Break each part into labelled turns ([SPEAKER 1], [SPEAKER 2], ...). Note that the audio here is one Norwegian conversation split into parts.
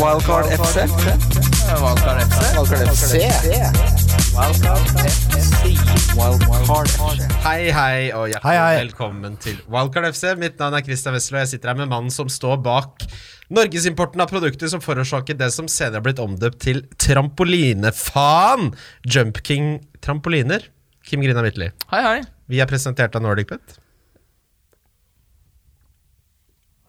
[SPEAKER 1] Wildcard FC.
[SPEAKER 2] Wildcard FC.
[SPEAKER 1] Wildcard FC. Wildcard FC.
[SPEAKER 2] Hei, hei, og hjertelig
[SPEAKER 3] Hei, hei.
[SPEAKER 2] velkommen til Wildcard FC. Mitt navn er Christian Wessel, og jeg sitter her med mannen som står bak norgesimporten av produkter som forårsaket det som senere har blitt omdøpt til trampolinefaen. Jump King Trampoliner. Kim Grina Midtly.
[SPEAKER 4] Hei, hei.
[SPEAKER 2] Vi er presentert av Nordic Pet.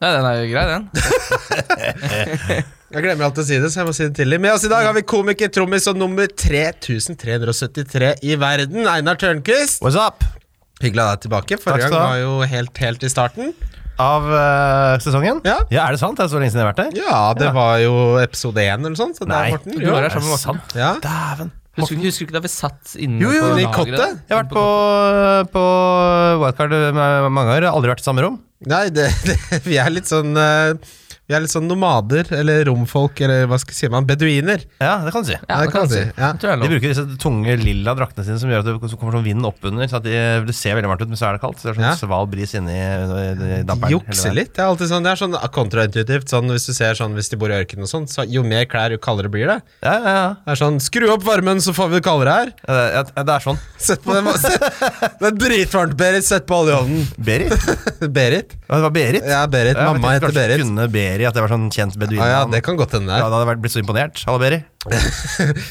[SPEAKER 4] Nei, den er jo grei, den.
[SPEAKER 2] Jeg glemmer alltid å si det, så jeg må si det tidlig. Med oss i dag har vi komiker, trommis og nummer 3373 i verden, Einar Tørnquist.
[SPEAKER 3] What's up?
[SPEAKER 2] Hyggelig å ha deg tilbake. Forrige
[SPEAKER 3] Takk skal
[SPEAKER 2] gang
[SPEAKER 3] du ha.
[SPEAKER 2] var jo helt, helt i starten.
[SPEAKER 3] Av eh, sesongen?
[SPEAKER 2] Ja.
[SPEAKER 3] Er det sant? Det er så lenge siden jeg har vært der?
[SPEAKER 2] Ja, det var jo episode én eller noe sånt. Så det
[SPEAKER 3] Nei.
[SPEAKER 2] er Morten.
[SPEAKER 4] Du var
[SPEAKER 2] Jo.
[SPEAKER 4] her sammen med Morten.
[SPEAKER 3] sant?
[SPEAKER 2] Ja.
[SPEAKER 3] Dæven.
[SPEAKER 4] Husker, du- husker du ikke da vi satt inne
[SPEAKER 2] Jo, jo,
[SPEAKER 4] på
[SPEAKER 2] i
[SPEAKER 4] lageret?
[SPEAKER 2] kottet.
[SPEAKER 3] Jeg har vært på, på wildcard med mange ganger, aldri vært i samme rom.
[SPEAKER 2] Nei, det, det, vi er litt sånn eh, Vi er litt sånn nomader, eller romfolk, eller hva skal jeg si man, beduiner.
[SPEAKER 3] Ja, det kan du si.
[SPEAKER 4] Ja, det kan du si.
[SPEAKER 2] Ja.
[SPEAKER 4] Det tror jeg er
[SPEAKER 3] De
[SPEAKER 4] lov.
[SPEAKER 3] bruker disse tunge lilla draktene sine som gjør at det som kommer sånn vind oppunder. Så at de, det ser veldig varmt ut, men så er det kaldt. Så det er sånn
[SPEAKER 2] Ja.
[SPEAKER 3] sval bris inni eh, damperen.
[SPEAKER 2] De jukser litt. Det er alltid sånn, det er sånn kontraintuitivt. Sånn, hvis du ser sånn hvis de bor i ørkenen og sånn, så jo mer klær, jo kaldere blir det.
[SPEAKER 3] Ja, ja, ja.
[SPEAKER 2] Det er sånn Skru opp varmen, så får vi det kaldere her.
[SPEAKER 3] Ja, Det er, ja, det er sånn.
[SPEAKER 2] Sett på den masse. Det er dritvarmt, Berit. Sett på oljeovnen.
[SPEAKER 3] Berit? Ja,
[SPEAKER 2] Berit?
[SPEAKER 3] det var Berit?
[SPEAKER 2] Ja, Berit.
[SPEAKER 3] Ja, jeg
[SPEAKER 2] Mamma
[SPEAKER 3] tenkte
[SPEAKER 2] heter
[SPEAKER 3] kanskje
[SPEAKER 2] Berit. Ah,
[SPEAKER 3] Kunne Beri at det var sånn kjent beduin?
[SPEAKER 2] Ja, ja, det kan godt hende det
[SPEAKER 3] ja,
[SPEAKER 2] er.
[SPEAKER 3] da hadde jeg vært- blitt så imponert. Hallo, Beri.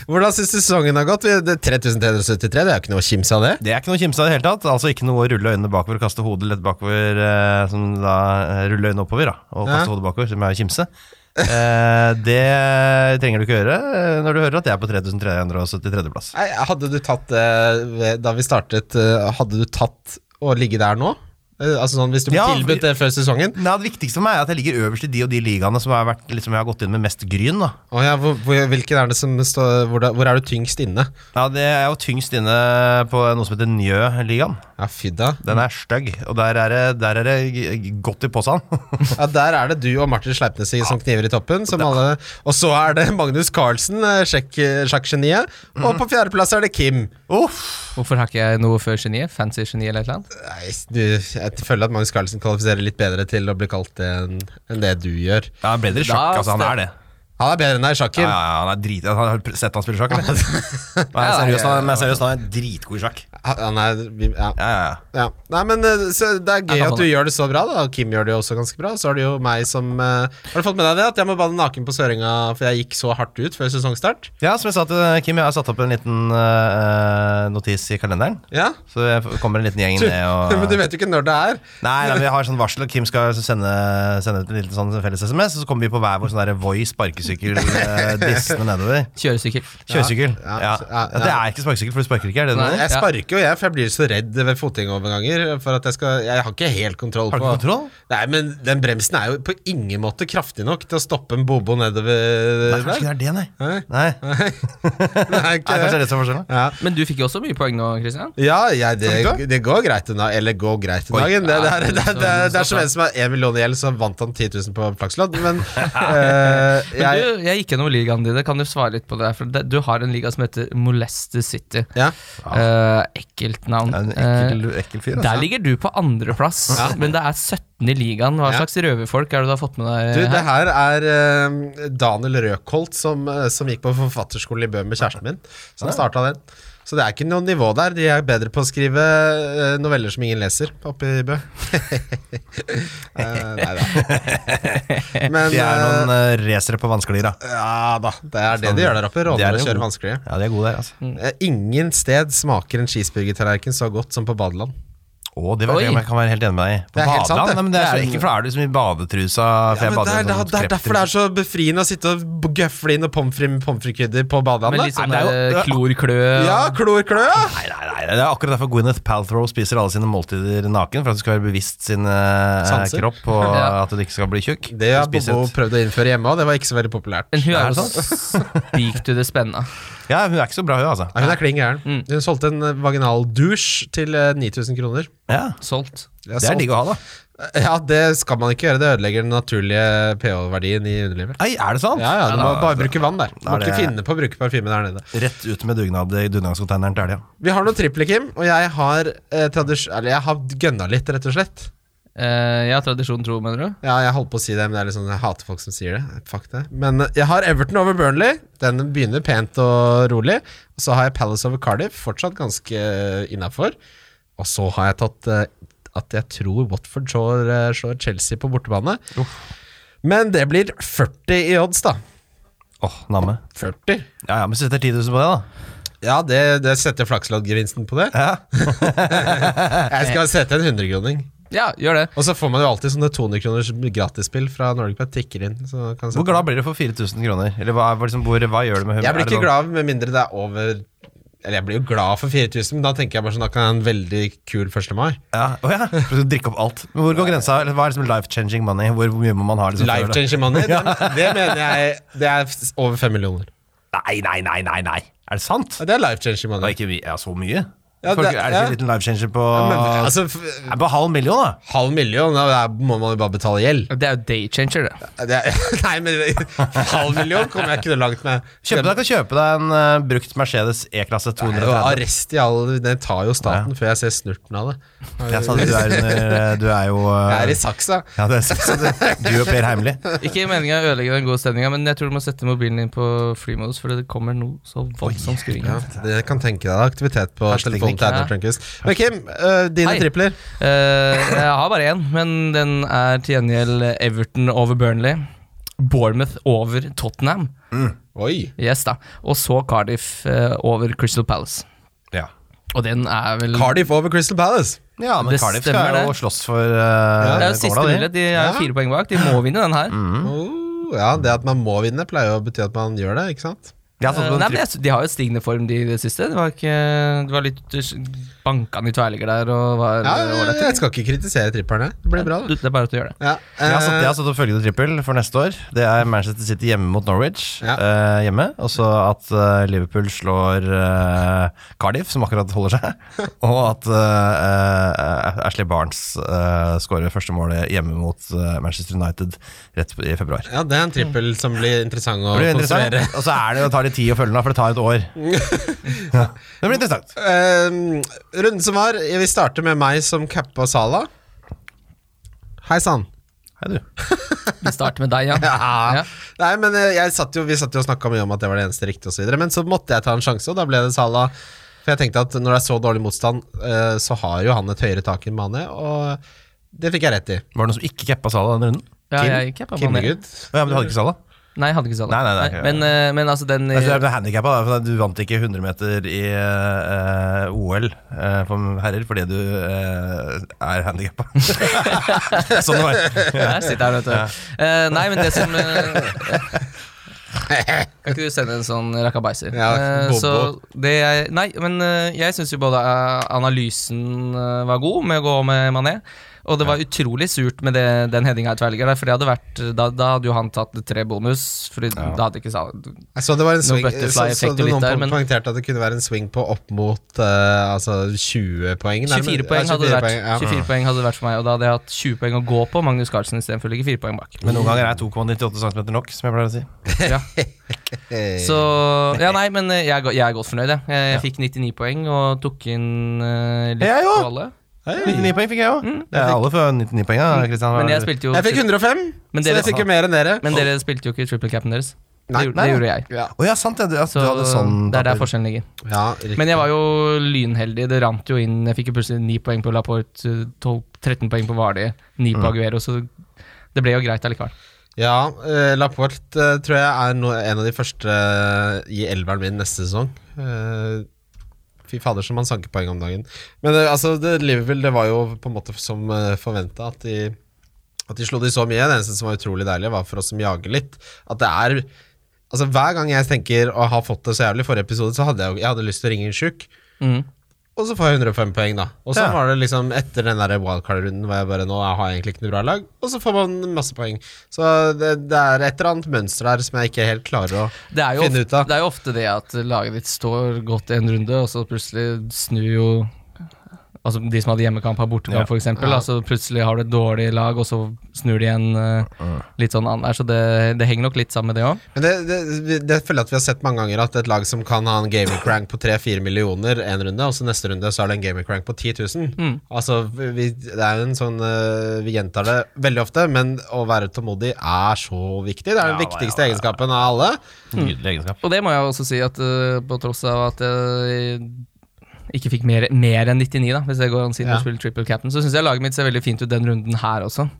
[SPEAKER 2] Hvordan syns du sesongen har gått? Vi- det- 3373, det er jo ikke noe å kimse av det.
[SPEAKER 3] Det er ikke noe å kimse av i det hele tatt. Altså ikke noe å rulle øynene bakover og kaste hodet lett bakover, eh, som da eh, rulle øynene oppover, da, og
[SPEAKER 2] Ja.
[SPEAKER 3] kaste hodet bakover, som er å kimse. Eh, det trenger du ikke gjøre eh, når du hører at jeg er på 3373. plass.
[SPEAKER 2] Nei, hadde du tatt eh, ved- Da vi startet, eh, hadde du tatt å ligge der nå? Eh, altså sånn, Hvis du ble
[SPEAKER 3] Ja,
[SPEAKER 2] tilbudt det før sesongen?
[SPEAKER 3] Nei, det viktigste for meg er at jeg ligger øverst i de og de ligaene som har vært, liksom, jeg har gått inn med mest gryn. da.
[SPEAKER 2] Å ja, hvor, hvor, hvilken er det som står hvor, da- hvor er du tyngst inne?
[SPEAKER 3] Ja, det er jo tyngst inne på noe som heter Njø-ligaen.
[SPEAKER 2] Ja, fy da.
[SPEAKER 3] Den er stygg, og der er det, der er det g- g- godt i posen.
[SPEAKER 2] Ja, der er det du og Martin Sleipnes i- som kniver i toppen. Som alle, og så er det Magnus Carlsen, eh, sjekk- sjakkgeniet. Og på fjerdeplass er det Kim.
[SPEAKER 3] Uff!
[SPEAKER 4] Hvorfor har ikke jeg noe før geniet? Fancy geni eller et eller annet?
[SPEAKER 2] Nei, du, jeg føler at Magnus Carlsen kvalifiserer litt bedre til å bli kalt det enn enn det du gjør.
[SPEAKER 3] Ja, han er bedre i sjakk,
[SPEAKER 4] Da-
[SPEAKER 3] altså. Han er det.
[SPEAKER 2] Han er bedre enn deg i
[SPEAKER 3] Ja,
[SPEAKER 2] sjakken.
[SPEAKER 3] ja, ja, han er drit... Han har pr- sett han spille sjakk, eller? Nei, seriøst, han, er- men seriøst, han er dritgod i sjakk.
[SPEAKER 2] Han er, ja.
[SPEAKER 3] Ja, ja, ja.
[SPEAKER 2] Ja. Nei, men eh, så Det er gøy
[SPEAKER 4] Jeg kan
[SPEAKER 2] at du
[SPEAKER 4] sånn.
[SPEAKER 2] gjør det så bra, da. og Kim gjør det jo også ganske bra. Så er det jo meg som eh, Har du fått med deg det? At jeg må bade naken på Sørenga, for jeg gikk så hardt ut før sesongstart.
[SPEAKER 3] Ja, som jeg sa til Kim, jeg har satt opp en liten eh, notis i kalenderen.
[SPEAKER 2] Ja.
[SPEAKER 3] Så jeg f- kommer en liten gjeng ned og
[SPEAKER 2] Men du vet jo ikke når det er.
[SPEAKER 3] Nei, nei, vi har sånn varsel, og Kim skal sende, sende et lite sånn felles SMS, og så kommer vi på hver vår sånn der Voi sparkesykkel eh, dissende nedover.
[SPEAKER 4] Kjøresykkel.
[SPEAKER 3] Kjøresykkel.
[SPEAKER 2] Ja,
[SPEAKER 3] Ja,
[SPEAKER 2] ja, ja.
[SPEAKER 3] Det er ikke sparkesykkel, for du sparker ikke, er det det?
[SPEAKER 4] Nei.
[SPEAKER 3] du mener?
[SPEAKER 2] Jeg
[SPEAKER 4] Ja.
[SPEAKER 2] sparker jo, jeg, for jeg blir så redd ved fotgjengeroverganger. For at jeg skal Jeg har ikke helt kontroll
[SPEAKER 3] Har du
[SPEAKER 2] på
[SPEAKER 3] ikke kontroll?
[SPEAKER 2] Nei, men den bremsen er jo på ingen måte kraftig nok til å stoppe en bobo
[SPEAKER 3] Nei,
[SPEAKER 2] nedover
[SPEAKER 3] kanskje ikke det er det, nei.
[SPEAKER 2] Nei.
[SPEAKER 3] Nei, nei
[SPEAKER 2] Nei, ikke
[SPEAKER 3] kanskje det er
[SPEAKER 2] det.
[SPEAKER 3] det som er forskjellen.
[SPEAKER 2] Ja.
[SPEAKER 4] Men du fikk jo også mye poeng nå, Christian.
[SPEAKER 2] Ja, jeg,
[SPEAKER 3] Kan
[SPEAKER 2] det, det går greit en dag. Eller går greit en
[SPEAKER 3] Oi.
[SPEAKER 2] dag. Det, det,
[SPEAKER 4] Ja,
[SPEAKER 2] er- det, er- det, er- det er som en som har 1 million i gjeld, så vant han 10 000 på flakslodd. Men eh,
[SPEAKER 4] Men
[SPEAKER 2] jeg
[SPEAKER 4] du, jeg gikk gjennom ligaen din. Kan du svare litt på det? her? For det, du har en liga som heter Molester City.
[SPEAKER 2] ja.
[SPEAKER 4] Eh, ekkelt navn.
[SPEAKER 3] Ja, En
[SPEAKER 4] Eh,
[SPEAKER 3] ekkel, ekkel fyr.
[SPEAKER 4] der
[SPEAKER 3] Altså.
[SPEAKER 4] ligger du på andreplass, men det er 17 i ligaen. Hva
[SPEAKER 2] Ja.
[SPEAKER 4] slags røverfolk er det du har fått med deg?
[SPEAKER 2] Du, det
[SPEAKER 4] her?
[SPEAKER 2] her er eh, Daniel Røkholt, som, eh, som gikk på forfatterskolen i Bø med kjæresten min, som starta den. Så det er ikke noe nivå der. De er bedre på å skrive eh, noveller som ingen leser, oppe i Bø. Eh, nei da. Men
[SPEAKER 3] De er
[SPEAKER 2] eh,
[SPEAKER 3] noen eh, racere på vannsklir, da.
[SPEAKER 2] ja da, det er det de gjør der oppe.
[SPEAKER 3] De er jo
[SPEAKER 2] Råner og kjører
[SPEAKER 3] gode.
[SPEAKER 2] vanskelige.
[SPEAKER 3] Ja, de er gode der,
[SPEAKER 4] Mm.
[SPEAKER 3] altså.
[SPEAKER 2] Eh, Ingen sted smaker en cheeseburgertallerken så godt som på badeland.
[SPEAKER 3] Å, det vet
[SPEAKER 4] Oi.
[SPEAKER 3] jeg om jeg kan være helt enig med deg i. På
[SPEAKER 2] Det er helt sant,
[SPEAKER 3] badeland?
[SPEAKER 2] det.
[SPEAKER 3] Nei, men det er så
[SPEAKER 2] Det er-
[SPEAKER 3] ekkelt, for da er du liksom i badetrusa. For jeg bader i sånn
[SPEAKER 2] det, er, derfor det er
[SPEAKER 3] kreptruse.
[SPEAKER 2] så befriende å sitte og b- gøfle inn og pommes frites med pommes frites-krydder på
[SPEAKER 4] Med
[SPEAKER 2] badelandet.
[SPEAKER 4] litt
[SPEAKER 3] Nei,
[SPEAKER 4] sånn
[SPEAKER 3] men det er
[SPEAKER 4] eh, klorklø.
[SPEAKER 2] Ja, klorklø! ja.
[SPEAKER 3] Nei, nei, nei, Det er akkurat derfor Gwyneth Paltrow spiser alle sine måltider naken. For at du skal være bevisst sin eh,
[SPEAKER 2] Sanser.
[SPEAKER 3] kropp, og
[SPEAKER 4] Ja.
[SPEAKER 3] at du ikke skal bli tjukk.
[SPEAKER 2] Det har
[SPEAKER 3] Du spiser
[SPEAKER 2] Bobo
[SPEAKER 3] et-
[SPEAKER 2] prøvd å innføre hjemme, og det var ikke så veldig populært.
[SPEAKER 4] Men hun
[SPEAKER 3] Er
[SPEAKER 4] er
[SPEAKER 3] det
[SPEAKER 4] jo speak to the spenna.
[SPEAKER 3] Ja, hun er ikke så bra, hun, altså.
[SPEAKER 2] Nei, hun er klin gæren.
[SPEAKER 4] Mm.
[SPEAKER 2] Hun solgte en eh, vaginal dusj til eh, 9000 kroner.
[SPEAKER 3] Ja,
[SPEAKER 4] Solgt.
[SPEAKER 2] Jeg
[SPEAKER 3] det er
[SPEAKER 2] solgte-
[SPEAKER 3] digg å ha, da.
[SPEAKER 2] Ja, det skal man ikke gjøre. Det ødelegger den naturlige pH-verdien i underlivet.
[SPEAKER 3] Nei, er det sant?
[SPEAKER 2] Ja, ja, Du må
[SPEAKER 3] da-
[SPEAKER 2] bare bruke vann der. Du
[SPEAKER 3] da
[SPEAKER 2] må
[SPEAKER 3] er
[SPEAKER 2] ikke
[SPEAKER 3] det-
[SPEAKER 2] finne på å bruke parfyme der nede.
[SPEAKER 3] Rett ut med dugnad i dugnadskonteineren til helga.
[SPEAKER 2] Vi har noen tripler, Kim, og jeg har, eh, tradis- eller jeg har gønna litt, rett og slett.
[SPEAKER 4] Eh, jeg har tradisjon tro, mener du?
[SPEAKER 2] Ja, jeg holdt på å si det, men det er liksom, jeg hater folk som sier det. Fuck det. Men eh, jeg har Everton over Burnley. Den begynner pent og rolig. Og så har jeg Palace over Cardiff, fortsatt ganske innafor. Og så har jeg tatt eh, at jeg tror Watford slår, eh, slår Chelsea på bortebane. Men det blir 40 i odds, da.
[SPEAKER 3] Åh, namme.
[SPEAKER 2] 40?
[SPEAKER 3] Ja, ja, men setter 10 000 på det, da.
[SPEAKER 2] Ja, det, det setter flaksloddgevinsten på det. jeg skal sette en 100-kroning.
[SPEAKER 4] Ja, gjør det.
[SPEAKER 2] Og så får man jo alltid sånne 200 kroners gratisspill fra Norgepet tikker inn. Så kan
[SPEAKER 3] Hvor glad blir du for 4000 kroner? Eller hva, hva liksom, hvor, hva gjør du med humøret?
[SPEAKER 2] Jeg blir
[SPEAKER 3] Er det
[SPEAKER 2] ikke
[SPEAKER 3] sånn-
[SPEAKER 2] glad med mindre det er over Eller jeg blir jo glad for 4000, men da tenker jeg bare sånn da kan jeg ha en veldig kul 1. mai.
[SPEAKER 3] Ja, oh, ja. For å drikke opp alt. Men hvor går grensa? Eller hva er liksom life-changing money? Hvor, hvor mye må man ha? Liksom, før
[SPEAKER 2] Life
[SPEAKER 3] det?
[SPEAKER 2] changer money, det, det mener jeg Det er f- over 5 millioner.
[SPEAKER 3] Nei, nei, nei, nei, nei. Er det sant?
[SPEAKER 2] Ja, Det er life changer
[SPEAKER 3] Det
[SPEAKER 2] money.
[SPEAKER 3] er ikke mye. Ja, så mye?
[SPEAKER 2] Ja,
[SPEAKER 3] Folk,
[SPEAKER 2] det-
[SPEAKER 3] er det ikke
[SPEAKER 2] ja.
[SPEAKER 3] en liten life-changer på
[SPEAKER 2] Men, altså, f-
[SPEAKER 3] er på halv million, da?
[SPEAKER 2] halv million, da da må man jo bare betale gjeld.
[SPEAKER 4] Det er jo day changer, det.
[SPEAKER 2] Det er, nei, men halv million kommer jeg ikke noe langt med.
[SPEAKER 3] Kjøpe deg, kan kjøpe deg en eh, brukt Mercedes E-klasse
[SPEAKER 2] Det er jo
[SPEAKER 3] 230.
[SPEAKER 2] Arrest i alle Det tar jo staten før jeg ser snurten av det.
[SPEAKER 3] Jeg sa det, du er, under, du er jo eh,
[SPEAKER 2] Jeg er i saksa.
[SPEAKER 3] ja, det er, så- du og Per Heimli.
[SPEAKER 4] Ikke meninga å ødelegge den gode stemninga, men jeg tror du må sette mobilen din på flymodus, for det kommer noe så voldsomt skurring.
[SPEAKER 2] Ja, det kan tenke deg aktivitet på
[SPEAKER 3] Hashtag
[SPEAKER 2] telefonen til
[SPEAKER 4] Nick.
[SPEAKER 2] Einar Tørnquist. Men Kim, øh, dine
[SPEAKER 4] Hei.
[SPEAKER 2] tripler.
[SPEAKER 4] Eh, jeg har bare én, men den er til gjengjeld Everton over Burnley. Bournemouth over Tottenham.
[SPEAKER 2] Oi.
[SPEAKER 4] Yes da Og så Cardiff eh, over Crystal Palace.
[SPEAKER 3] Ja.
[SPEAKER 4] Og den er vel
[SPEAKER 2] Cardiff over Crystal Palace.
[SPEAKER 3] ja, men
[SPEAKER 4] Det
[SPEAKER 3] Cardiff skal
[SPEAKER 4] stemmer
[SPEAKER 3] jo
[SPEAKER 4] det.
[SPEAKER 3] slåss for
[SPEAKER 4] Det
[SPEAKER 3] uh,
[SPEAKER 4] er jo siste mulighet. De er
[SPEAKER 2] Ja.
[SPEAKER 4] fire poeng bak. De må vinne den her.
[SPEAKER 2] Oh, ja, Det at man må vinne, pleier jo å bety at man gjør det, ikke sant?
[SPEAKER 3] Ja, sånn,
[SPEAKER 4] Eh, Nei, men
[SPEAKER 3] tripp-
[SPEAKER 4] jeg, sy- De har jo stigende form, de i det siste. Det var, ikke, det var litt eh, banka i tverrligger der og var
[SPEAKER 2] Ja,
[SPEAKER 4] ålreit.
[SPEAKER 2] Jeg skal ikke kritisere tripperne. Det blir bra,
[SPEAKER 4] Du-
[SPEAKER 2] det.
[SPEAKER 4] det er bare at du gjør det.
[SPEAKER 2] Ja,
[SPEAKER 3] Jeg har satt, jeg
[SPEAKER 2] eh,
[SPEAKER 3] har satt opp følgende trippel for neste år. Det er Manchester City hjemme mot Norwich.
[SPEAKER 2] Ja.
[SPEAKER 3] eh, hjemme Og så at eh, Liverpool slår eh, Cardiff, som akkurat holder seg. Og at eh, eh, Ashley Barnes eh, skårer første målet hjemme mot eh, Manchester United rett i februar.
[SPEAKER 2] ja, det er en trippel som blir interessant å
[SPEAKER 3] Det blir interessant.
[SPEAKER 2] konstruere.
[SPEAKER 3] Og så er det jo tar litt tid å følge den, da, for det tar et år. Ja. Det blir interessant.
[SPEAKER 2] Um, runden som var, jeg vil starte med meg som cappa Sala. Hei sann.
[SPEAKER 3] Hei, du.
[SPEAKER 4] Vi starter med deg, ja.
[SPEAKER 2] Ja.
[SPEAKER 4] Ja.
[SPEAKER 2] Nei, men eh, jeg satt jo, vi satt jo og snakka mye om at det var det eneste riktige, og så videre, men så måtte jeg ta en sjanse, og da ble det Sala. For jeg tenkte at når det er så dårlig motstand, eh, så har jo han et høyere tak enn Mané, og det fikk jeg rett i.
[SPEAKER 3] Var det noen som ikke cappa Sala denne runden?
[SPEAKER 4] ja
[SPEAKER 2] Kim-
[SPEAKER 4] jeg gikk jeg på Mané.
[SPEAKER 2] Kimmegutt.
[SPEAKER 3] Å ja, men du hadde ikke Sala?
[SPEAKER 4] Nei, jeg hadde ikke Salah.
[SPEAKER 3] Nei, nei, nei.
[SPEAKER 4] Men, eh, men altså, den
[SPEAKER 3] Jeg tror det er handikappa, da, for du vant ikke 100 meter i eh, OL eh, for herrer fordi du eh, er handikappa. sånn det var.
[SPEAKER 4] Der sitter han, vet du. Eh, nei, men det som eh, Kan ikke du sende en sånn rakabaiser?
[SPEAKER 2] Ja,
[SPEAKER 4] Eh,
[SPEAKER 2] bobo.
[SPEAKER 4] så det jeg Nei, men eh, jeg syns jo både eh, analysen eh, var god med å gå med Mané, og det var utrolig surt med det, den headinga i tverrligger der, for det hadde vært, da, da hadde jo han tatt tre bonus, for da hadde ikke Salah
[SPEAKER 2] Jeg så det var en swing, så,
[SPEAKER 4] butterfly-effekter
[SPEAKER 2] så det
[SPEAKER 4] litt
[SPEAKER 2] noen
[SPEAKER 4] der,
[SPEAKER 2] der,
[SPEAKER 4] men-
[SPEAKER 2] poengterte at det kunne være en swing på opp mot eh, altså 20 poeng. nærmere.
[SPEAKER 4] 24 poeng
[SPEAKER 2] Ja,
[SPEAKER 4] hadde det vært,
[SPEAKER 2] poeng, ja.
[SPEAKER 4] 24 poeng hadde det vært for meg, og da hadde jeg hatt 20 poeng å gå på Magnus Carlsen istedenfor å ligge 4 poeng bak.
[SPEAKER 3] Men noen ganger er 2,98 cm nok, som jeg pleier å si.
[SPEAKER 4] Ja.
[SPEAKER 2] Eh,
[SPEAKER 4] Så Ja, nei, men eh, jeg, er go- jeg er godt fornøyd, jeg. Jeg fikk 99 poeng og tok inn eh, litt
[SPEAKER 3] Jeg
[SPEAKER 4] på
[SPEAKER 3] òg!
[SPEAKER 4] alle.
[SPEAKER 3] Hei, 99 poeng fikk jeg
[SPEAKER 4] Mm,
[SPEAKER 3] òg. Ja, alle får 99 poeng, da, Kristian.
[SPEAKER 4] Men jeg spilte jo
[SPEAKER 2] Jeg fikk 105,
[SPEAKER 4] Men
[SPEAKER 2] så
[SPEAKER 4] dere-
[SPEAKER 2] jeg fikk jo mer enn dere.
[SPEAKER 4] Men dere spilte jo ikke triple capen deres.
[SPEAKER 2] Nei,
[SPEAKER 4] det, gjorde-
[SPEAKER 3] nei.
[SPEAKER 4] det gjorde jeg.
[SPEAKER 2] Ja,
[SPEAKER 3] Å ja, sant det. Du, altså,
[SPEAKER 4] Så
[SPEAKER 3] du hadde sånn
[SPEAKER 4] det er der forskjellen ligger.
[SPEAKER 2] ja, riktig.
[SPEAKER 4] Men jeg var jo lynheldig. Det rant jo inn. Jeg fikk jo plutselig 9 poeng på Laporte, 12, 13 poeng på Vardi, 9 på Aguero, så det ble jo greit allikevel.
[SPEAKER 2] Ja, eh, Laporte eh, tror jeg er no en av de første eh, i elveren min neste sesong. Eh, fy fader, som han sanker poeng om dagen. Men eh, altså, det, Liverpool det var jo på en måte som uh, forventa at de at de slo de så mye. Det eneste som var utrolig deilig, var for oss som jager litt. At det er Altså, hver gang jeg tenker å ha fått det så jævlig i forrige episode, så hadde jeg, jo- jeg hadde lyst til å ringe en sjuk.
[SPEAKER 4] Mm.
[SPEAKER 2] Og så får jeg 105 poeng, da. Og så
[SPEAKER 3] Ja.
[SPEAKER 2] var det liksom etter den der wildcard-runden hvor jeg bare nå jeg har egentlig ikke noe bra lag, og så får man masse poeng. Så det, det er et eller annet mønster der som jeg ikke helt klarer å
[SPEAKER 4] Det er, jo
[SPEAKER 2] Finne ut
[SPEAKER 4] ofte,
[SPEAKER 2] av.
[SPEAKER 4] det er jo ofte det at laget ditt står godt i en runde, og så plutselig snur jo altså de som hadde hjemmekamp, har
[SPEAKER 3] Ja.
[SPEAKER 4] bortekamp, for f.eks. Altså, plutselig har du et dårlig lag, og så snur de igjen eh,
[SPEAKER 2] Mm.
[SPEAKER 4] litt sånn an der. Så det, det henger nok litt sammen med det òg.
[SPEAKER 2] Men det, det, det, det føler jeg at vi har sett mange ganger, at et lag som kan ha en gaming-crank på 3-4 millioner en runde, og så neste runde så er det en gaming-crank på 10 000. Altså, vi, det er jo en sånn eh, Vi gjentar det veldig ofte, men å være tålmodig er så viktig. Det er den
[SPEAKER 3] Ja,
[SPEAKER 2] viktigste
[SPEAKER 3] ja, ja.
[SPEAKER 2] egenskapen av alle.
[SPEAKER 3] Nydelig egenskap.
[SPEAKER 4] Og det må jeg også si, at eh, på tross av at jeg ikke fikk mer, mer enn 99, da, hvis det går an siden
[SPEAKER 2] Ja.
[SPEAKER 4] jeg spiller triple cap'n, så syns jeg laget mitt ser veldig fint ut den runden her også.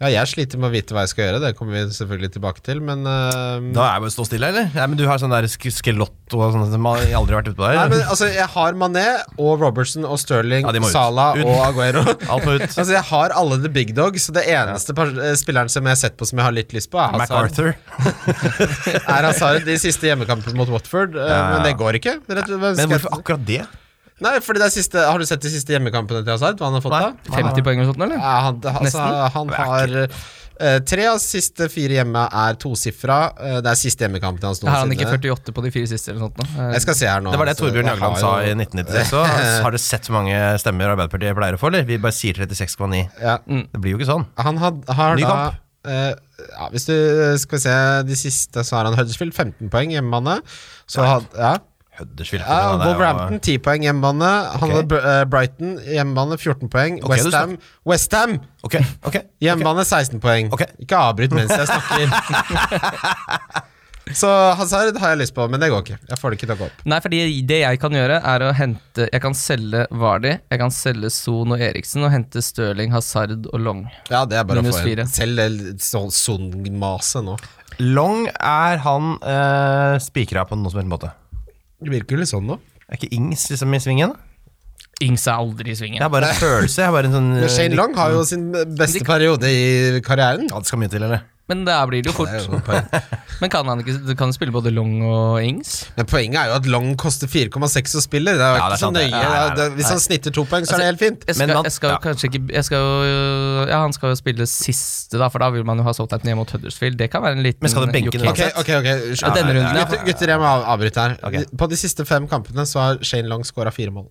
[SPEAKER 2] Ja, jeg sliter med å vite hva jeg skal gjøre, det kommer vi selvfølgelig tilbake til, men eh,
[SPEAKER 3] Da er jeg bare å stå stille, eller? Nei, men du har sånn der sk skelott og sånn som har- jeg aldri har vært ute på
[SPEAKER 2] Nei,
[SPEAKER 3] der.
[SPEAKER 2] men altså, jeg har Mané og Robertson og Sterling
[SPEAKER 3] Ja, de må ut.
[SPEAKER 2] Salah
[SPEAKER 3] Ut.
[SPEAKER 2] og Aguero.
[SPEAKER 3] Alt må ut.
[SPEAKER 2] Altså, jeg har alle the big dogs, så det eneste par- eh, spilleren som jeg har sett på som jeg har litt lyst på, er Hazard.
[SPEAKER 3] MacArthur.
[SPEAKER 2] Er Hazard de siste hjemmekampene mot Watford, eh,
[SPEAKER 3] ja.
[SPEAKER 2] men det går ikke. Rett, hva
[SPEAKER 3] Men
[SPEAKER 2] skal jeg-
[SPEAKER 3] hvorfor akkurat det?
[SPEAKER 2] Nei, fordi det er siste, Har du sett de siste hjemmekampene til Hazard? Hva han har fått da?
[SPEAKER 4] 50 poeng eller sånt, eller?
[SPEAKER 2] Ja, han, altså,
[SPEAKER 4] Nesten.
[SPEAKER 2] han har eh, Tre av siste fire hjemme er tosifra. Eh, det er siste hjemmekampen hans
[SPEAKER 4] Har han ikke
[SPEAKER 2] noensinne.
[SPEAKER 4] 48 på de fire siste eller noe sånt? nå? Eh,
[SPEAKER 2] Jeg skal se her nå.
[SPEAKER 3] Det var det
[SPEAKER 2] altså,
[SPEAKER 3] Torbjørn
[SPEAKER 2] jeg
[SPEAKER 3] Jagland sa
[SPEAKER 2] har
[SPEAKER 3] i
[SPEAKER 2] jo-
[SPEAKER 3] 1996 òg. Har du sett hvor mange stemmer Arbeiderpartiet pleier å få, eller? Vi bare sier 36,9.
[SPEAKER 2] Ja.
[SPEAKER 3] Det blir jo ikke sånn.
[SPEAKER 2] Han had, har
[SPEAKER 3] Ny
[SPEAKER 2] da
[SPEAKER 3] kamp.
[SPEAKER 2] eh, ja, Hvis du eh, skal vi se de siste, så har han Huddersfield 15 poeng hjemmebane. Så had, ja.
[SPEAKER 3] Huddersfield.
[SPEAKER 2] Ja,
[SPEAKER 3] det er jo-
[SPEAKER 2] Wolverhampton 10 poeng hjemmebane. Han
[SPEAKER 3] Ok.
[SPEAKER 2] hadde Br- eh, Brighton hjemmebane 14 poeng.
[SPEAKER 3] Ok,
[SPEAKER 2] West
[SPEAKER 3] du
[SPEAKER 2] Westham West Ham,
[SPEAKER 3] Ok, ok.
[SPEAKER 2] hjemmebane 16 poeng.
[SPEAKER 3] Ok.
[SPEAKER 2] Ikke avbryt mens jeg snakker. så Hazard har jeg lyst på, men det går ikke. Jeg får det ikke til å gå opp.
[SPEAKER 4] Nei, fordi det jeg kan gjøre, er å hente Jeg kan selge Vardi, jeg kan selge Son og Eriksen, og hente Stirling, Hazard og Long.
[SPEAKER 2] Ja, det er bare
[SPEAKER 4] Minus
[SPEAKER 2] å få
[SPEAKER 4] fire.
[SPEAKER 2] en. Selv det sånn Son-maset nå.
[SPEAKER 3] Long er han eh, spikra på noen som helst måte.
[SPEAKER 2] Det virker jo litt sånn nå.
[SPEAKER 3] Er ikke Ings liksom i svingen?
[SPEAKER 4] Ings er aldri i
[SPEAKER 3] Jeg
[SPEAKER 4] svingen.
[SPEAKER 3] har bare en følelse. Jeg har bare en sånn eh,
[SPEAKER 2] Men Shane Long har jo sin beste periode i karrieren.
[SPEAKER 3] Ja, det skal mye til, eller?
[SPEAKER 4] Men der blir det jo
[SPEAKER 2] Det er
[SPEAKER 4] fort.
[SPEAKER 2] jo et poeng.
[SPEAKER 4] Men kan han ikke kan han spille både Long og Ings?
[SPEAKER 2] Men poenget er jo at Long koster 4,6 å spille. Det er
[SPEAKER 3] Ja,
[SPEAKER 2] jo ikke
[SPEAKER 3] det er
[SPEAKER 2] så
[SPEAKER 3] sant, det.
[SPEAKER 2] nøye.
[SPEAKER 3] Ja, ja, ja.
[SPEAKER 2] Det er- Hvis han snitter to poeng,
[SPEAKER 3] Altså,
[SPEAKER 2] så er det helt fint.
[SPEAKER 4] Jeg skal,
[SPEAKER 3] Men man-
[SPEAKER 4] jeg skal
[SPEAKER 3] ja.
[SPEAKER 4] kanskje ikke jeg skal, jo- Ja, han skal jo spille siste, da, for da vil man jo ha Southampton hjemme mot Huddersfield. Det kan være en liten
[SPEAKER 3] Men skal du benke
[SPEAKER 4] joker.
[SPEAKER 3] den?
[SPEAKER 2] Ok, ok, ok
[SPEAKER 4] Ja, denne runden, ja.
[SPEAKER 2] gutter, gutter, jeg må av- avbryte her.
[SPEAKER 3] Ok.
[SPEAKER 2] På de siste fem kampene så har Shane Long scora fire mål.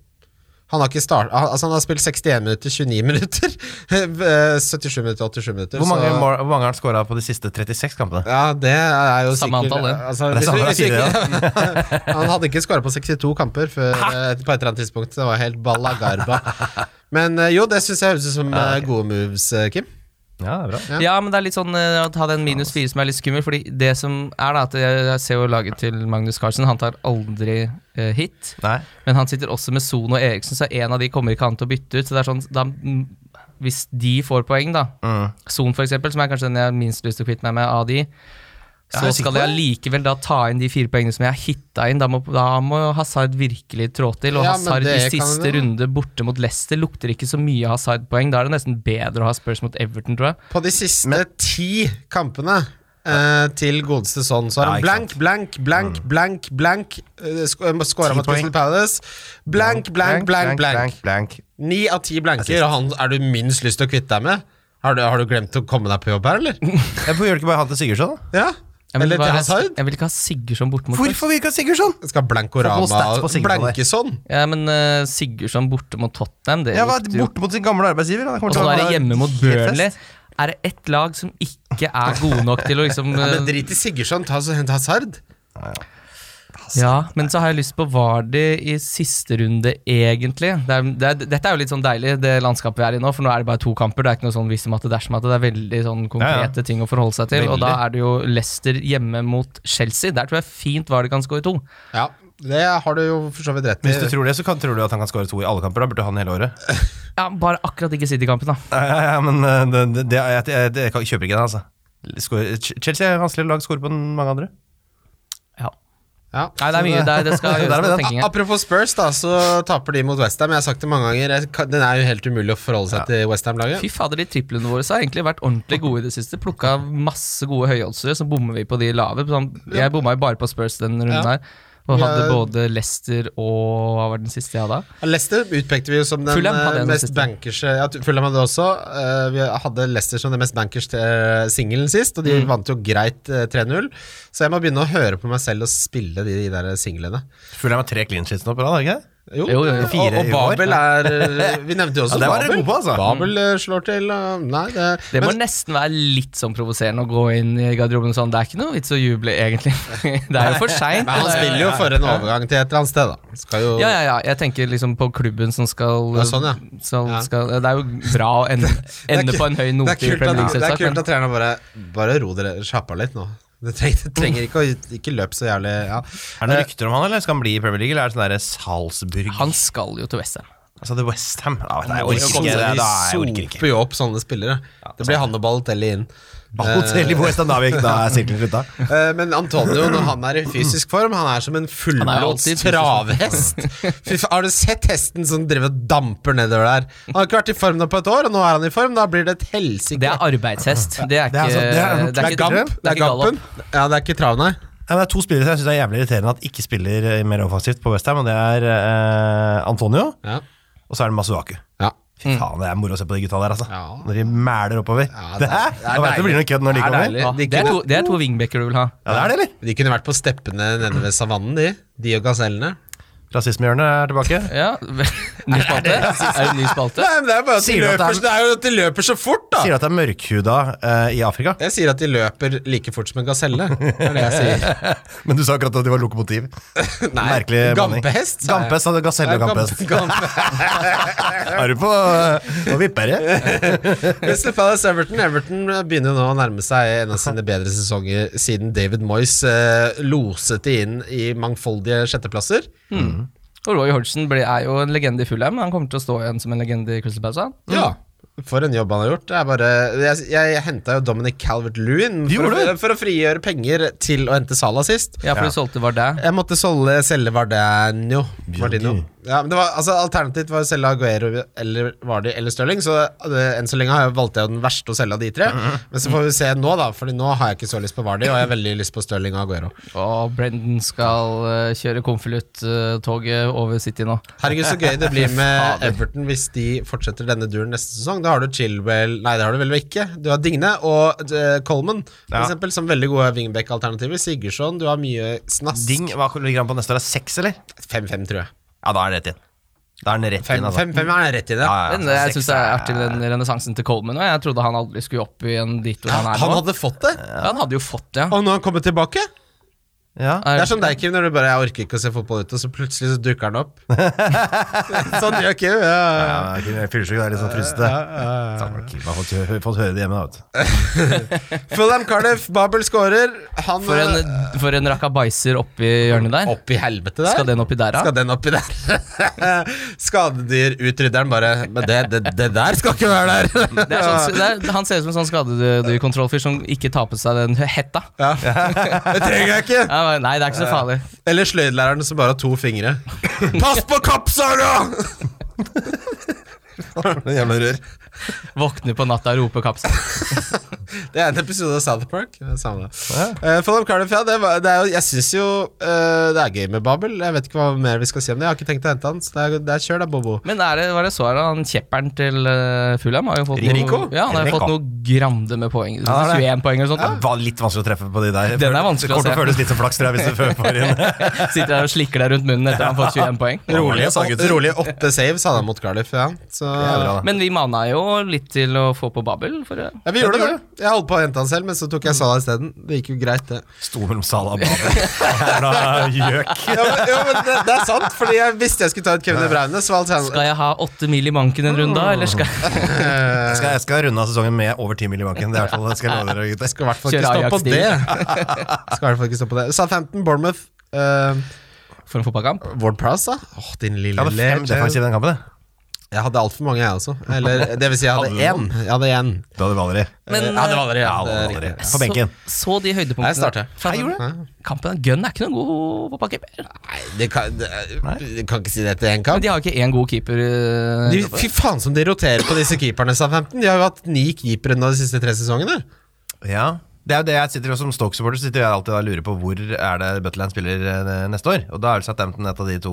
[SPEAKER 2] Han har, ikke start, han- altså han har spilt 61 minutter, 29 minutter, eh, 77 minutter, 87 minutter.
[SPEAKER 3] Hvor mange,
[SPEAKER 2] så-
[SPEAKER 3] mål, hvor mange har han scora på de siste 36 kampene?
[SPEAKER 2] Ja, det er jo
[SPEAKER 4] Samme
[SPEAKER 2] sikkert
[SPEAKER 4] antall, det.
[SPEAKER 2] altså,
[SPEAKER 3] Det er
[SPEAKER 2] hvis
[SPEAKER 3] samme
[SPEAKER 2] vi- hvis vi
[SPEAKER 3] antall,
[SPEAKER 2] ikke, Han hadde ikke skåra på 62 kamper før, eh, på et eller annet tidspunkt. Det var helt balla garba. Men eh, jo, det syns jeg høres ut som eh, gode moves, eh, Kim.
[SPEAKER 3] Ja, det er bra.
[SPEAKER 2] Ja.
[SPEAKER 4] Ja, men det er litt sånn eh, å ta den minus fire som er litt skummel. Fordi det som er da, at jeg jeg ser jo laget til Magnus Carlsen, han tar aldri eh, hit.
[SPEAKER 3] Nei.
[SPEAKER 4] Men han sitter også med Son og Eriksen, så en av de kommer ikke han til å bytte ut. Så det er sånn, da, mm, Hvis de får poeng, da,
[SPEAKER 2] Mm.
[SPEAKER 4] Son for eksempel, som er kanskje den jeg har minst lyst til å kvitte meg med av de,
[SPEAKER 3] er
[SPEAKER 4] så
[SPEAKER 3] du sikker
[SPEAKER 4] skal
[SPEAKER 3] på
[SPEAKER 4] jeg likevel da ta inn de fire poengene som jeg har hitta inn. Da må, da må Hazard virkelig trå til. Og
[SPEAKER 2] Ja, men
[SPEAKER 4] Hazard i
[SPEAKER 2] det kan
[SPEAKER 4] siste
[SPEAKER 2] det.
[SPEAKER 4] runde borte mot Leicester lukter ikke så mye Hazard-poeng. Da er det nesten bedre å ha Spurs mot Everton, tror jeg.
[SPEAKER 2] På de siste ti kampene eh, til godeste sånn, så har
[SPEAKER 3] Ja, ikke
[SPEAKER 2] han
[SPEAKER 3] Mm.
[SPEAKER 2] blank, blank, blank, blank, blank eh, sk- eh,
[SPEAKER 3] Ti
[SPEAKER 2] Skåra mot Crystal
[SPEAKER 3] poeng.
[SPEAKER 2] Palace. Blank, blank, blank, blank.
[SPEAKER 3] blank.
[SPEAKER 2] Ni av ti blanker, og han er du minst lyst til å kvitte deg med? Har du, har du glemt å komme deg på jobb her, eller?
[SPEAKER 3] Eh, Hvorfor gjør du ikke bare han til Sigurdsson, da?
[SPEAKER 2] Ja?
[SPEAKER 4] Jeg vil,
[SPEAKER 2] Eller til
[SPEAKER 4] bare,
[SPEAKER 2] Hazard?
[SPEAKER 4] jeg vil ikke ha Sigurdsson borte mot Spurs.
[SPEAKER 3] Hvorfor vil ikke ha Sigurdsson?
[SPEAKER 2] Skal
[SPEAKER 3] Få noen
[SPEAKER 2] Blankorama
[SPEAKER 3] stats på Sigurd på det.
[SPEAKER 2] blanke sånn?
[SPEAKER 4] Ja, men eh, Sigurdsson borte mot Tottenham, det
[SPEAKER 3] Jeg var
[SPEAKER 4] lukter jo
[SPEAKER 3] borte mot sin gamle arbeidsgiver. han kommer
[SPEAKER 4] Og
[SPEAKER 3] til
[SPEAKER 4] så
[SPEAKER 3] å
[SPEAKER 4] er det
[SPEAKER 3] ha
[SPEAKER 4] hjemme mot
[SPEAKER 3] helt fest.
[SPEAKER 4] Burnley. Er det ett lag som ikke er gode nok til å liksom
[SPEAKER 2] Ja, men
[SPEAKER 4] eh,
[SPEAKER 2] drit i Sigurdsson, ta så hent Hazard.
[SPEAKER 4] Ja, men så har jeg lyst på Vardi i siste runde, egentlig. Det er, det er, dette er jo litt sånn deilig, det landskapet vi er i nå, for nå er det bare to kamper. Det er ikke noe sånn hvis om at det dersom at det er veldig sånn konkrete ting å forholde seg til. Og da
[SPEAKER 3] Veldig.
[SPEAKER 4] er det jo Leicester hjemme mot Chelsea. Der tror jeg fint Vardi kan score to.
[SPEAKER 2] Ja, det har du jo for så vidt rett
[SPEAKER 3] Men Hvis du
[SPEAKER 2] i.
[SPEAKER 3] tror det, så kan, tror du at han kan skåre to i alle kamper. Da burde han hele året.
[SPEAKER 4] Ja, bare akkurat ikke City-kampen, da.
[SPEAKER 3] Ja, ja, ja, men eh, det, det, det, jeg, jeg, det, jeg kan- kjøper ikke den, altså. Skår, Ch- Chelsea er vanskelig lag å score på enn mange andre.
[SPEAKER 4] Ja.
[SPEAKER 2] Ja.
[SPEAKER 4] Nei, det er mye. Det, er- det skal
[SPEAKER 3] Der er vi
[SPEAKER 4] gjøres noe
[SPEAKER 3] den.
[SPEAKER 4] tenking
[SPEAKER 2] A-
[SPEAKER 4] her.
[SPEAKER 2] Apropos Spurs, da, så taper de mot Westham. Jeg har sagt det mange ganger. jeg kan- Den er jo helt umulig å forholde seg til Westham-laget.
[SPEAKER 4] Fy fader, de triplene våre så har egentlig vært ordentlig gode i det siste. Plukka masse gode høyoddsere, så bommer vi på de lave. Sånn, Jeg bomma jo bare på Spurs den runden
[SPEAKER 2] Ja.
[SPEAKER 4] her. Og hadde
[SPEAKER 2] Ja.
[SPEAKER 4] både Leicester og Hva var den siste jeg hadde?
[SPEAKER 2] Leicester utpekte vi jo som den
[SPEAKER 4] Fulham
[SPEAKER 2] eh,
[SPEAKER 4] hadde den
[SPEAKER 2] mest
[SPEAKER 4] siste.
[SPEAKER 2] bankerse ja, Fulham hadde også. eh, vi hadde Leicester som den mest bankers eh, singelen sist, og de
[SPEAKER 3] Mm.
[SPEAKER 2] vant jo greit eh, 3-0. Så jeg må begynne å høre på meg selv og spille de, de der singlene.
[SPEAKER 3] Fulham har tre clean sheets nå på rad, har de ikke det?
[SPEAKER 2] Jo,
[SPEAKER 4] Jo, jo, jo.
[SPEAKER 2] Og,
[SPEAKER 3] Fire
[SPEAKER 2] og
[SPEAKER 3] i år.
[SPEAKER 2] Babel er eh, Vi nevnte jo også
[SPEAKER 3] Ja, det var dere
[SPEAKER 2] Babel.
[SPEAKER 3] gode på, altså.
[SPEAKER 2] Babel eh, slår til. eh, Nei, det,
[SPEAKER 4] Mm. Det må
[SPEAKER 2] men,
[SPEAKER 4] nesten være litt sånn provoserende å gå inn i garderoben sånn. Det er ikke noe vits å juble, egentlig. Det er jo for seint.
[SPEAKER 2] men han spiller jo for en overgang til et eller annet sted, da. Skal jo,
[SPEAKER 4] Ja, ja, ja. Jeg tenker liksom på klubben som skal
[SPEAKER 2] Ja, sånn, ja.
[SPEAKER 4] Skal,
[SPEAKER 2] Ja.
[SPEAKER 4] skal, det er jo bra å ende, ende på en høy
[SPEAKER 2] Det er
[SPEAKER 4] note i
[SPEAKER 2] kult at,
[SPEAKER 4] Premier League,
[SPEAKER 2] det er
[SPEAKER 4] selvsagt.
[SPEAKER 2] kult
[SPEAKER 4] men-
[SPEAKER 2] at treneren bare Bare ro dere sjappa litt nå. Det trenger, det trenger ikke å Ikke løp så jævlig ja.
[SPEAKER 3] Er
[SPEAKER 2] Eh,
[SPEAKER 3] det noen rykter om han, eller skal han bli i Premier League, eller er det sånn der Salzburg?
[SPEAKER 4] Han skal jo til Western.
[SPEAKER 3] Altså det er Westham. Ja, nei, jeg
[SPEAKER 2] De
[SPEAKER 3] orker ikke. det, Da, jeg orker ikke.
[SPEAKER 2] soper jo opp sånne spillere. Det blir han og Balotelli inn.
[SPEAKER 3] Balotelli på Westham, da er vi ikke- da er sirkelen slutta.
[SPEAKER 2] Eh, Men Antonio, når han er i fysisk form, han er som en
[SPEAKER 4] Han er jo
[SPEAKER 2] fullblods
[SPEAKER 4] alltid i fysisk form.
[SPEAKER 2] travhest. Fy fa- Har du sett hesten som driver og damper nedover der? Han har ikke vært i form nå på et år, og nå er han i form. Da blir det et helsike.
[SPEAKER 4] Det er arbeidshest. Det er
[SPEAKER 3] Det er
[SPEAKER 4] ikke
[SPEAKER 3] sånn- det er-
[SPEAKER 4] det er
[SPEAKER 2] Det er
[SPEAKER 4] ikke-
[SPEAKER 2] gamp. Det er
[SPEAKER 4] ikke gallop.
[SPEAKER 2] gampen. Ja, det er ikke trav, nei.
[SPEAKER 3] Ja, men det er to spillere som jeg syns er jævlig irriterende at ikke spiller eh, mer offensivt på Westham, og det er eh, Antonio,
[SPEAKER 2] Ja.
[SPEAKER 3] og så er det Masuaku.
[SPEAKER 2] Ja.
[SPEAKER 3] Fy faen, det er moro å se på de gutta der, altså.
[SPEAKER 2] Mm. Ja.
[SPEAKER 3] Når de mæler oppover.
[SPEAKER 2] Ja,
[SPEAKER 3] det,
[SPEAKER 2] det
[SPEAKER 3] er,
[SPEAKER 2] er- det er
[SPEAKER 3] da vet du det blir noe kødd når de
[SPEAKER 2] Det er
[SPEAKER 3] kommer.
[SPEAKER 2] deilig.
[SPEAKER 4] Ja,
[SPEAKER 2] De
[SPEAKER 4] det, er
[SPEAKER 2] kunne-
[SPEAKER 4] to, det er to wingbacker du vil ha.
[SPEAKER 3] Ja, det er det, eller?
[SPEAKER 2] De kunne vært på steppene nede ved savannen, de. De og gasellene.
[SPEAKER 3] Rasismehjørnet er tilbake.
[SPEAKER 4] Ja, Ny spalte? Er det ny spalte?
[SPEAKER 2] Nei, men det er bare at de
[SPEAKER 3] Sier du at det er-
[SPEAKER 2] løper, så- det er jo at de løper så fort, da.
[SPEAKER 3] Sier at det er mørkhuda eh, i Afrika,
[SPEAKER 2] Jeg sier at de løper like fort som en gaselle. Det er det jeg sier.
[SPEAKER 3] men du sa akkurat at de var lokomotiv.
[SPEAKER 2] Nei,
[SPEAKER 3] Merkelig blanding.
[SPEAKER 2] gampehest. sa jeg.
[SPEAKER 3] Gampehest hadde gaselle og
[SPEAKER 2] Nei,
[SPEAKER 3] gampehest.
[SPEAKER 2] gamp- gamp-
[SPEAKER 3] Er du på, eh, på vippere?
[SPEAKER 2] Crystal Palace Everton Everton begynner nå å nærme seg en av sine bedre sesonger siden David Moyes eh, loset de inn i mangfoldige sjetteplasser.
[SPEAKER 4] Og Roy Hodgson ble, er jo en legende i Fulham. Han kommer til å stå igjen som en legende i Crystal Palace. han.
[SPEAKER 2] Ja Mm. for en jobb han har gjort. Det er bare, jeg jeg henta jo Dominic Calvert-Lewin for,
[SPEAKER 3] gjorde
[SPEAKER 2] å- for å frigjøre penger til å hente Salah sist.
[SPEAKER 4] Ja, for
[SPEAKER 3] Ja.
[SPEAKER 4] du solgte Vardæ.
[SPEAKER 2] Jeg måtte solge, selge Vardano. Vardino.
[SPEAKER 3] Bjørgi.
[SPEAKER 2] Ja, men det var, altså, alternativt var å selge Aguero eller Vardi eller Stirling, så eh, enn så lenge har jeg valgt den verste å selge av de tre. Men så får vi se nå, da, Fordi nå har jeg ikke så lyst på Vardi, og jeg har veldig lyst på Stirling og Aguero.
[SPEAKER 4] Og Brendan skal eh, kjøre konvolutt-toget over City nå.
[SPEAKER 2] Herregud, så gøy det blir med
[SPEAKER 4] Fader.
[SPEAKER 2] Everton hvis de fortsetter denne duren neste sesong. Da har du Chilwell Nei, det har du vel ikke. Du har Digne og eh, Coleman, for
[SPEAKER 3] Ja.
[SPEAKER 2] eksempel, som veldig gode wingback-alternativer. Sigurdsson, du har mye snask.
[SPEAKER 3] Ding, hva ligger han på neste år? Er Seks, eller?
[SPEAKER 2] 5-5, tror jeg.
[SPEAKER 3] Ja, da er det rett inn. Da er den rett inn,
[SPEAKER 2] 5-5
[SPEAKER 3] altså.
[SPEAKER 2] er rett i det.
[SPEAKER 3] Ja, ja,
[SPEAKER 4] Men eh,
[SPEAKER 3] så
[SPEAKER 4] jeg
[SPEAKER 3] seks
[SPEAKER 4] syns det er artig den renessansen til Coleman. Og jeg trodde han aldri skulle opp igjen dit hvor han er
[SPEAKER 2] Han
[SPEAKER 4] nå.
[SPEAKER 2] hadde fått det,
[SPEAKER 4] Ja, han hadde jo fått det, ja.
[SPEAKER 2] og nå har han kommet tilbake.
[SPEAKER 3] Ja.
[SPEAKER 2] Det er sånn- som deg, Kim, når du bare 'jeg orker ikke å se fotball ute', og så plutselig så dukker den opp. sånn gjør Kim. Ja, ja.
[SPEAKER 3] Ja, men jeg er Fyllesyk det er litt sånn frustete. Så hadde man ikke fått, hø- fått høre det hjemme, da. vet du.
[SPEAKER 2] Fulham Cardiff, Babel scorer. Han eh,
[SPEAKER 4] For en, for en rakabaiser oppi hjørnet der.
[SPEAKER 2] Opp i helvete der.
[SPEAKER 4] Skal den oppi der,
[SPEAKER 2] Skal
[SPEAKER 4] da?
[SPEAKER 2] den oppi der? Skadedyrutrydderen bare Men det, det, det der skal ikke være der!
[SPEAKER 4] Det er sånn, det er, han ser ut som en sånn skadedyrkontrollfyr som ikke tar på seg den hetta.
[SPEAKER 2] Ja. Det trenger jeg ikke!
[SPEAKER 4] Ja, Nei, det er ikke så farlig.
[SPEAKER 2] Eller sløydlæreren som bare har to fingre. Pass på kappsaga!
[SPEAKER 3] Den Jævla rør.
[SPEAKER 4] Våkner på natta og roper kapsen.
[SPEAKER 2] Det er en episode av South Park. Det er samme. Eh, Fulham Cardiff, ja. Det, var, det er jo, jeg syns jo eh, det er gøy med Babel. Jeg vet ikke hva mer vi skal si om det. Jeg har ikke tenkt å hente han, så det er, det er kjør da, Bobo.
[SPEAKER 4] Men er det, var det så her, han kjepperen til uh, Fulham har jo fått
[SPEAKER 3] Rico?
[SPEAKER 4] noe, ja, han har jo
[SPEAKER 3] Rico.
[SPEAKER 4] fått noe grande med poeng.
[SPEAKER 3] Ja, det er det.
[SPEAKER 4] 21 poeng eller
[SPEAKER 3] Det
[SPEAKER 4] sånt.
[SPEAKER 3] var litt vanskelig å treffe på de der.
[SPEAKER 4] Den er vanskelig
[SPEAKER 3] det kommer
[SPEAKER 4] å
[SPEAKER 3] til å
[SPEAKER 4] se.
[SPEAKER 3] føles litt som flaks, tror jeg, hvis du fø- får inn.
[SPEAKER 4] Sitter der og slikker deg rundt munnen etter han har fått 21 poeng.
[SPEAKER 3] Ja,
[SPEAKER 2] Rolig,
[SPEAKER 3] det sa gutten.
[SPEAKER 2] rolig åtte saves hadde han mot Cardiff. Ja. Så,
[SPEAKER 3] Det er bra, da.
[SPEAKER 4] Men vi mana jo litt til å få på Babel. For, det.
[SPEAKER 2] ja, vi gjorde det. Mm. Jeg holdt på å hente han selv, men så tok jeg Salah isteden. Det gikk jo greit, det.
[SPEAKER 3] Sto mellom Salah og Babel. Jævla gjøk.
[SPEAKER 2] Ja, men, ja, men det, det er sant, fordi jeg visste jeg skulle ta ut Kevin De Bruyne. Så var alternativet
[SPEAKER 4] skal jeg ha åtte mil i banken en runde, da, eller skal jeg
[SPEAKER 2] Eh,
[SPEAKER 3] Jeg skal, jeg skal runde av sesongen med over 10 mil i banken. Det er i hvert fall, det skal jeg love dere, gutter.
[SPEAKER 2] Skal i hvert fall ikke
[SPEAKER 4] Kjøre
[SPEAKER 2] stå på
[SPEAKER 4] Ajax-stil.
[SPEAKER 2] det. Skal i hvert fall ikke stå på det. Southampton, Bournemouth. eh,
[SPEAKER 4] for en fotballkamp?
[SPEAKER 2] Ward Prowse, da? Åh, din
[SPEAKER 3] Jeg
[SPEAKER 2] lille
[SPEAKER 3] hadde fem defensive i den kampen. jeg.
[SPEAKER 2] Jeg hadde altfor mange, jeg også. Eller det vil si, jeg hadde
[SPEAKER 3] Hadde du
[SPEAKER 2] én. Jeg hadde én.
[SPEAKER 3] Det hadde Valeri.
[SPEAKER 4] Men, eh,
[SPEAKER 2] Eh, ja, det var aldri,
[SPEAKER 3] Ja, det
[SPEAKER 2] ja. Det er
[SPEAKER 3] hadde Valeri.
[SPEAKER 2] riktig.
[SPEAKER 3] På benken.
[SPEAKER 4] Så, så de høydepunktene.
[SPEAKER 2] Jeg starter.
[SPEAKER 4] Fra-
[SPEAKER 3] Jeg gjorde det.
[SPEAKER 4] Kampen Gunn er ikke noen god fotballkeeper.
[SPEAKER 2] Nei, de kan, det er- de kan ikke si det til én
[SPEAKER 4] Men
[SPEAKER 2] kamp.
[SPEAKER 4] de har ikke én god keeper. eh,
[SPEAKER 2] De, fy faen som de roterer på disse keeperne, sa 15. De har jo hatt ni keepere nå de siste tre sesongene.
[SPEAKER 3] Ja. Det er jo det jeg sitter jo som Stoke-supporter sitter jeg alltid og lurer på hvor er det Butland spiller eh, neste år. Og da er det Southampton et av de to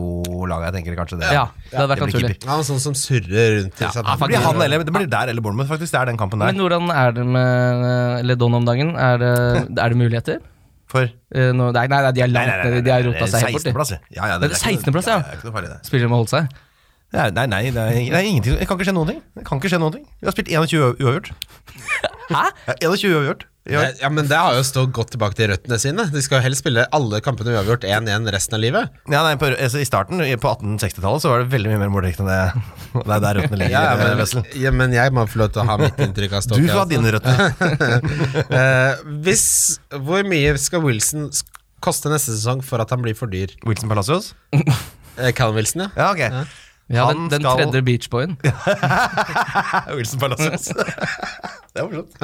[SPEAKER 3] lagene jeg tenker kanskje det.
[SPEAKER 4] ja, det hadde vært
[SPEAKER 3] Det blir
[SPEAKER 4] naturlig.
[SPEAKER 3] keeper.
[SPEAKER 2] Han er sånn som surrer rundt til
[SPEAKER 4] Ja,
[SPEAKER 3] Det
[SPEAKER 2] Southampton.
[SPEAKER 3] blir, han, eller, det blir der eller Bournemouth, faktisk. Det er den kampen der.
[SPEAKER 4] Men hvordan er det med eh, Ledon om dagen? Er det, er det muligheter?
[SPEAKER 3] For
[SPEAKER 4] Eh, nå- nei, nei, nei, de er
[SPEAKER 3] Nei,
[SPEAKER 4] langt
[SPEAKER 3] nei, nei,
[SPEAKER 4] nede.
[SPEAKER 3] nei,
[SPEAKER 4] De har
[SPEAKER 3] nei,
[SPEAKER 4] rota seg helt
[SPEAKER 3] 16.
[SPEAKER 4] bort. de.
[SPEAKER 3] plass, ja. ja, ja
[SPEAKER 4] Det er 16. plass, ja.
[SPEAKER 3] Det er ikke noe farlig, det.
[SPEAKER 4] Spiller med å holde seg.
[SPEAKER 3] Det er- Nei, nei, det er, det er ingenting. Det kan ikke skje noen ting. Det kan ikke skje noen ting. Vi har spilt 21 uav- uavgjort.
[SPEAKER 4] Hæ?
[SPEAKER 3] Ja, 21 uavgjort. i år.
[SPEAKER 2] Det- Ja, men det har jo stått godt tilbake til røttene sine. De skal jo helst spille alle kampene uavgjort 1-1 resten av livet.
[SPEAKER 3] Ja, nei, på, altså, I starten, i- på 1860-tallet, så var det veldig mye mer målrikt enn det. Det er der røttene ligger.
[SPEAKER 2] Ja,
[SPEAKER 3] eh,
[SPEAKER 2] men,
[SPEAKER 3] Wessel.
[SPEAKER 2] ja, men jeg må få lov til å ha mitt inntrykk av Stokke.
[SPEAKER 3] Du får ha dine røtter.
[SPEAKER 2] Eh, hvis, hvor mye skal Wilson sk- koste neste sesong for at han blir for dyr?
[SPEAKER 3] Wilson Palacios?
[SPEAKER 2] Eh, Callum Wilson, ja.
[SPEAKER 3] Ja, ok.
[SPEAKER 4] Ja, den,
[SPEAKER 3] Han
[SPEAKER 4] den
[SPEAKER 3] skal-
[SPEAKER 4] tredje beachboyen.
[SPEAKER 3] Wilson Palacios. det var morsomt.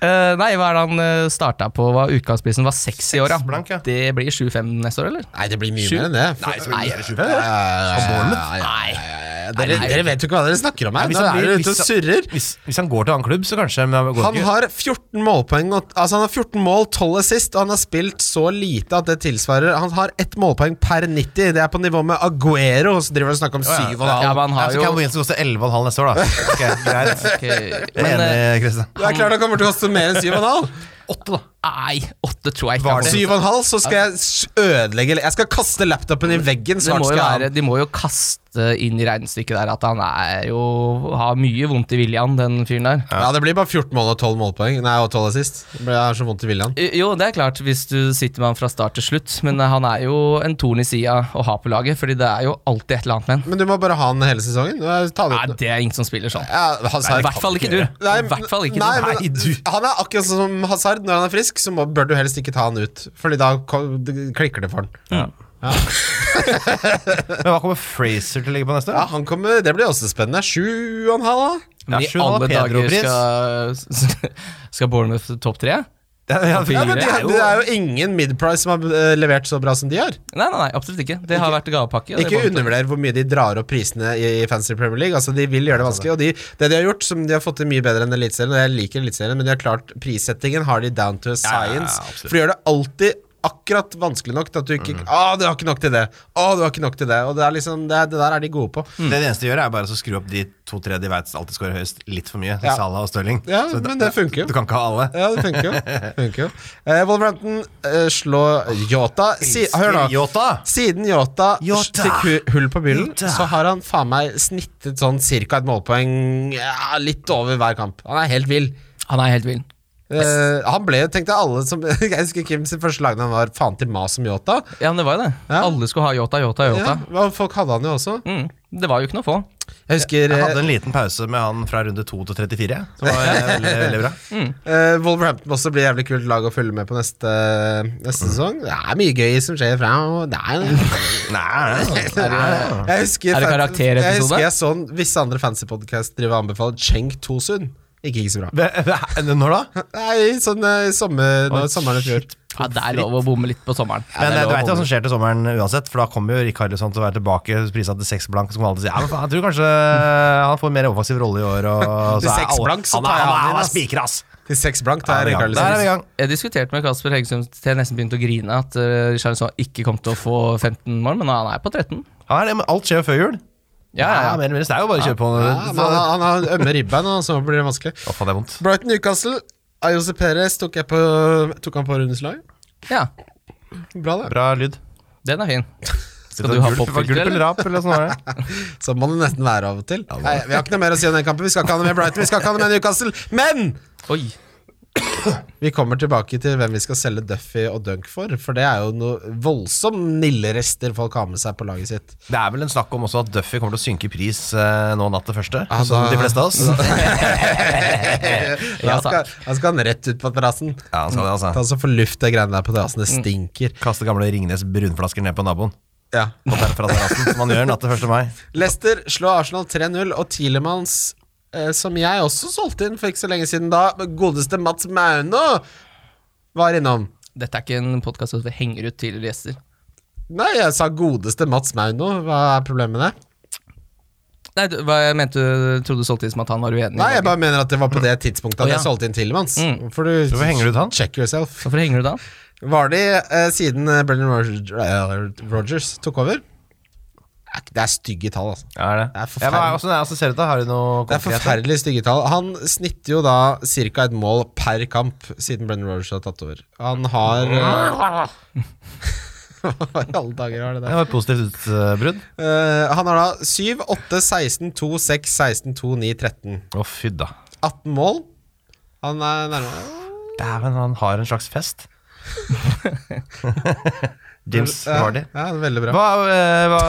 [SPEAKER 4] Eh, nei, hva er det han uh, starta på? Hva Utgangsprisen var seks i år, ja.
[SPEAKER 3] Seks blank, ja.
[SPEAKER 4] Det blir 7-5 neste år, eller?
[SPEAKER 2] Nei, det blir mye
[SPEAKER 4] Sju?
[SPEAKER 2] mer enn det. For,
[SPEAKER 3] Nei, så blir det 25,
[SPEAKER 2] Ja,
[SPEAKER 3] ja.
[SPEAKER 2] ja, ja,
[SPEAKER 3] Bournemouth?
[SPEAKER 2] ja, ja, ja, ja. Dere,
[SPEAKER 4] Nei.
[SPEAKER 2] dere vet jo ikke hva dere snakker om her.
[SPEAKER 3] Hvis
[SPEAKER 2] Nå
[SPEAKER 3] han
[SPEAKER 2] er
[SPEAKER 3] blir-
[SPEAKER 2] dere ute og
[SPEAKER 3] hvis han-
[SPEAKER 2] surrer.
[SPEAKER 3] Hvis, hvis han går til annen klubb, så kanskje. Men han går
[SPEAKER 2] Han
[SPEAKER 3] ikke.
[SPEAKER 2] har 14 målpoeng og, Altså han har 14 mål, 12 assist, og han har spilt så lite at det tilsvarer Han har ett målpoeng per 90. Det er på nivå med Aguero, og så driver han og snakker om 7,5.
[SPEAKER 4] Ja, men han har
[SPEAKER 3] Ja, så
[SPEAKER 4] jo-
[SPEAKER 3] kan Wilson koste 11,5 neste år, da. Ok, greit.
[SPEAKER 4] Ok,
[SPEAKER 3] Jeg
[SPEAKER 4] Men
[SPEAKER 3] er
[SPEAKER 4] eh,
[SPEAKER 3] enig, Kristian.
[SPEAKER 2] Det er klart han kommer til å koste mer enn 7,5.
[SPEAKER 3] Åtte, da.
[SPEAKER 4] nei, åtte tror jeg ikke.
[SPEAKER 3] Var
[SPEAKER 4] han
[SPEAKER 3] det-
[SPEAKER 4] får.
[SPEAKER 2] 7,5, så skal jeg s- ødelegge Jeg skal kaste laptopen i veggen
[SPEAKER 4] Det
[SPEAKER 2] snart.
[SPEAKER 4] må jo
[SPEAKER 2] skal jeg ha
[SPEAKER 4] være,
[SPEAKER 2] den.
[SPEAKER 4] de må jo kaste inn i regnestykket der at han er jo har mye vondt i viljen, den fyren der.
[SPEAKER 2] Ja, det blir bare 14 mål og 12 målpoeng. Nei, og 12 assist. Det blir- Jeg har så vondt i viljen.
[SPEAKER 4] Eh, Jo, det er klart, hvis du sitter med han fra start til slutt, men eh, han er jo en torn i sida å ha på laget, fordi det er jo alltid et eller annet med han.
[SPEAKER 2] Men du må bare ha den hele sesongen. Ja, Ta den ut.
[SPEAKER 4] Nei, det er ingen som spiller sånn.
[SPEAKER 2] Ja,
[SPEAKER 4] I
[SPEAKER 2] Hazard
[SPEAKER 4] hvert fall ikke du.
[SPEAKER 2] Nei,
[SPEAKER 4] I hvert fall ikke
[SPEAKER 2] nei,
[SPEAKER 4] du.
[SPEAKER 2] men,
[SPEAKER 3] Nei, du.
[SPEAKER 2] Han er akkurat sånn som Hazard. Når han er frisk, så må, bør du helst ikke ta han ut. Fordi da ko- d- klikker det for han.
[SPEAKER 3] Men hva kommer Fraser til å ligge på neste
[SPEAKER 2] Ja,
[SPEAKER 3] år?
[SPEAKER 2] han kommer, Det blir også spennende. Sju og en halv, da?
[SPEAKER 4] Men
[SPEAKER 3] Ja,
[SPEAKER 4] i
[SPEAKER 3] sju,
[SPEAKER 4] alle
[SPEAKER 3] da, Pedro
[SPEAKER 4] dager
[SPEAKER 3] Pris.
[SPEAKER 4] skal, skal Bournemouth topp tre?
[SPEAKER 3] Ja, ja,
[SPEAKER 4] Ja,
[SPEAKER 2] Ja, men de,
[SPEAKER 4] Det er jo-
[SPEAKER 2] det er jo ingen midprice som har eh, levert så bra som de har.
[SPEAKER 4] Nei, nei, nei, absolutt ikke. Det har vært gavepakke. og
[SPEAKER 2] Ikke
[SPEAKER 4] det kommer til å-
[SPEAKER 2] undervurder hvor mye de drar opp prisene i, i Fantasy Premier League. Altså, De vil gjøre det vanskelig. Og de, det de har gjort, som de har fått til mye bedre enn Eliteserien, og jeg liker Eliteserien, men de har klart prissettingen har de down to science.
[SPEAKER 3] absolutt.
[SPEAKER 2] for de gjør det alltid akkurat vanskelig nok til at du ikke Å, du har ikke nok til det! Å, du har ikke nok til det! Og det er liksom, det, det der er de gode på.
[SPEAKER 3] Det det eneste de gjør, er bare å skru opp de to-tre de vet alltid scorer høyest, litt for mye.
[SPEAKER 2] Ja.
[SPEAKER 3] Salah og Stirling.
[SPEAKER 2] Ja,
[SPEAKER 3] Så
[SPEAKER 2] men det funker jo.
[SPEAKER 3] Du kan ikke ha alle.
[SPEAKER 2] Ja, det funker jo. Funker jo. Eh, Wolverhampton eh, slår Yota. Si, hør nå.
[SPEAKER 3] Jota!
[SPEAKER 2] Siden Yota
[SPEAKER 3] Jota.
[SPEAKER 2] fikk hu- hull på byllen,
[SPEAKER 3] Jota.
[SPEAKER 2] så har han faen meg snittet sånn cirka et målpoeng ja, litt over hver kamp. Han er helt vill.
[SPEAKER 4] Han er helt vill.
[SPEAKER 2] Eh, han ble jo, tenkte jeg, alle som Jeg husker Kim sin første lagnavn var faen til mas om Yota.
[SPEAKER 4] Ja, men det var jo det.
[SPEAKER 2] Ja.
[SPEAKER 4] Alle skulle ha Yota, Yota,
[SPEAKER 2] Ja,
[SPEAKER 4] Yota.
[SPEAKER 2] og folk hadde han jo også.
[SPEAKER 4] Mm. Det var jo ikke noe å få.
[SPEAKER 2] Jeg husker
[SPEAKER 3] Jeg
[SPEAKER 2] eh,
[SPEAKER 3] hadde en liten pause med han fra runde 2 til 34, som var eh, veldig, veldig bra.
[SPEAKER 4] Mm.
[SPEAKER 2] eh, Wolverhampton også blir jævlig kult lag å følge med på neste,
[SPEAKER 4] Mm.
[SPEAKER 2] neste sesong. Det er mye gøy som skjer fra og det er-
[SPEAKER 3] Nei, nei, nei.
[SPEAKER 2] Jeg husker
[SPEAKER 4] Er det karakterepisode?
[SPEAKER 2] Jeg husker jeg så en- visse andre fancy podcast drive og anbefale Cheng Tosun. Gikk ikke så bra.
[SPEAKER 3] Hva- hva- Når da?
[SPEAKER 2] Nei, sånn eh, sommer, nå,
[SPEAKER 3] Oi,
[SPEAKER 2] sommeren i fjor.
[SPEAKER 4] Ja, det er lov å bomme litt på sommeren.
[SPEAKER 3] Men eh,
[SPEAKER 4] det er
[SPEAKER 3] du
[SPEAKER 4] lov å
[SPEAKER 3] vet jo hva
[SPEAKER 4] bomme
[SPEAKER 3] som skjer til sommeren uansett, for da kommer jo Rikarlison til å være tilbake, prisa til seks blank, så kommer alle til å si ja, men faen, jeg tror kanskje han får en mer offensiv rolle i år. Og,
[SPEAKER 2] Til
[SPEAKER 3] er
[SPEAKER 2] seks
[SPEAKER 3] alle-
[SPEAKER 2] blank, så
[SPEAKER 3] han er-
[SPEAKER 2] tar
[SPEAKER 3] han er-
[SPEAKER 2] jeg han inn,
[SPEAKER 3] Han er
[SPEAKER 2] ass.
[SPEAKER 3] spikra, ass!
[SPEAKER 2] Til seks blank tar jeg
[SPEAKER 3] Der er vi i
[SPEAKER 2] Rikardsen.
[SPEAKER 3] gang.
[SPEAKER 4] litt. Jeg diskuterte med Kasper Heggesund til jeg nesten begynte å grine at uh, Charlison ikke kom til å få 15 mål, men han er på 13.
[SPEAKER 3] Han er det, men alt skjer jo før jul.
[SPEAKER 4] Ja, ja, ja.
[SPEAKER 3] mer eller mindre, så det er jo bare å kjøre på.
[SPEAKER 2] Ja, men han, han har ømme ribbein, og så blir det vanskelig.
[SPEAKER 3] Å, faen, det er vondt.
[SPEAKER 2] Brighton Newcastle. Ayose Perez tok, jeg på, tok han på rundens lag.
[SPEAKER 4] ja.
[SPEAKER 2] Bra, det.
[SPEAKER 3] Bra lyd. sånn
[SPEAKER 4] Den er fin. Skal du ha
[SPEAKER 3] Gulp-
[SPEAKER 4] popfilter,
[SPEAKER 3] gulp
[SPEAKER 4] eller?
[SPEAKER 3] eller rap, eller sånn var det?
[SPEAKER 2] Sånn må det nesten være av og til. Nei, vi har ikke noe mer å si om den kampen. Vi skal ikke ha noe med Brighton, vi skal ikke ha noe med Newcastle. Men
[SPEAKER 4] Oi.
[SPEAKER 2] vi kommer tilbake til hvem vi skal selge Duffy og Dunk for. For det er jo noe voldsomt nille rester folk har med seg på laget sitt.
[SPEAKER 3] Det er vel en snakk om også at Duffy kommer til å synke i pris eh, nå natt til første,
[SPEAKER 2] Ja,
[SPEAKER 3] som
[SPEAKER 2] da-
[SPEAKER 3] de fleste av oss.
[SPEAKER 2] Da skal, da skal han rett ut på terrassen.
[SPEAKER 3] Ja, han skal det, altså.
[SPEAKER 2] Ta så for luft det greiene der på terrassen. Det stinker.
[SPEAKER 3] Kaste gamle Ringnes brunflasker ned på naboen.
[SPEAKER 2] Ja.
[SPEAKER 3] På ter- fra terrassen, som han gjør natt til 1. mai.
[SPEAKER 2] Leicester slår Arsenal 3-0, og Tilemans, eh, som jeg også solgte inn for ikke så lenge siden da, godeste Mats Maune var innom.
[SPEAKER 4] Dette er ikke en podkast hvor vi henger ut tidligere gjester.
[SPEAKER 2] Nei, jeg sa godeste Mats Maune. Hva er problemet med det?
[SPEAKER 4] Nei, du, hva jeg mente du trodde du solgte inn som at han var uenig? i
[SPEAKER 2] Nei, jeg
[SPEAKER 4] laget.
[SPEAKER 2] bare mener at det var på det tidspunktet at
[SPEAKER 4] Å, ja.
[SPEAKER 2] jeg solgte inn Tilemans.
[SPEAKER 4] Mm.
[SPEAKER 2] For du,
[SPEAKER 3] Hvorfor henger du ut han?
[SPEAKER 2] Check yourself.
[SPEAKER 4] Hvorfor henger du da?
[SPEAKER 2] eh, Var de eh, siden eh, Brendan Rogers, Rogers tok over? er ikke- det er stygge tall, altså.
[SPEAKER 3] Ja, er det?
[SPEAKER 2] Det er forferdelig.
[SPEAKER 3] ja, men, hvordan er det som ser ut da? Har du noe
[SPEAKER 2] Det er forferdelig stygge tall. Han snitter jo da ca. et mål per kamp siden Brendan Rogers har tatt over. Han har
[SPEAKER 3] Ah.
[SPEAKER 2] eh, Hva i alle dager var det
[SPEAKER 3] Det
[SPEAKER 2] der?
[SPEAKER 3] var et positivt utbrudd.
[SPEAKER 2] Eh, han har da 7, 8, 16, 2, 6, 16, 2, 9, 13.
[SPEAKER 3] Å, fy da.
[SPEAKER 2] 18 mål. Han er nærmere
[SPEAKER 3] Dæven, han har en slags fest. James
[SPEAKER 2] Ja,
[SPEAKER 3] Hardy.
[SPEAKER 2] Ja, veldig bra.
[SPEAKER 3] Hva, eh, hva,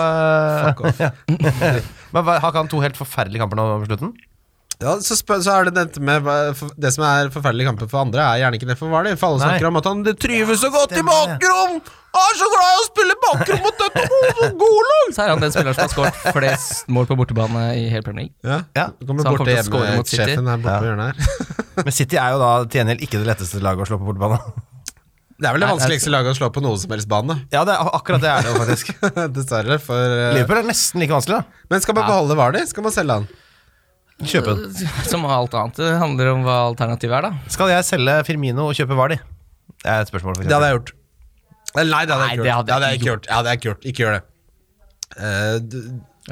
[SPEAKER 2] Fuck off.
[SPEAKER 3] men hva Har ikke han to helt forferdelige kamper nå på slutten?
[SPEAKER 2] Ja, så, spør, så er det dette med hva- for- Det som er forferdelige kamper for andre, er gjerne ikke det for Hvaler. For alle
[SPEAKER 3] Nei.
[SPEAKER 2] snakker om at han det trives så godt i
[SPEAKER 3] stemmer det.
[SPEAKER 2] bakrom! Han er så glad i å spille bakrom mot dette gode- gode lag!
[SPEAKER 4] Så er han den spilleren som har skåret flest mål på bortebane i hele Premier League.
[SPEAKER 2] Ja.
[SPEAKER 3] Ja.
[SPEAKER 2] Du kommer
[SPEAKER 4] Så han
[SPEAKER 2] bort
[SPEAKER 4] kommer
[SPEAKER 2] til
[SPEAKER 4] til å score mot City.
[SPEAKER 2] hjemmesjefen her borte
[SPEAKER 3] Ja.
[SPEAKER 2] på hjørnet her.
[SPEAKER 3] Men City er jo da til gjengjeld ikke det letteste laget å slå på bortebane.
[SPEAKER 2] Det er vel det
[SPEAKER 4] Nei,
[SPEAKER 2] vanskeligste laget å slå på noen som helst bane.
[SPEAKER 3] Ja, det er, akkurat det er det jo faktisk.
[SPEAKER 2] Dessverre. For, eh,
[SPEAKER 3] Liverpool er nesten like vanskelig, da.
[SPEAKER 2] men skal man beholde Vardy? Skal man selge han?
[SPEAKER 3] Kjøpe den.
[SPEAKER 4] Som alt annet. Det handler om hva alternativet er, da.
[SPEAKER 3] Skal jeg selge Firmino og kjøpe Vardi? Det er et spørsmål. For
[SPEAKER 2] Det hadde jeg gjort. Eller Nei, det hadde jeg
[SPEAKER 4] Nei,
[SPEAKER 2] ikke
[SPEAKER 4] det
[SPEAKER 2] gjort.
[SPEAKER 4] hadde
[SPEAKER 2] Det hadde jeg
[SPEAKER 4] jeg
[SPEAKER 2] ikke gjort. Ja, det hadde jeg ikke gjort. Ikke gjør det. Eh, du,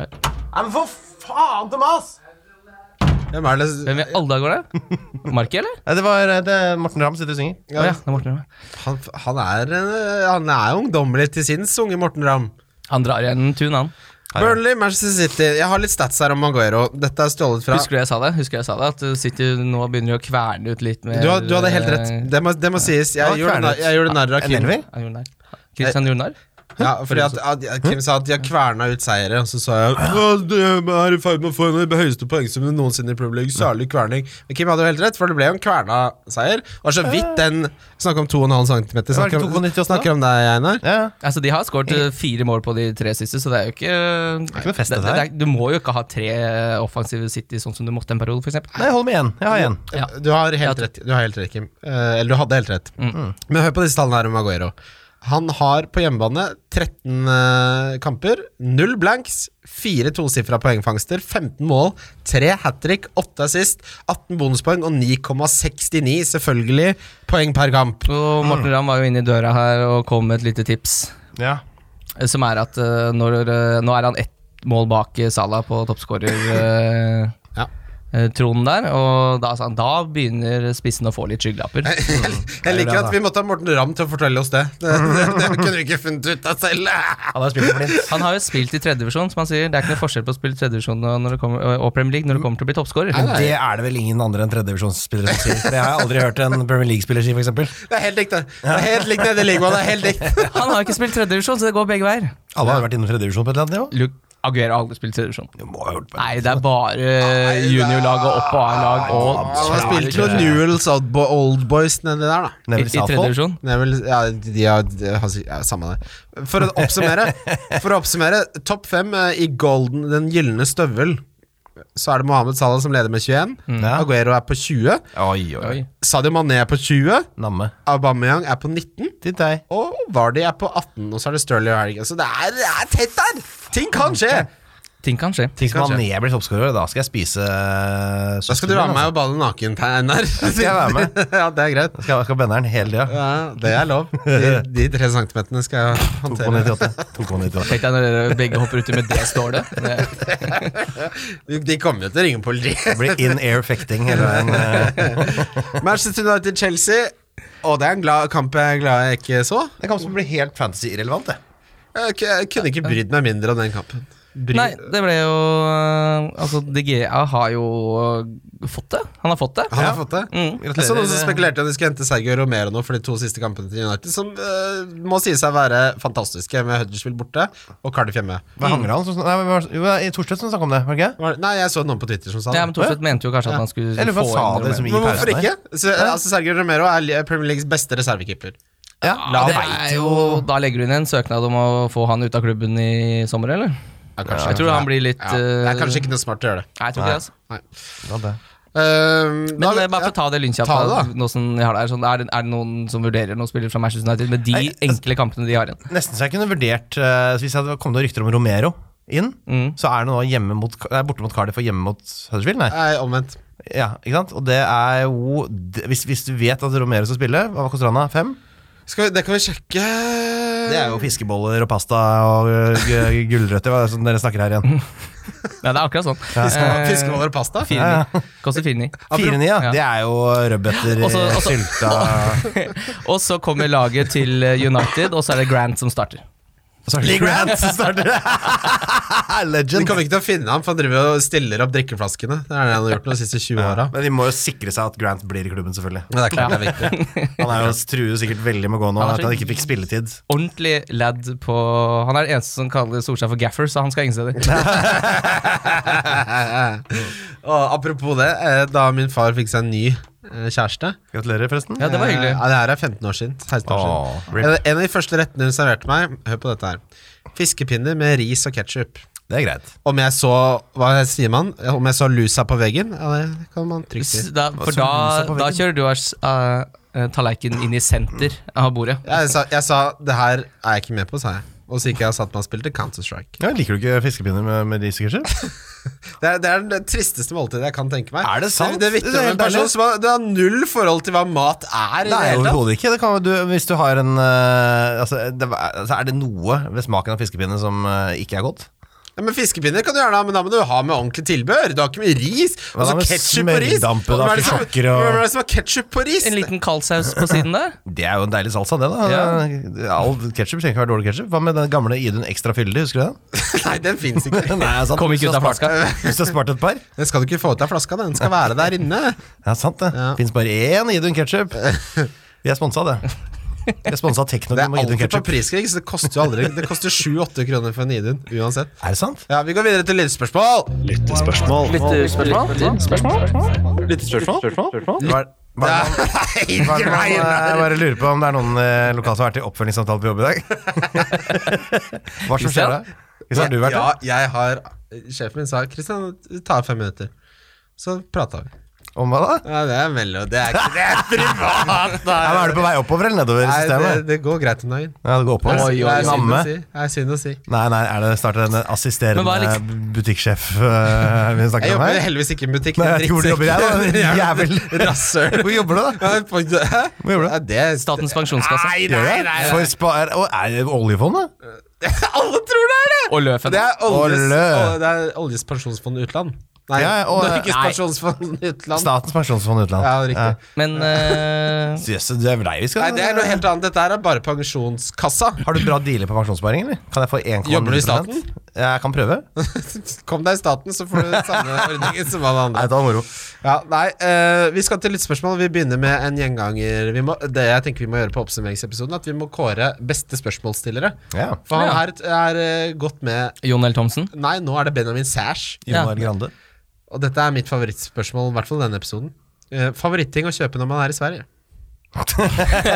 [SPEAKER 3] Men for faen, Thomas!
[SPEAKER 2] hvem er det
[SPEAKER 4] Hvem i alle dager var det? Marki, eller?
[SPEAKER 3] Nei, det var eh, det er Morten Ramm sitter og synger.
[SPEAKER 4] Å ja, det er Morten Ramm.
[SPEAKER 2] Han, han er, eh, han er ungdommelig til sinns, unge Morten Ramm.
[SPEAKER 4] Han drar igjen en tun, han.
[SPEAKER 2] Burnley, Manchester City. Jeg har litt stats her om Maguero. Dette er stjålet fra
[SPEAKER 4] Husker du jeg sa det? Husker du jeg sa det? At uh, City nå begynner å kverne ut litt mer
[SPEAKER 2] du, har- du hadde helt rett. Det må, det må sies. Jeg
[SPEAKER 3] Ja,
[SPEAKER 2] gjorde
[SPEAKER 3] kvernet.
[SPEAKER 2] narr- jeg gjorde narr av
[SPEAKER 3] En
[SPEAKER 2] Kim.
[SPEAKER 3] elver?
[SPEAKER 4] Han gjorde narr. eh, Christian gjorde narr.
[SPEAKER 2] Ja, fordi at, at at Kim sa at de har kverna ut seire, og så sa jeg at de er i ferd med å få en av de høyeste poengsummene noensinne i Premier League. Særlig kverning. Men Kim hadde jo helt rett, for det ble jo en kverna seier. Det var så vidt den Snakk om 2,5 cm. Snakker om,
[SPEAKER 3] 2,98
[SPEAKER 2] snakker om deg, Einar.
[SPEAKER 3] Ja, ja.
[SPEAKER 4] Altså, De har skåret uh, fire mål på de tre siste, så det er jo ikke Det
[SPEAKER 3] Eh, ikke noe fest, dette
[SPEAKER 4] det,
[SPEAKER 3] her.
[SPEAKER 4] er- Du må jo ikke ha tre uh, offensive City sånn som du måtte en periode, f.eks.
[SPEAKER 3] Nei, jeg holder med én. Jeg har én.
[SPEAKER 4] Ja. Mm.
[SPEAKER 2] Du har helt rett, du har helt rett Kim. Eh, eller du hadde helt rett. Mm. Men hør på disse tallene her om Aguero. Han har på hjemmebane 13 eh, kamper, 0 blanks, 4 tosifra poengfangster, 15 mål, 3 hat trick, 8 assist, 18 bonuspoeng og 9,69, selvfølgelig, poeng per kamp.
[SPEAKER 4] Og
[SPEAKER 3] Mm.
[SPEAKER 4] Morten Ramm var jo inne i døra her og kom med et lite tips,
[SPEAKER 3] Ja.
[SPEAKER 4] eh, som er at uh, når, uh, nå er han ett mål bak uh, Salah på toppskårer... Uh,
[SPEAKER 2] Ja.
[SPEAKER 4] eh, tronen der, og da, sa han, da begynner spissen å få litt skyggelapper.
[SPEAKER 2] Jeg liker at vi måtte ha Morten Ramm til å fortelle oss det. Det, det, det kunne vi ikke funnet ut av selv.
[SPEAKER 3] Han har spilt for flint.
[SPEAKER 4] Han har jo spilt i tredjedivisjon, som han sier. Det er ikke noe forskjell på å spille tredjedivisjon når det kommer- og Premier League når det kommer til å bli toppskårer.
[SPEAKER 3] Men det er det vel ingen andre enn tredjedivisjonsspillere som sier. For det har jeg aldri hørt en Premier League-spiller si, f.eks.
[SPEAKER 2] Det er helt likt, det. Det er helt likt nede i ligaen. Det er helt likt.
[SPEAKER 4] Han har jo ikke spilt tredjedivisjon, så det går begge veier.
[SPEAKER 3] Alle har vært innom tredjedivisjon på et eller annet nivå.
[SPEAKER 4] Luke Aguero har aldri spilt tredjedivisjon.
[SPEAKER 3] Du må ha gjort det.
[SPEAKER 4] Nei, det er bare juniorlag og opp- og A-lag og
[SPEAKER 2] Han har spilt noen
[SPEAKER 4] I,
[SPEAKER 2] Newells Old Bo- Old Boys nedi der, da.
[SPEAKER 4] i
[SPEAKER 3] Neville Southall.
[SPEAKER 4] tredjedivisjon.
[SPEAKER 2] Det er vel, ja, de har, de har si- ja, Samme det. For å oppsummere, for å oppsummere topp fem eh, i golden, den gylne støvel, så er det Mohammed Salah som leder med 21.
[SPEAKER 3] Ja.
[SPEAKER 2] Aguero er på 20.
[SPEAKER 3] Oi, oi.
[SPEAKER 4] Oi.
[SPEAKER 2] Sadio Mané er på 20.
[SPEAKER 3] Namme.
[SPEAKER 2] Aubameyang er på 19.
[SPEAKER 3] Til deg.
[SPEAKER 2] Og Vardy er på 18, og så er det Stirling og Helgen. Så det er, det er tett der! Ting kan skje!
[SPEAKER 4] Ting kan skje.
[SPEAKER 3] Ting som
[SPEAKER 2] Kanskje.
[SPEAKER 3] Mané blir toppskårer, da skal jeg spise eh,
[SPEAKER 2] Da skal du være med meg og bade naken, Einar.
[SPEAKER 3] altså. skal jeg være med.
[SPEAKER 2] ja, det er greit.
[SPEAKER 3] Da altså. skal, skal bende den hele tida.
[SPEAKER 2] Ja, det er lov. De, de tre centimeterne skal jeg håndtere.
[SPEAKER 3] 2,98. 2,98.
[SPEAKER 4] Tenk deg når dere begge hopper uti med det stålet. Det-
[SPEAKER 2] De kommer jo til å ringe politiet.
[SPEAKER 3] Det blir in air fekting hele veien. eh.
[SPEAKER 2] Manchester United-Chelsea. Og det er en glad kamp jeg er glad jeg ikke så.
[SPEAKER 3] Det kan bli helt fantasy-irrelevant, det.
[SPEAKER 2] Jeg, k- jeg kunne ikke brydd meg mindre om den kampen. Bry
[SPEAKER 4] Nei, det ble jo øh, Altså, DGA har jo øh, fått det. Han har fått det.
[SPEAKER 2] Han har fått det.
[SPEAKER 4] Mm.
[SPEAKER 2] Jeg så noen som spekulerte i om de skulle hente Sergio Romero nå for de to siste kampene til United, som eh, må sies å være fantastiske, med Huddersfield borte og Cardiff hjemme.
[SPEAKER 3] Hva hangrer han? som- Nei, hva- jo, det er Thorstvedt som snakket om det, var det ikke?
[SPEAKER 2] Var det- Nei, jeg så noen på Twitter som sa det.
[SPEAKER 4] Ja, men Thorstvedt mente jo kanskje at han skulle
[SPEAKER 3] Eller hva
[SPEAKER 4] få
[SPEAKER 3] sa
[SPEAKER 4] inn
[SPEAKER 3] dere som i
[SPEAKER 4] Romero.
[SPEAKER 2] men hvorfor
[SPEAKER 3] pausen
[SPEAKER 2] ikke? Så, eh, altså, Sergio Romero er li- Premier Leagues beste reservekeeper.
[SPEAKER 3] Ja,
[SPEAKER 4] Ja,
[SPEAKER 2] La
[SPEAKER 4] det
[SPEAKER 2] meg
[SPEAKER 4] er jo, da legger du inn en søknad om å få han ut av klubben i sommer, eller?
[SPEAKER 2] Ja, kanskje,
[SPEAKER 4] Jeg tror han blir litt,
[SPEAKER 2] ja. Det er
[SPEAKER 4] eh,
[SPEAKER 2] kanskje ikke noe smart å gjøre det.
[SPEAKER 4] Nei, jeg tror ikke det. altså
[SPEAKER 2] Nei.
[SPEAKER 3] Ja, det.
[SPEAKER 2] Eh,
[SPEAKER 4] Men
[SPEAKER 2] da-
[SPEAKER 4] eh, bare for å ta det lynkjapt,
[SPEAKER 2] Ta det,
[SPEAKER 4] da, nå som jeg har det her, sånn, er, det, er det noen som vurderer noen spillere fra Manchester United med de
[SPEAKER 3] Nei, altså-
[SPEAKER 4] enkle kampene de har igjen?
[SPEAKER 3] Nesten så jeg kunne vurdert eh, Hvis jeg hadde kommet noen rykter om Romero inn, så er det nå hjemme mot, nei, borte mot Cardiff og hjemme mot Huddersfield, nei.
[SPEAKER 2] Nei, omvendt.
[SPEAKER 3] Ja, ikke sant? Og det er jo det, hvis, hvis du vet at Romero skal spille, hva koster han da? Fem?
[SPEAKER 2] Skal vi, det kan vi sjekke
[SPEAKER 3] Det er jo
[SPEAKER 4] Um,
[SPEAKER 3] fiskeboller og pasta og øh, gu- gulrøtter hva er det som dere snakker her
[SPEAKER 4] Mm,
[SPEAKER 3] igjen.
[SPEAKER 4] Ja, det er akkurat sånn.
[SPEAKER 2] Fiske-
[SPEAKER 4] Eh,
[SPEAKER 2] Fiskeboller og pasta?
[SPEAKER 4] fire
[SPEAKER 3] Ja,
[SPEAKER 4] ni. Koster 4,9.
[SPEAKER 3] Fire nia,
[SPEAKER 4] Ja.
[SPEAKER 3] det er jo rødbeter,
[SPEAKER 4] Og så- og så-
[SPEAKER 3] sylta
[SPEAKER 4] Og så kommer laget til eh, United, og så er det Grant som starter.
[SPEAKER 3] Lee Grant starter det!
[SPEAKER 2] De
[SPEAKER 3] Legend.
[SPEAKER 2] kommer ikke til å finne ham, for han driver og stiller opp drikkeflaskene. Det er det han har gjort de siste 20 åra.
[SPEAKER 3] Men de må jo sikre seg at Grant blir i klubben, selvfølgelig.
[SPEAKER 2] Men det er klart det er viktig.
[SPEAKER 3] Han er jo truer sikkert veldig med å gå nå,
[SPEAKER 4] Han er
[SPEAKER 3] at
[SPEAKER 4] så-
[SPEAKER 3] han ikke fikk spilletid.
[SPEAKER 4] Ordentlig lad på Han er den eneste som kaller Solskjær for gaffer, så han skal ingen steder.
[SPEAKER 2] og apropos det, eh, da min far fikk seg en ny eh, kjæreste
[SPEAKER 3] Gratulerer, forresten.
[SPEAKER 4] Ja, det var
[SPEAKER 2] Eh,
[SPEAKER 4] hyggelig.
[SPEAKER 2] Ja, det her er 15 år siden. 16 år
[SPEAKER 3] Åh,
[SPEAKER 2] siden. En, en av de første rettene hun serverte meg, hør på dette her. Fiskepinner med ris og ketsjup.
[SPEAKER 3] Det er greit.
[SPEAKER 2] Om jeg så Hva sier man? Om jeg så lusa på veggen? Ja, det kan man trygt si.
[SPEAKER 4] S- Da, for
[SPEAKER 3] Så
[SPEAKER 4] da,
[SPEAKER 3] lyset på
[SPEAKER 4] da
[SPEAKER 3] veggen.
[SPEAKER 4] kjører du uh, tallerkenen inn i senter av bordet.
[SPEAKER 2] Jeg sa, jeg sa det her er jeg ikke med på, sa jeg. Og så gikk jeg og satt meg og spilte Counter-Strike.
[SPEAKER 3] Ja, liker du ikke fiskepinner med, med ris og ketsjup?
[SPEAKER 2] Det er, det er det tristeste måltidet jeg kan tenke meg.
[SPEAKER 3] Er det sant?
[SPEAKER 2] Det, det
[SPEAKER 3] Det er
[SPEAKER 2] vitner om
[SPEAKER 3] helt
[SPEAKER 2] en person
[SPEAKER 3] ærlig.
[SPEAKER 2] som har, det har null forhold til hva mat er. i det
[SPEAKER 3] Nei,
[SPEAKER 2] hele tatt.
[SPEAKER 3] overhodet ikke. Det kan, jo- du, hvis du har en eh, altså, det, altså, Er det noe ved smaken av fiskepinne som eh, ikke er godt?
[SPEAKER 2] Ja, men Fiskepinner kan du gjerne ha, men da må du ha med ordentlig tilbehør. Du har ikke mye ris. Og
[SPEAKER 3] Hva da
[SPEAKER 2] så
[SPEAKER 3] med
[SPEAKER 2] ketsjup på ris.
[SPEAKER 3] smørdampe, da,
[SPEAKER 2] Hvem er det som-
[SPEAKER 3] fyrsokker og-
[SPEAKER 2] Hvem er det som har ketsjup på ris?
[SPEAKER 4] En liten kaldsaus på siden der.
[SPEAKER 3] Det er jo en deilig salsa, det, da. All ketsjup trenger ikke være dårlig ketsjup. Hva med den gamle Idun ekstra fyldig, husker du den?
[SPEAKER 2] Nei, den fins ikke.
[SPEAKER 3] Nei, sant.
[SPEAKER 4] Kom
[SPEAKER 3] Hvis
[SPEAKER 4] ikke
[SPEAKER 3] du
[SPEAKER 4] ut av
[SPEAKER 3] har spart- Hvis du har spart et par.
[SPEAKER 2] Den skal du ikke få ut av flaska, den skal være der inne.
[SPEAKER 3] Ja, sant det.
[SPEAKER 2] Ja.
[SPEAKER 3] Fins bare én Idun ketsjup. Vi er sponsa, det. Vi er sponsa av
[SPEAKER 2] Det er
[SPEAKER 3] Teknogym og Idun
[SPEAKER 2] alltid på
[SPEAKER 3] ketsjup.
[SPEAKER 2] priskrig, så det koster jo aldri Det koster 7-8 kroner for en Idun, uansett.
[SPEAKER 3] Er det sant?
[SPEAKER 2] Ja, Vi går videre til lyttespørsmål.
[SPEAKER 3] Hva er- hva er det man- hva er det man- Jeg bare lurer på om det er noen eh, lokale som har vært i oppfølgingssamtale på jobb i dag. Hva som skjer da? Hvis har du vært
[SPEAKER 2] ja,
[SPEAKER 3] det?
[SPEAKER 2] jeg har Sjefen min sa Kristian, ta fem minutter. Så prata vi.
[SPEAKER 3] Om hva da?
[SPEAKER 2] Ja, det er mellom Det er ikke det er privat!
[SPEAKER 3] Ja, men er du på vei oppover eller nedover i
[SPEAKER 2] Nei, det,
[SPEAKER 3] systemet?
[SPEAKER 2] det går greit om dagen.
[SPEAKER 3] Ja, det går oppover.
[SPEAKER 4] Oi, oi,
[SPEAKER 2] det
[SPEAKER 4] oi.
[SPEAKER 2] er synd å
[SPEAKER 3] Samme.
[SPEAKER 2] si. Det er synd å si.
[SPEAKER 3] Nei, nei, er det snart en assisterende
[SPEAKER 4] Men hva er liksom-
[SPEAKER 3] butikksjef eh, vi
[SPEAKER 2] Jeg
[SPEAKER 3] snakker om
[SPEAKER 2] jobber
[SPEAKER 3] her?
[SPEAKER 2] heldigvis ikke i en butikk.
[SPEAKER 3] Nei,
[SPEAKER 2] det er
[SPEAKER 3] jeg vet ikke hvor du jobber, jeg, da.
[SPEAKER 2] drittsekk.
[SPEAKER 3] Jævel.
[SPEAKER 2] Rasshøl.
[SPEAKER 3] Hvor jobber du, da?
[SPEAKER 2] Ja, på- Hæ?
[SPEAKER 3] Hvor jobber du?
[SPEAKER 2] Ja, det er
[SPEAKER 4] Statens pensjonskasse.
[SPEAKER 3] Gjør du det? For spa... Er, å, er det oljefondet?
[SPEAKER 2] Alle tror det er det!
[SPEAKER 4] Og Løfen.
[SPEAKER 2] Det er oljes,
[SPEAKER 3] Olle.
[SPEAKER 2] å, det er oljes pensjonsfond utland. Nei,
[SPEAKER 3] Ja, og-
[SPEAKER 2] Norges
[SPEAKER 3] nei.
[SPEAKER 2] pensjonsfond utland.
[SPEAKER 3] Statens pensjonsfond utland.
[SPEAKER 2] Ja, riktig.
[SPEAKER 4] Men eh,
[SPEAKER 3] Jøss, du er deg vi skal
[SPEAKER 2] Nei, det er noe helt annet. Dette her er bare pensjonskassa.
[SPEAKER 3] Har du bra dealer på pensjonssparing, eller? Kan jeg få 1,0
[SPEAKER 2] Jobber du i staten?
[SPEAKER 3] Jeg kan prøve. Nei,
[SPEAKER 2] Kom deg i staten, så får du samme ordningen som alle andre.
[SPEAKER 3] det var moro.
[SPEAKER 2] Ja, nei, eh, Vi skal til lyttespørsmål. Vi begynner med en gjenganger. Vi må, det jeg tenker vi må gjøre på oppsummeringsepisoden, at vi må kåre beste spørsmålsstillere.
[SPEAKER 3] Ja.
[SPEAKER 2] For han
[SPEAKER 4] Ja.
[SPEAKER 2] her t- er eh, godt med
[SPEAKER 4] Jon L. Thomsen.
[SPEAKER 2] Nei, nå er det Benjamin Sæsj.
[SPEAKER 4] Ja.
[SPEAKER 3] Jon Arild Grande.
[SPEAKER 2] Og dette er mitt favorittspørsmål, i hvert fall denne episoden. Eh, Favoritting å kjøpe når man er i Sverige?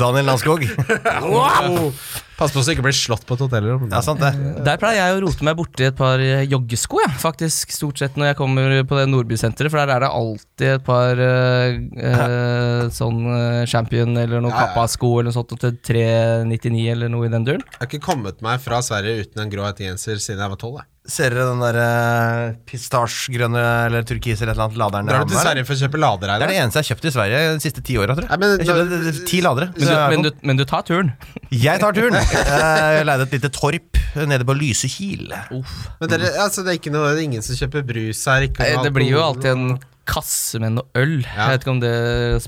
[SPEAKER 3] Daniel Landskog.
[SPEAKER 2] Pass på så du ikke blir slått på et hotellrom.
[SPEAKER 3] Ja, sant det.
[SPEAKER 4] Der pleier jeg å rote meg borti et par eh, joggesko, ja. faktisk, stort sett når jeg kommer på det Nordbysenteret, for der er det alltid et par eh, eh, sånn eh, Champion eller noe
[SPEAKER 2] Ja, ja.
[SPEAKER 4] Kappa-sko eller noe sånt til 399 eller noe i den duren.
[SPEAKER 2] Jeg har ikke kommet meg fra Sverige uten en grå hettegenser siden jeg var tolv. jeg.
[SPEAKER 3] Ser dere den der eh, pistasjegrønne eller turkis eller et eller annet laderen?
[SPEAKER 2] Drar du til
[SPEAKER 3] der?
[SPEAKER 2] Sverige for å kjøpe lader her?
[SPEAKER 3] Det er
[SPEAKER 2] da?
[SPEAKER 3] det eneste jeg har kjøpt i Sverige de siste ti åra, tror jeg.
[SPEAKER 2] Nei, men-
[SPEAKER 3] jeg kjøpte eh, ti ladere.
[SPEAKER 4] Men du,
[SPEAKER 3] Så jeg er
[SPEAKER 4] men,
[SPEAKER 3] på.
[SPEAKER 4] du, men du tar turen.
[SPEAKER 3] Jeg tar turen. Jeg leide et lite torp nede på Lysekil.
[SPEAKER 2] Men dere, altså, det, er ikke noe, det er ingen som kjøper brus her? Ikke
[SPEAKER 4] Eh,
[SPEAKER 2] noe
[SPEAKER 4] Det blir jo
[SPEAKER 2] alkohol.
[SPEAKER 4] alltid en kasse med noe øl.
[SPEAKER 2] Ja.
[SPEAKER 4] Jeg vet ikke om det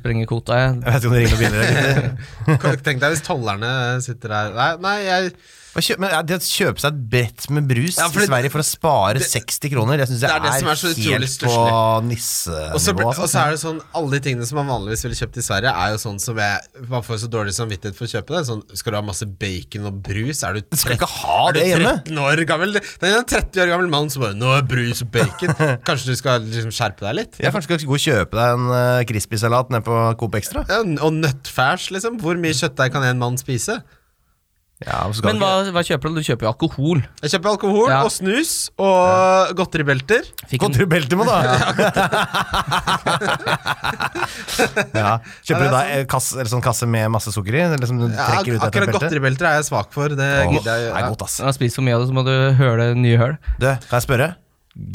[SPEAKER 4] sprenger kvota. Jeg.
[SPEAKER 3] Jeg vet ikke om det ringer noen biler. eller ikke.
[SPEAKER 2] Tenk deg hvis tollerne sitter der Nei, nei jeg,
[SPEAKER 3] Hva kjø- Men ja, det å kjøpe seg et brett med brus
[SPEAKER 2] Ja, fordi
[SPEAKER 3] i Sverige for å spare
[SPEAKER 2] det-
[SPEAKER 3] 60 kroner, det syns jeg
[SPEAKER 2] det er det som er så utrolig
[SPEAKER 3] helt på
[SPEAKER 2] stusslig. og så
[SPEAKER 3] nissenivå.
[SPEAKER 2] blir- og
[SPEAKER 3] altså.
[SPEAKER 2] så er det sånn Alle de tingene som man vanligvis ville kjøpt i Sverige, er jo sånn som jeg Man får så dårlig samvittighet for å kjøpe det. Sånn, skal du ha masse bacon og brus? Er du
[SPEAKER 3] Du skal
[SPEAKER 2] 13
[SPEAKER 3] ikke ha
[SPEAKER 2] er du
[SPEAKER 3] det hjemme.
[SPEAKER 2] 13 år gammel? Det er en 30 år gammel mann som bare 'Nå er brus og bacon'. Kanskje du skal liksom skjerpe deg litt?
[SPEAKER 3] Jeg kanskje skal gå og kjøpe deg en eh, crispy-salat nede på Coop Extra.
[SPEAKER 2] Ja, og nøttfærs, liksom. Hvor mye kjøttdeig kan en mann spise?
[SPEAKER 3] Ja, så skal
[SPEAKER 4] Men hva, hva kjøper du? Du kjøper jo alkohol.
[SPEAKER 2] Jeg kjøper alkohol
[SPEAKER 4] Ja.
[SPEAKER 2] og snus og godteribelter.
[SPEAKER 3] du ikke-
[SPEAKER 4] Fikk en-
[SPEAKER 3] Gå til beltet med, da! ja. Kjøper du
[SPEAKER 2] Ja, det er
[SPEAKER 3] deg eh, kasse, eller sånn kasse med masse sukker i? Eller som du
[SPEAKER 2] Ja,
[SPEAKER 3] trekker ut etter
[SPEAKER 2] akkurat
[SPEAKER 3] beltet?
[SPEAKER 2] godteribelter er jeg svak for. Det
[SPEAKER 3] Åh,
[SPEAKER 2] gidder
[SPEAKER 3] det
[SPEAKER 2] jeg
[SPEAKER 3] er godt, ass.
[SPEAKER 4] Når du har spist for mye av det, så må du høle nye høl.
[SPEAKER 3] Du, kan jeg spørre?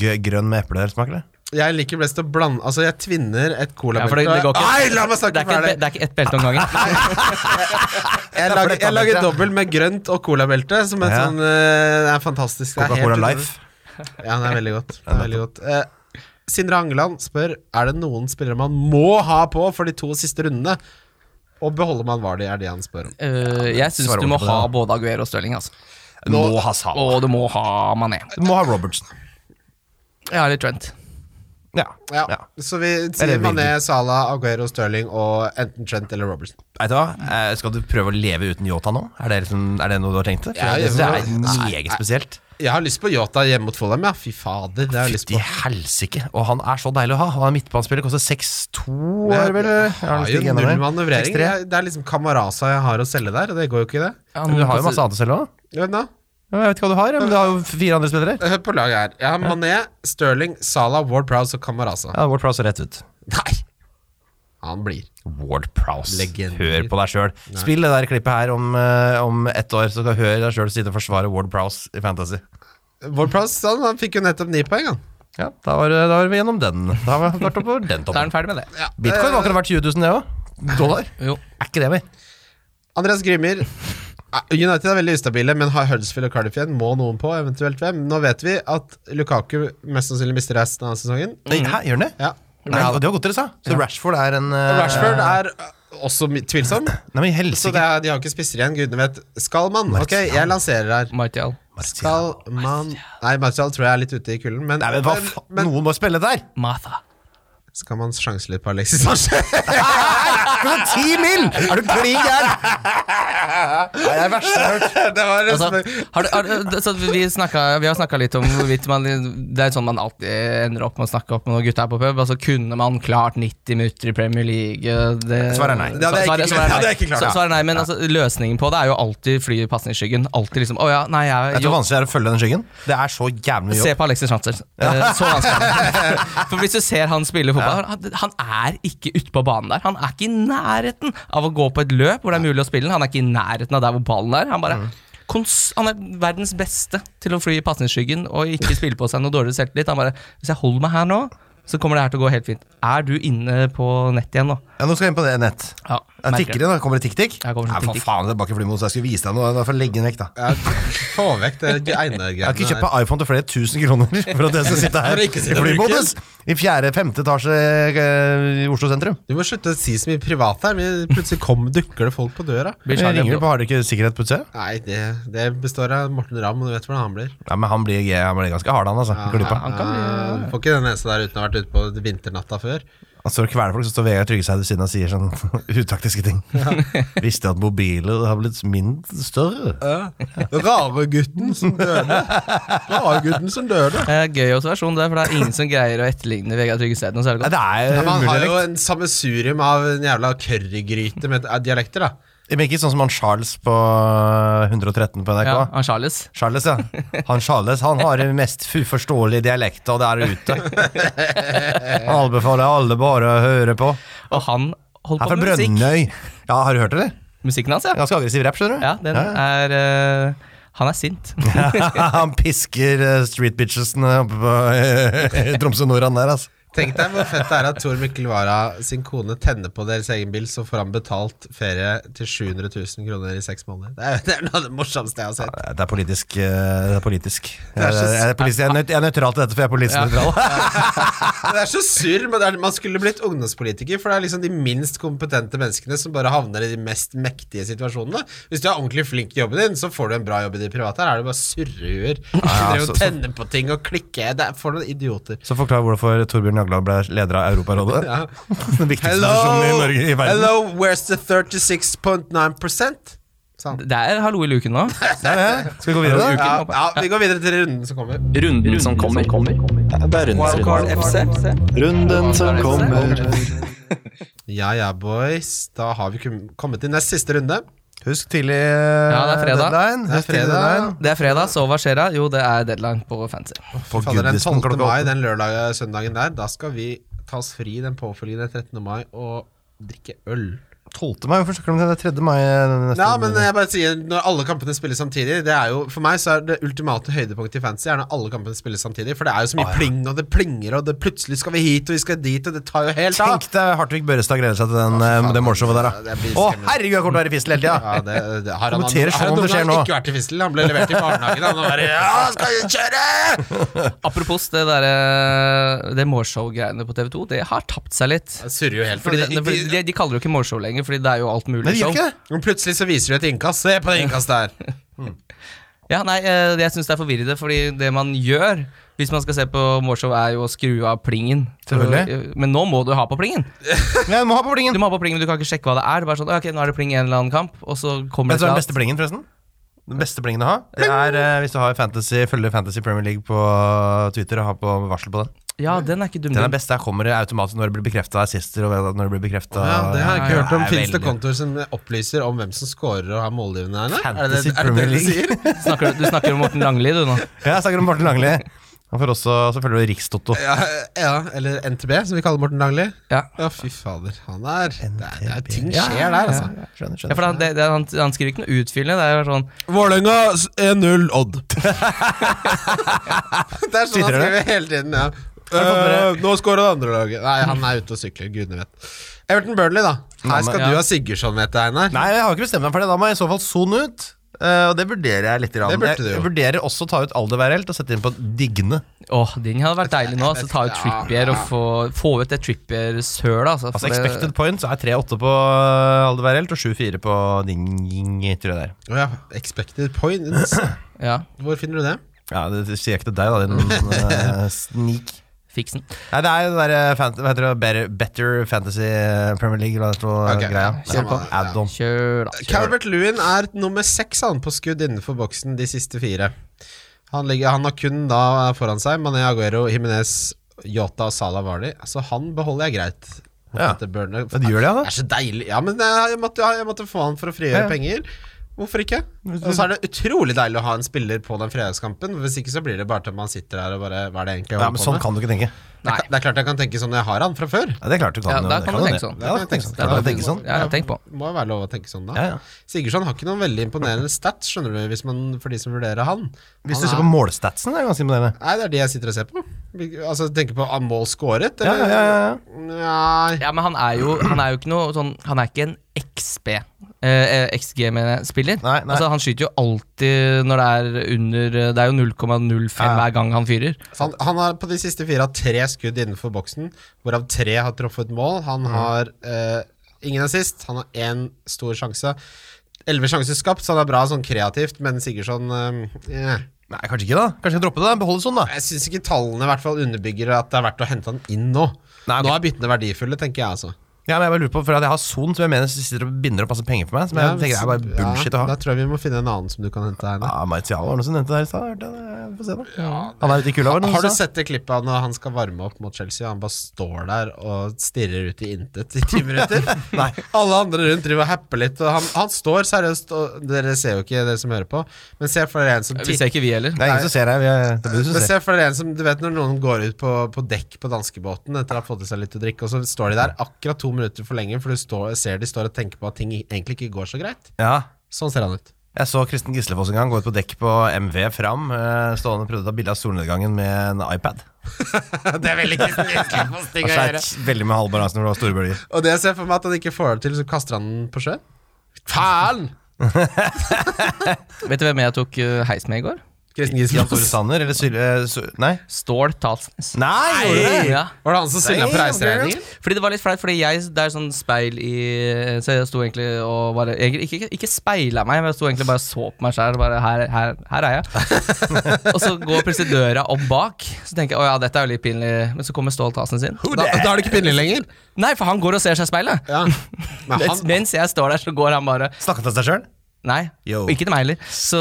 [SPEAKER 3] G grønn med eplesmak, eller?
[SPEAKER 2] Jeg liker best å blande Altså, jeg tvinner et
[SPEAKER 4] Ja, for det-
[SPEAKER 2] colabelte
[SPEAKER 4] det går ikke-
[SPEAKER 2] Nei, la meg
[SPEAKER 4] Det
[SPEAKER 2] snakke
[SPEAKER 4] er ikke,
[SPEAKER 2] ferdig!
[SPEAKER 4] et be- det er ikke ett belte om gangen.
[SPEAKER 2] Jeg
[SPEAKER 3] for
[SPEAKER 2] lager,
[SPEAKER 3] det
[SPEAKER 2] jeg
[SPEAKER 3] tar
[SPEAKER 2] lager
[SPEAKER 3] belte.
[SPEAKER 2] dobbel med grønt og colabelte. Som en
[SPEAKER 3] Ja.
[SPEAKER 2] sånn eh, Det er fantastisk. Det er helt
[SPEAKER 3] Coca-Cola
[SPEAKER 2] utrolig.
[SPEAKER 3] Life.
[SPEAKER 2] Ja, det er veldig godt. Det er veldig godt. Eh, Sindre Angeland spør Er det noen spillere man må ha på for de to siste rundene. Og beholder man Vardy, er det han spør om.
[SPEAKER 4] Eh, jeg syns
[SPEAKER 3] Svarer
[SPEAKER 4] du må
[SPEAKER 3] ordentlig på det, da.
[SPEAKER 4] ha både Aguero og Stirling. Altså.
[SPEAKER 3] Du må ha Salah.
[SPEAKER 4] Og du må ha Mané.
[SPEAKER 3] Du må ha Robertson.
[SPEAKER 4] Ja, eller Trent.
[SPEAKER 3] Ja.
[SPEAKER 2] Ja.
[SPEAKER 3] ja.
[SPEAKER 2] Så vi sier
[SPEAKER 3] Virgil.
[SPEAKER 2] Mané, Salah, Aguero, Stirling og enten Trent eller Robertson.
[SPEAKER 3] Vet du hva? Eh, Skal du prøve å leve uten Yota nå? Er det, liksom, er det noe du har tenkt til? For
[SPEAKER 2] Ja,
[SPEAKER 3] jeg synes
[SPEAKER 2] jeg-
[SPEAKER 3] det er meget spesielt.
[SPEAKER 2] Jeg har lyst på Yota hjemme mot Fulham, ja. Fy fader, det har jeg lyst
[SPEAKER 3] Fytti
[SPEAKER 2] på.
[SPEAKER 3] helsike. Og han er så deilig å ha. Han er midtbanespiller, koster 6-2, er det vel?
[SPEAKER 2] Jeg
[SPEAKER 3] Er han
[SPEAKER 2] har
[SPEAKER 3] stig
[SPEAKER 2] jo
[SPEAKER 3] gjennom
[SPEAKER 2] null
[SPEAKER 3] der?
[SPEAKER 2] manøvrering.
[SPEAKER 3] 6-3.
[SPEAKER 2] Jeg- Det er liksom Camarasa jeg har å selge der, og det går jo ikke, det.
[SPEAKER 3] Men Du har
[SPEAKER 4] altså-
[SPEAKER 3] jo masse annet å selge òg.
[SPEAKER 2] Vent da.
[SPEAKER 3] Jeg vet ikke hva du har, men du har jo fire andre spillere.
[SPEAKER 2] Eh, Hør på laget her. Jeg har Mané, Stirling, Salah, Ward Prowse og Camarasa.
[SPEAKER 3] Ja, Ward Prowse er rett ut.
[SPEAKER 2] Nei! Han blir.
[SPEAKER 3] Ward Prowse.
[SPEAKER 2] Legende.
[SPEAKER 3] Hør på deg sjøl. Spill det der klippet her om, eh, om ett år, så skal du høre deg sjøl sitte og forsvare Ward Prowse i Fantasy.
[SPEAKER 2] Ward Prowse han, han fikk jo nettopp ni poeng, han.
[SPEAKER 3] Ja, da var, da var vi gjennom den. Da har vi vært oppover den
[SPEAKER 4] Da er den
[SPEAKER 3] toppen.
[SPEAKER 4] ferdig med det.
[SPEAKER 3] Bitcoin har akkurat vært 20 000, det òg. Dollar.
[SPEAKER 4] Jo.
[SPEAKER 3] Er ikke det, vi?
[SPEAKER 2] Andreas Grimmer. eh, United er veldig ustabile, men har Huddersfield og Cardiff igjen. Må noen på, eventuelt hvem? Nå vet vi at Lukaku mest sannsynlig mister resten av sesongen.
[SPEAKER 3] Nei, Hæ, gjør den det?
[SPEAKER 2] Ja.
[SPEAKER 3] Nei, og det var godt dere sa. Så Rashford er en eh,
[SPEAKER 2] Rashford er eh, også mi- tvilsom.
[SPEAKER 3] Nei, men
[SPEAKER 2] Så
[SPEAKER 3] helsike.
[SPEAKER 2] det er, de har ikke spisser igjen, gudene vet. Skal man? Ok, jeg lanserer her.
[SPEAKER 4] Martial.
[SPEAKER 2] Skal man Nei, Martial tror jeg er litt ute i kulden, men,
[SPEAKER 3] Nei, men hva faen? Noen må spille der!
[SPEAKER 4] Martha.
[SPEAKER 2] skal man sjanse litt på Alexis Sanchez?
[SPEAKER 3] Ti mil! Er du klin gæren? Nei, det er verst jeg har hørt.
[SPEAKER 2] det var en sånn-
[SPEAKER 4] Altså, har du, har, du- så vi, snakka, vi har snakka litt om hvorvidt man Det er sånn man alltid ender opp med å snakke opp med noen gutta på pub. Altså, kunne man klart 90 minutter i Premier League? Det,
[SPEAKER 3] Svaret er nei.
[SPEAKER 2] Det hadde jeg ikke-
[SPEAKER 4] Svaret-
[SPEAKER 2] det
[SPEAKER 4] svaret er
[SPEAKER 2] hadde
[SPEAKER 4] nei.
[SPEAKER 2] jeg ikke klart.
[SPEAKER 4] Så- Svaret er nei, men altså, løsningen på det er jo alltid fly i pasningsskyggen. Alltid liksom Å ja, nei, jeg
[SPEAKER 3] Vet du
[SPEAKER 4] jo,
[SPEAKER 3] hvor vanskelig det er å følge den skyggen? Det er så jævlig mye
[SPEAKER 4] Se
[SPEAKER 3] jobb.
[SPEAKER 4] på Alexis Schantzer. Eh, Så vanskelig er det. For hvis du ser han spille fotball, han- han er ikke ute på banen der. Han er ikke i nærheten av å gå på et løp hvor det er mulig å spille den. Han er ikke i nærheten av der hvor ballen er. Han, bare,
[SPEAKER 3] Mm.
[SPEAKER 4] kons han er verdens beste til å fly i pasningsskyggen og ikke spille på seg noe dårligere selvtillit. Han bare Hvis jeg holder meg her nå, så kommer det her til å gå helt fint. Er du inne på nett igjen nå?
[SPEAKER 3] Ja, nå skal jeg inn på det nett.
[SPEAKER 4] Ja,
[SPEAKER 3] Ja,
[SPEAKER 4] merker
[SPEAKER 3] tikker det, da? Kommer det tikk-tikk?
[SPEAKER 4] Ja, kommer det
[SPEAKER 3] Nei, for
[SPEAKER 4] tikk-tikk.
[SPEAKER 3] faen, det er bak i flymodus. Jeg skulle vise deg noe. Da får jeg legge den vekk, da.
[SPEAKER 2] Ja, Få vekk det
[SPEAKER 3] Jeg har ikke kjøpt
[SPEAKER 2] Einar-greiene.
[SPEAKER 3] meg iPhone til flere tusen kroner for at jeg skal sitte
[SPEAKER 2] For
[SPEAKER 3] her
[SPEAKER 2] å ikke
[SPEAKER 3] i
[SPEAKER 2] sitte og bruke
[SPEAKER 3] flymodus! I fjerde-femte etasje eh, i Oslo sentrum.
[SPEAKER 2] Du må slutte å si så mye privat her, men plutselig kom, dukker det folk på døra.
[SPEAKER 4] Blir
[SPEAKER 3] Jeg
[SPEAKER 4] Charlie
[SPEAKER 3] ringer
[SPEAKER 4] Hebdo.
[SPEAKER 3] på, har dere ikke sikkerhet på utsida?
[SPEAKER 2] Nei, det, det består av Morten Ramm, og du vet hvordan han blir.
[SPEAKER 3] Nei, men han blir, han blir ganske hard, han, altså. Glippa.
[SPEAKER 4] han kan bli-
[SPEAKER 2] Ja, du Ah, får ikke den nesa der uten å ha vært ute på vinternatta før.
[SPEAKER 3] Han står og kveler folk, så står Vegard Tryggeseid ved siden av og sier sånn utaktiske ting. Visste at mobiler har blitt mindre større.
[SPEAKER 2] Raregutten som døde. Raregutten som døde.
[SPEAKER 4] Eh, Gøy observasjon der, for det er ingen som greier å etterligne Vegard Tryggeseid noe særlig
[SPEAKER 3] Nei,
[SPEAKER 4] godt.
[SPEAKER 3] det er jo
[SPEAKER 2] Man
[SPEAKER 3] umulig.
[SPEAKER 2] har jo
[SPEAKER 3] dialekt.
[SPEAKER 2] en sammensurium av en jævla currygryte med eh, dialekter, da.
[SPEAKER 3] Men ikke sånn som han Charles på eh, 113 på NRK.
[SPEAKER 4] Ja, han Charles.
[SPEAKER 3] Charles, ja. Han Charles han har den mest uforståelige dialekta der ute. Han anbefaler alle bare å høre på.
[SPEAKER 4] Og han holdt
[SPEAKER 3] Han er
[SPEAKER 4] på
[SPEAKER 3] fra
[SPEAKER 4] med musikk.
[SPEAKER 3] Brønnøy. Ja, har du hørt det? eller?
[SPEAKER 4] Musikken hans, ja.
[SPEAKER 3] Ganske aggressiv rapp, skjønner du.
[SPEAKER 4] Ja, den er eh, Han er sint.
[SPEAKER 3] han pisker eh, street bitchesene oppe på eh, Tromsø Nordland der, altså.
[SPEAKER 2] Tenk deg hvor fett det er at Tor Mikkel Wara sin kone tenner på deres egen bil, så får han betalt ferie til 700 000 kroner i seks måneder. Det er, det er noe av det morsomste jeg har sett.
[SPEAKER 3] Det er politisk. eh, Det er politisk.
[SPEAKER 2] er
[SPEAKER 3] Jeg,
[SPEAKER 2] så-
[SPEAKER 3] jeg, er politisk. jeg, er nøyt- jeg er nøytral til dette, for jeg er politisk
[SPEAKER 4] Ja.
[SPEAKER 3] nøytral.
[SPEAKER 2] Men Det er så surr, men det er, man skulle blitt ungdomspolitiker, for det er liksom de minst kompetente menneskene som bare havner i de mest mektige situasjonene. Hvis du er ordentlig flink i jobben din, så får du en bra jobb i det private. Her er det bare surrehuer. som driver
[SPEAKER 3] så-
[SPEAKER 2] og tenner på ting og klikker. Det er for noen idioter.
[SPEAKER 3] Så forklar hvorfor Torbjørn Jagland ble leder av Europarådet.
[SPEAKER 2] Ja.
[SPEAKER 3] Den viktigste
[SPEAKER 2] Hello,
[SPEAKER 3] posisjonen i Norge i verden.
[SPEAKER 2] hello, where's the 36.9 Sa han.
[SPEAKER 4] Det er hallo i luken nå.
[SPEAKER 3] Det er det. Skal vi gå videre, da?
[SPEAKER 2] Ja, ja, vi går videre til runden som kommer.
[SPEAKER 5] Runden som kommer.
[SPEAKER 1] Wildcard FC.
[SPEAKER 5] Runden som kommer.
[SPEAKER 2] Ja ja, boys. Da har vi kum- kommet til nest siste runde.
[SPEAKER 3] Husk tidlig eh,
[SPEAKER 4] Ja, det er fredag.
[SPEAKER 3] deadline.
[SPEAKER 2] Det er
[SPEAKER 3] Husk tidlig
[SPEAKER 2] fredag.
[SPEAKER 3] deadline.
[SPEAKER 4] Det er fredag, så hva skjer da? Jo, det er deadline på fancy.
[SPEAKER 3] På
[SPEAKER 2] Fader, den
[SPEAKER 3] Goodison
[SPEAKER 2] 12.
[SPEAKER 3] klokka
[SPEAKER 2] mai,
[SPEAKER 3] åtte.
[SPEAKER 2] den lørdag, søndagen der, da skal vi ta oss fri den påfølgende 13. mai og drikke øl.
[SPEAKER 3] 12. mai? Hvorfor snakker du om det? Det er 3. mai eh, neste
[SPEAKER 2] Ja, men jeg bare sier Når alle kampene spilles samtidig Det er jo For meg så er det ultimate høydepunktet i fantasy Er når alle kampene spilles samtidig For det er jo så mye pling Og det plinger Og det plutselig skal vi hit Og vi skal dit Og det tar jo helt av
[SPEAKER 3] Tenk deg Hartvig Børrestad gleder seg til den, eh, det målshowet der, da.
[SPEAKER 2] Det blir
[SPEAKER 3] Å,
[SPEAKER 2] skremmende.
[SPEAKER 3] herregud, jeg kommer til å være i fistel hele tida!
[SPEAKER 2] ja, det, det har han,
[SPEAKER 3] Kommenterer
[SPEAKER 2] har han
[SPEAKER 3] sånn det
[SPEAKER 2] noen
[SPEAKER 3] skjer
[SPEAKER 2] gang
[SPEAKER 3] nå.
[SPEAKER 2] ikke vært i fistel Han ble levert i barnehagen Han var bare Ja, skal vi kjøre
[SPEAKER 4] Apropos det derre Det moreshow-greiene på TV2, det har tapt seg litt.
[SPEAKER 2] Det surrer jo helt
[SPEAKER 4] Fordi
[SPEAKER 2] Fordi
[SPEAKER 4] det,
[SPEAKER 2] de,
[SPEAKER 4] fordi de, de kaller det jo ikke moreshow lenger, fordi det er jo alt mulig
[SPEAKER 3] Men de
[SPEAKER 4] show.
[SPEAKER 3] gjør ikke det!
[SPEAKER 2] Men plutselig så viser du et innkast Se på det innkastet der
[SPEAKER 4] Ja, nei, eh, Jeg syns det er forvirrende, fordi det man gjør hvis man skal se på moreshow, er jo å skru av plingen. eh,
[SPEAKER 3] Selvfølgelig.
[SPEAKER 4] Men nå må du ha på plingen.
[SPEAKER 3] Jeg må ha på
[SPEAKER 4] Du
[SPEAKER 3] blingen!
[SPEAKER 4] må ha på plingen, men du kan ikke sjekke hva det er. Det er bare sånn, ok, nå er det pling i en eller annen kamp, og så kommer
[SPEAKER 3] Vet du
[SPEAKER 4] det
[SPEAKER 3] hva er den
[SPEAKER 4] et eller
[SPEAKER 3] beste blingen, forresten? Den beste blingen å ha, det er eh, hvis du har fantasy, følger Fantasy Premier League på Twitter og har på varsel på den.
[SPEAKER 4] annet. Ja, den er ikke dum.
[SPEAKER 3] Den er
[SPEAKER 4] dum.
[SPEAKER 3] best. Der kommer det automatisk når det blir bekrefta assister, og når det blir bekrefta
[SPEAKER 2] Ja, det har jeg ikke hørt om
[SPEAKER 3] Nei,
[SPEAKER 2] Finnes det
[SPEAKER 3] veldig.
[SPEAKER 2] kontor som opplyser Om hvem som scorer Og har målgivende her nå? Er det
[SPEAKER 3] Fantasy
[SPEAKER 2] er det det
[SPEAKER 3] Premier
[SPEAKER 2] du
[SPEAKER 3] League.
[SPEAKER 2] sier?
[SPEAKER 4] Snakker, du- du snakker om Morten Langli, du nå.
[SPEAKER 3] Ja, jeg snakker om Morten Langli. Han får også selvfølgelig Rikstoto.
[SPEAKER 2] Ja, ja, eller NTB som vi kaller Morten Dagli
[SPEAKER 4] Ja.
[SPEAKER 2] Ja, fy fader. Han er Det er, det er ting
[SPEAKER 3] Ja,
[SPEAKER 2] skjer der, altså.
[SPEAKER 3] Ja, skjønner,
[SPEAKER 4] Ja, for
[SPEAKER 3] skjønner.
[SPEAKER 4] han, det, det, han, han skriver ikke noe utfyllende. Det er jo sånn
[SPEAKER 2] Vålerenga 1-0 Odd. det er sånn han
[SPEAKER 3] Twitter det?
[SPEAKER 2] skriver hele tiden, ja.
[SPEAKER 3] dere-
[SPEAKER 2] Eh, nå scorer det andre laget. Nei, han er ute og sykler. Gudene vet. Everton Burnley, da.
[SPEAKER 3] Nei,
[SPEAKER 2] Her
[SPEAKER 3] men-
[SPEAKER 2] skal
[SPEAKER 4] ja.
[SPEAKER 2] du ha Sigurdsson, vet jeg, Einar.
[SPEAKER 3] Nei, jeg har ikke bestemt meg for det. Da må jeg i så fall sone ut. Eh, og det vurderer jeg litt. Grann.
[SPEAKER 2] Det burde
[SPEAKER 3] jeg,
[SPEAKER 2] du jo.
[SPEAKER 3] jeg vurderer også å ta ut Aldeberg helt og sette inn på Digne.
[SPEAKER 4] Åh, den hadde vært deilig nå. Altså, ta ut Trippier og få, få ut det Trippier-sølet. Altså,
[SPEAKER 3] Altså
[SPEAKER 4] for det-
[SPEAKER 3] Expected points er 3-8 på Aldeberg helt og 7-4 på Ding, tror jeg det er.
[SPEAKER 2] Å ja. Expected points.
[SPEAKER 4] Ja,
[SPEAKER 2] Hvor finner du det?
[SPEAKER 3] Ja, det, det sier jeg ikke til deg, da, din eh, sneak.
[SPEAKER 4] fiksen.
[SPEAKER 3] Nei, det er jo det derre fan- hva heter det, better, better Fantasy eh, Premier League eller noe
[SPEAKER 2] Ok,
[SPEAKER 3] greia.
[SPEAKER 2] kjør på.
[SPEAKER 3] Add-on.
[SPEAKER 4] Kjør, da. Kjør.
[SPEAKER 2] Calvert Lewin er nummer seks han, på skudd innenfor boksen de siste fire. Han, ligger, han har kun da foran seg Mané Aguero, Jimenez, Yota og Salah Vardy. Så han beholder jeg greit.
[SPEAKER 3] Ja.
[SPEAKER 2] Dette Burnley-
[SPEAKER 3] Ja, du gjør det, ja, da.
[SPEAKER 2] Det er så deilig. Ja, men eh, jeg måtte, jeg måtte få han for å frigjøre
[SPEAKER 3] Ja, ja.
[SPEAKER 2] penger. Hvorfor ikke? Og så er det utrolig deilig å ha en spiller på den fredagskampen. Hvis ikke så blir det bare til man sitter her og bare Hva er det egentlig jeg
[SPEAKER 3] Ja,
[SPEAKER 2] holder
[SPEAKER 3] men
[SPEAKER 2] på
[SPEAKER 3] sånn
[SPEAKER 2] med?
[SPEAKER 3] kan du ikke tenke.
[SPEAKER 4] Nei.
[SPEAKER 2] Det er klart jeg kan tenke sånn når jeg har han fra før.
[SPEAKER 3] Ja, det er klart du kan.
[SPEAKER 4] Ja,
[SPEAKER 3] jo,
[SPEAKER 4] da
[SPEAKER 3] det
[SPEAKER 4] kan du
[SPEAKER 3] det.
[SPEAKER 4] tenke sånn.
[SPEAKER 3] Ja, da kan du tenke sånn. Ja, da kan du tenke sånn.
[SPEAKER 4] Ja, jeg tenker på.
[SPEAKER 2] Må jo være lov å tenke sånn, da.
[SPEAKER 3] Ja, ja.
[SPEAKER 2] Sigurdsson har ikke noen veldig imponerende stats, skjønner du, hvis man, for de som vurderer han.
[SPEAKER 3] Hvis du
[SPEAKER 2] han
[SPEAKER 3] ser på målstatsen, det er ganske imponerende.
[SPEAKER 2] Nei, det er de jeg sitter og ser på. Hvilke- Altså, Tenker på ah, mål scoret,
[SPEAKER 3] Ja, ja,
[SPEAKER 2] eller?
[SPEAKER 3] ja, ja.
[SPEAKER 2] Nei
[SPEAKER 4] Ja, men han er jo, han er jo ikke noe sånn Han er ikke en XB. Eh, XG-spiller.
[SPEAKER 3] Nei, nei.
[SPEAKER 4] Altså, han skyter jo alltid når det er under eh, Det er jo 0,05
[SPEAKER 3] Ja.
[SPEAKER 4] hver gang han fyrer.
[SPEAKER 2] Så han, han har på de siste fire hatt tre skudd innenfor boksen, hvorav tre har truffet mål.
[SPEAKER 3] Mm.
[SPEAKER 2] Han har eh, ingen assist, han har én stor sjanse. Elleve sjanser skapt, så han er bra sånn kreativt, men Sigurdsson eh, eh.
[SPEAKER 3] Nei, kanskje ikke, da. Kanskje jeg dropper det. da Beholde sånn, da.
[SPEAKER 2] Jeg syns ikke tallene i hvert fall underbygger at det er verdt å hente han inn nå.
[SPEAKER 3] Nei, ok.
[SPEAKER 2] Nå er byttene verdifulle, tenker jeg altså.
[SPEAKER 3] Ja, men Jeg bare lurer på, for at jeg har Son, som jeg mener sitter og binder opp masse penger for meg. Som jeg tenker er bare bullshit å
[SPEAKER 2] Ja,
[SPEAKER 3] ha.
[SPEAKER 2] da tror jeg vi må finne en annen som du kan hente her.
[SPEAKER 3] Ja,
[SPEAKER 2] nå.
[SPEAKER 3] Martial var det noen som nevnte det her i stad. hørte jeg det? Jeg får se, da. Han er ute i kulda, var det
[SPEAKER 2] Har
[SPEAKER 3] noen
[SPEAKER 2] du
[SPEAKER 3] som sa?
[SPEAKER 2] sett det klippet av når han skal varme opp mot Chelsea, og han bare står der og stirrer ut i intet i ti minutter?
[SPEAKER 3] Nei.
[SPEAKER 2] Alle andre rundt driver og happer litt, og han, han står seriøst og Dere ser jo ikke, dere som hører på, men se for dere en som
[SPEAKER 4] Vi ser
[SPEAKER 2] titter.
[SPEAKER 4] ikke vi heller.
[SPEAKER 3] Det er ingen som ser deg. vi er- Det blir du som
[SPEAKER 2] Men
[SPEAKER 3] ser.
[SPEAKER 2] se for dere en som, du vet Når noen går ut på, på dekk på danskebåten etter å ha fått i seg litt å drikke, og så står de der akkurat to minutter for lenge, for du står, ser de står og tenker på at ting egentlig ikke går så greit.
[SPEAKER 3] Ja.
[SPEAKER 2] Sånn ser han ut.
[SPEAKER 3] Jeg så Kristen Gislefoss en gang gå ut på dekk på MV Fram. eh, Stående og prøvde å ta bilde av solnedgangen med en iPad.
[SPEAKER 2] det er veldig
[SPEAKER 3] Han sleit veldig med halvbalansen når det var store bølger.
[SPEAKER 2] Og det jeg ser for meg at han ikke får det til, så kaster han den på sjøen. Faen!
[SPEAKER 4] Vet du hvem jeg tok eh, heis med i går?
[SPEAKER 2] Kristen
[SPEAKER 3] Jan Tore
[SPEAKER 2] Gislefoss.
[SPEAKER 3] Sanner eller Sylve Sy- Nei.
[SPEAKER 4] Stål Talsnes.
[SPEAKER 3] Nei! gjorde du det?
[SPEAKER 4] Ja.
[SPEAKER 2] Var det han som synda på
[SPEAKER 3] Damn,
[SPEAKER 2] reiseregningen?
[SPEAKER 4] Fordi det var litt flaut, fordi jeg, det er sånn speil i eh, Så jeg sto egentlig og bare egentlig, ikke, ikke speila meg, men jeg sto egentlig bare og så på meg sjæl. Bare her, her, her er jeg. og så går plutselig døra opp bak. Så tenker jeg å ja, dette er jo litt pinlig. Men så kommer Stål Tasen sin.
[SPEAKER 2] Da, da er det ikke pinlig lenger.
[SPEAKER 4] Nei, for han går og ser seg i speilet.
[SPEAKER 2] Ja. Men
[SPEAKER 4] Mens-
[SPEAKER 2] han,
[SPEAKER 4] Mens jeg står der, så går han bare
[SPEAKER 3] Snakket han til seg sjøl?
[SPEAKER 4] Nei,
[SPEAKER 3] Yo.
[SPEAKER 4] ikke til meg heller. Så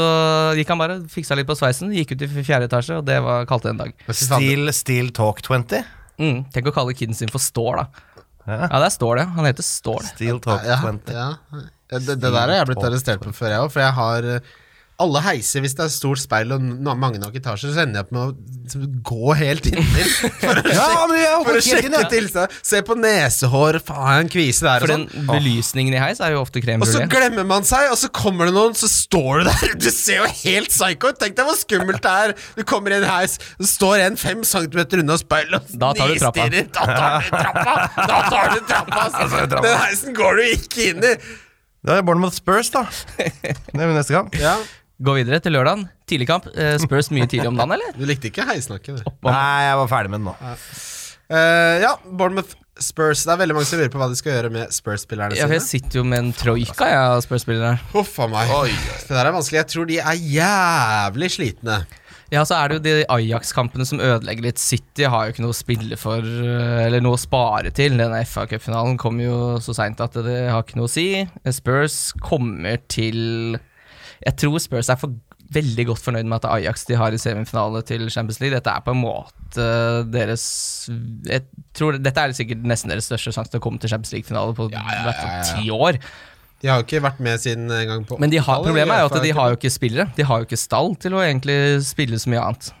[SPEAKER 4] gikk han bare, fiksa litt på sveisen, gikk ut i fjerde etasje, og det var kalte en dag.
[SPEAKER 3] Steel, Steel Talk 20.
[SPEAKER 4] Mm, tenk å kalle kiden sin for Stål, da.
[SPEAKER 3] Ja.
[SPEAKER 4] Ja, det er Stål, ja. Han heter Stål.
[SPEAKER 3] Steel Talk
[SPEAKER 2] ja,
[SPEAKER 3] 20.
[SPEAKER 2] ja. Det, det der har jeg blitt arrestert på før, jeg òg. For jeg har eh, alle heiser hvis det er stort speil og n- mange nok etasjer, så ender jeg opp med å gå helt inni for å
[SPEAKER 3] Ja,
[SPEAKER 2] sjekke,
[SPEAKER 3] men jeg
[SPEAKER 2] for å
[SPEAKER 3] holdt helt inn,
[SPEAKER 2] sjekke
[SPEAKER 3] ja.
[SPEAKER 2] tilstand. Se på nesehår, faen, en kvise der
[SPEAKER 4] For
[SPEAKER 2] og
[SPEAKER 4] den
[SPEAKER 2] sånn.
[SPEAKER 4] belysningen i heis er jo ofte
[SPEAKER 2] Og så
[SPEAKER 4] krembrulé.
[SPEAKER 2] glemmer man seg, og så kommer det noen, så står du der. Du ser jo helt psycho ut! Tenk deg hvor skummelt det er. Du kommer i en heis, det står en fem centimeter unna speilet og
[SPEAKER 4] Da tar du trappa.
[SPEAKER 2] nistirrer. Da tar du trappa! Da tar du trappa! altså.
[SPEAKER 3] tar du trappa.
[SPEAKER 2] Den heisen går du ikke inn i.
[SPEAKER 3] Da er det Bournemouth Spurs, da. Det er jo neste gang.
[SPEAKER 4] Gå videre til lørdagen. Tidligkamp. Eh, Spurs mye tidlig om dagen, eller?
[SPEAKER 2] Du likte ikke heisnakket, du.
[SPEAKER 3] Nei, jeg var ferdig med den nå.
[SPEAKER 2] Eh, ja, Bournemouth Spurs. Det er veldig mange som lurer på hva de skal gjøre med Spurs-spillerne
[SPEAKER 4] Ja, for jeg
[SPEAKER 2] sine.
[SPEAKER 4] sitter jo med en troika, jeg, av Spurs-spillere.
[SPEAKER 2] Huff a meg. Det der er vanskelig. Jeg tror de er jævlig slitne.
[SPEAKER 4] Ja, så er det jo de Ajax-kampene som ødelegger litt. City har jo ikke noe å spille for, eh, eller noe å spare til. Denne FA-cupfinalen kom jo så seint at det har ikke noe å si. Spurs kommer til Jeg tror Spurs er for veldig godt fornøyd med at det er Ajax de har i semifinale til Champions League. Dette er på en måte deres jeg tror, Dette er sikkert nesten deres største sjanse til å komme til Champions League-finale på i hvert fall ti år.
[SPEAKER 2] De har jo ikke vært med siden en gang på
[SPEAKER 4] Men de har,
[SPEAKER 2] 80-tallet,
[SPEAKER 4] problemet er
[SPEAKER 2] i
[SPEAKER 4] jo at de
[SPEAKER 2] hvert
[SPEAKER 4] har
[SPEAKER 2] fall
[SPEAKER 4] jo ikke spillere. De har jo ikke stall til å egentlig spille så mye annet.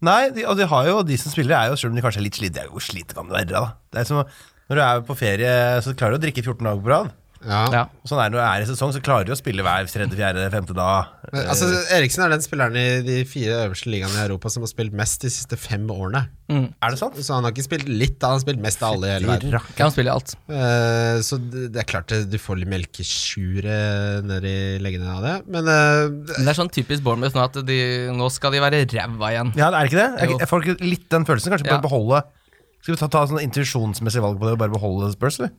[SPEAKER 3] Nei, de, og de har jo de som spiller, er jo selv om de kanskje er litt slitne. de er jo- Hvor slite kan du være, da? Det er som å- når du er på ferie, så klarer du å drikke 14 dager på rad.
[SPEAKER 2] Ja.
[SPEAKER 4] Ja.
[SPEAKER 3] Og Sånn er det når du er i sesong, så klarer du å spille hver tredje, fjerde, femte dag.
[SPEAKER 2] Men, altså, Eriksen er den spilleren i de fire øverste ligaene i Europa som har spilt mest de siste fem årene.
[SPEAKER 3] Er det sånn? sant?
[SPEAKER 2] Så han har ikke spilt litt, han har spilt mest av alle i hele verden.
[SPEAKER 3] Rakk.
[SPEAKER 4] Ja, han spiller alt.
[SPEAKER 2] Eh, så det det er klart det- du får litt melkesjure nedi leggene av det, men eh,
[SPEAKER 4] Men Det er sånn typisk Bournemouth nå at de, nå skal de være ræva igjen.
[SPEAKER 3] Ja, er det ikke det? Er
[SPEAKER 4] Jo.
[SPEAKER 3] ikke- Jeg får ikke litt den følelsen. Kanskje
[SPEAKER 4] Ja.
[SPEAKER 3] bare beholde Skal vi ta, ta sånn intuisjonsmessig valg på det og bare beholde Spurs, eller?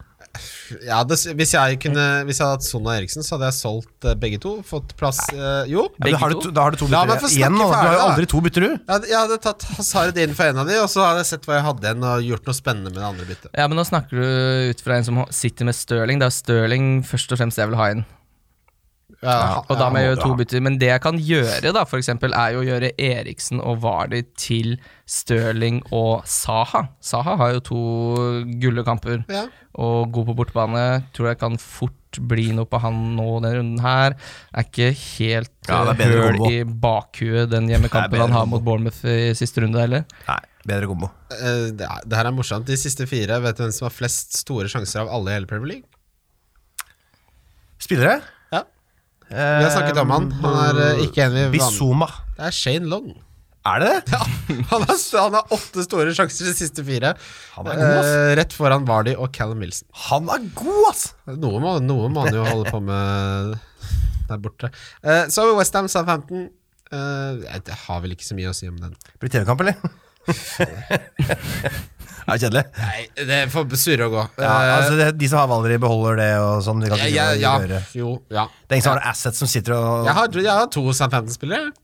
[SPEAKER 2] ja, det, hvis, jeg kunne, hvis jeg hadde hatt Son og Eriksen, så hadde jeg solgt eh, begge to. Fått plass eh, Jo.
[SPEAKER 3] Ja, men da har du
[SPEAKER 4] to?
[SPEAKER 3] to- da har du to
[SPEAKER 2] La
[SPEAKER 3] bytter
[SPEAKER 2] meg få snakke
[SPEAKER 3] igjen. nå. Du har jo
[SPEAKER 2] ferdig, da.
[SPEAKER 3] aldri to bytter, du.
[SPEAKER 2] Jeg hadde, jeg hadde tatt Hazard inn for en av de, og så hadde jeg sett hva jeg hadde igjen, og gjort noe spennende med det andre byttet.
[SPEAKER 4] Ja, men nå snakker du ut fra en som sitter med Stirling. Det er Stirling først og fremst jeg vil ha inn.
[SPEAKER 2] Ja,
[SPEAKER 4] Og da må
[SPEAKER 3] må
[SPEAKER 4] jeg gjøre
[SPEAKER 3] du
[SPEAKER 4] to
[SPEAKER 3] ha.
[SPEAKER 4] bytter. Men det jeg kan gjøre, da, for eksempel, er jo å gjøre Eriksen og Vardy til Stirling og Saha. Saha har jo to gullekamper
[SPEAKER 2] ja.
[SPEAKER 4] og god på bortebane. Tror jeg kan fort bli noe på han nå denne runden her. Er ikke helt
[SPEAKER 3] Ja, det er
[SPEAKER 4] eh,
[SPEAKER 3] bedre
[SPEAKER 4] høl
[SPEAKER 3] kombo.
[SPEAKER 4] i bakhuet den hjemmekampen
[SPEAKER 3] bedre
[SPEAKER 4] han har mot
[SPEAKER 3] kombo.
[SPEAKER 4] Bournemouth i siste runde, heller.
[SPEAKER 3] Nei, bedre kombo.
[SPEAKER 2] Eh, det, er, det her er morsomt. De siste fire, vet du hvem som har flest store sjanser av alle i hele Premier League?
[SPEAKER 3] Spillere?
[SPEAKER 2] Ja. Vi har snakket om han. Han er eh, ikke en vi vanlig
[SPEAKER 3] Bizuma.
[SPEAKER 2] Det er Shane Long.
[SPEAKER 3] Er det det?
[SPEAKER 2] Ja, han, har, han har åtte store sjanser de siste fire.
[SPEAKER 3] Han er god, ass.
[SPEAKER 2] Eh, rett foran Vardy og Callum Wilson.
[SPEAKER 3] Han er god, ass!
[SPEAKER 2] Noe må, noe må han jo holde på med eh, der borte. Eh, så har vi Westham Southampton. Uh, jeg har vel ikke så mye å si om den.
[SPEAKER 3] Blir det TV-kamp, eller? det er kjedelig.
[SPEAKER 2] Nei, det får surre og gå.
[SPEAKER 3] Ja, altså det, de som har Valerie, beholder det og sånn. Vi kan ikke
[SPEAKER 2] Eh, ja, ja,
[SPEAKER 3] gjøre det.
[SPEAKER 2] jo, ja.
[SPEAKER 3] Det er ingen som har noen assets som sitter og
[SPEAKER 2] Jeg har, jeg har to Southampton-spillere.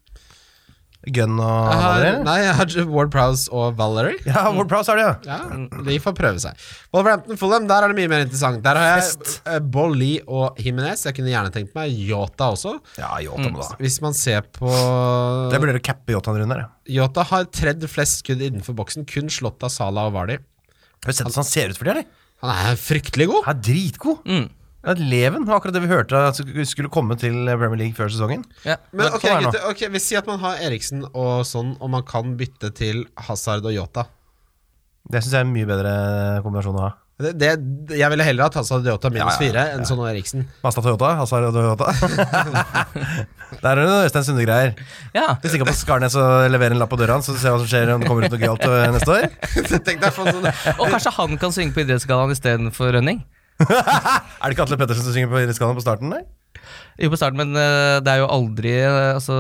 [SPEAKER 3] gun og
[SPEAKER 2] Jeg har,
[SPEAKER 3] Valerie?
[SPEAKER 2] nei, jeg har Ward Prowse og Valerie.
[SPEAKER 3] Ja, Ward Prowse har det, ja.
[SPEAKER 2] Ja, de får prøve seg. Wolverhampton Fulham, der er det mye mer interessant. Der har jeg eh, Bolli og Jimenez. Jeg kunne gjerne tenkt meg Yota også.
[SPEAKER 3] Ja, Yota
[SPEAKER 2] Mm.
[SPEAKER 3] må da.
[SPEAKER 2] Hvis man ser på
[SPEAKER 3] Det burde du cappe Yota en runde her. ja.
[SPEAKER 2] Yota har tredd flest skudd innenfor boksen, kun slått av Salah og Vardi.
[SPEAKER 3] Har du sett hvordan han ser ut for tida, eller?
[SPEAKER 2] Han er fryktelig god.
[SPEAKER 3] Han er dritgod.
[SPEAKER 4] Mm,
[SPEAKER 3] Det er et leven. Det var akkurat det vi hørte at skulle komme til Premier League før sesongen.
[SPEAKER 4] Ja.
[SPEAKER 2] Men
[SPEAKER 3] Men
[SPEAKER 2] ok,
[SPEAKER 3] sånn er det nå.
[SPEAKER 2] gutter, ok, Vi sier at man har Eriksen og sånn, og man kan bytte til Hazard og Yota.
[SPEAKER 3] Det syns jeg er en mye bedre kombinasjon å ha.
[SPEAKER 2] Det, det, jeg ville heller hatt Hazard og Yota minus
[SPEAKER 3] Ja, ja,
[SPEAKER 2] fire enn sånn og Eriksen.
[SPEAKER 3] Mazda Toyota, Hazard og Toyota. Der er det noe Øystein Sunde-greier.
[SPEAKER 4] Ja.
[SPEAKER 3] Hvis ikke på Skarnes og leverer en lapp på døra, så ser vi hva som skjer om det kommer ut noe galt øh, neste år.
[SPEAKER 2] Tenk deg å få en sånn
[SPEAKER 4] Og kanskje han kan synge på Idrettsgallaen istedenfor Rønning?
[SPEAKER 3] Er det ikke Atle Pettersen som synger på Idrettsgallaen på starten, nei?
[SPEAKER 4] Jo, på starten, men eh, det er jo aldri eh, altså,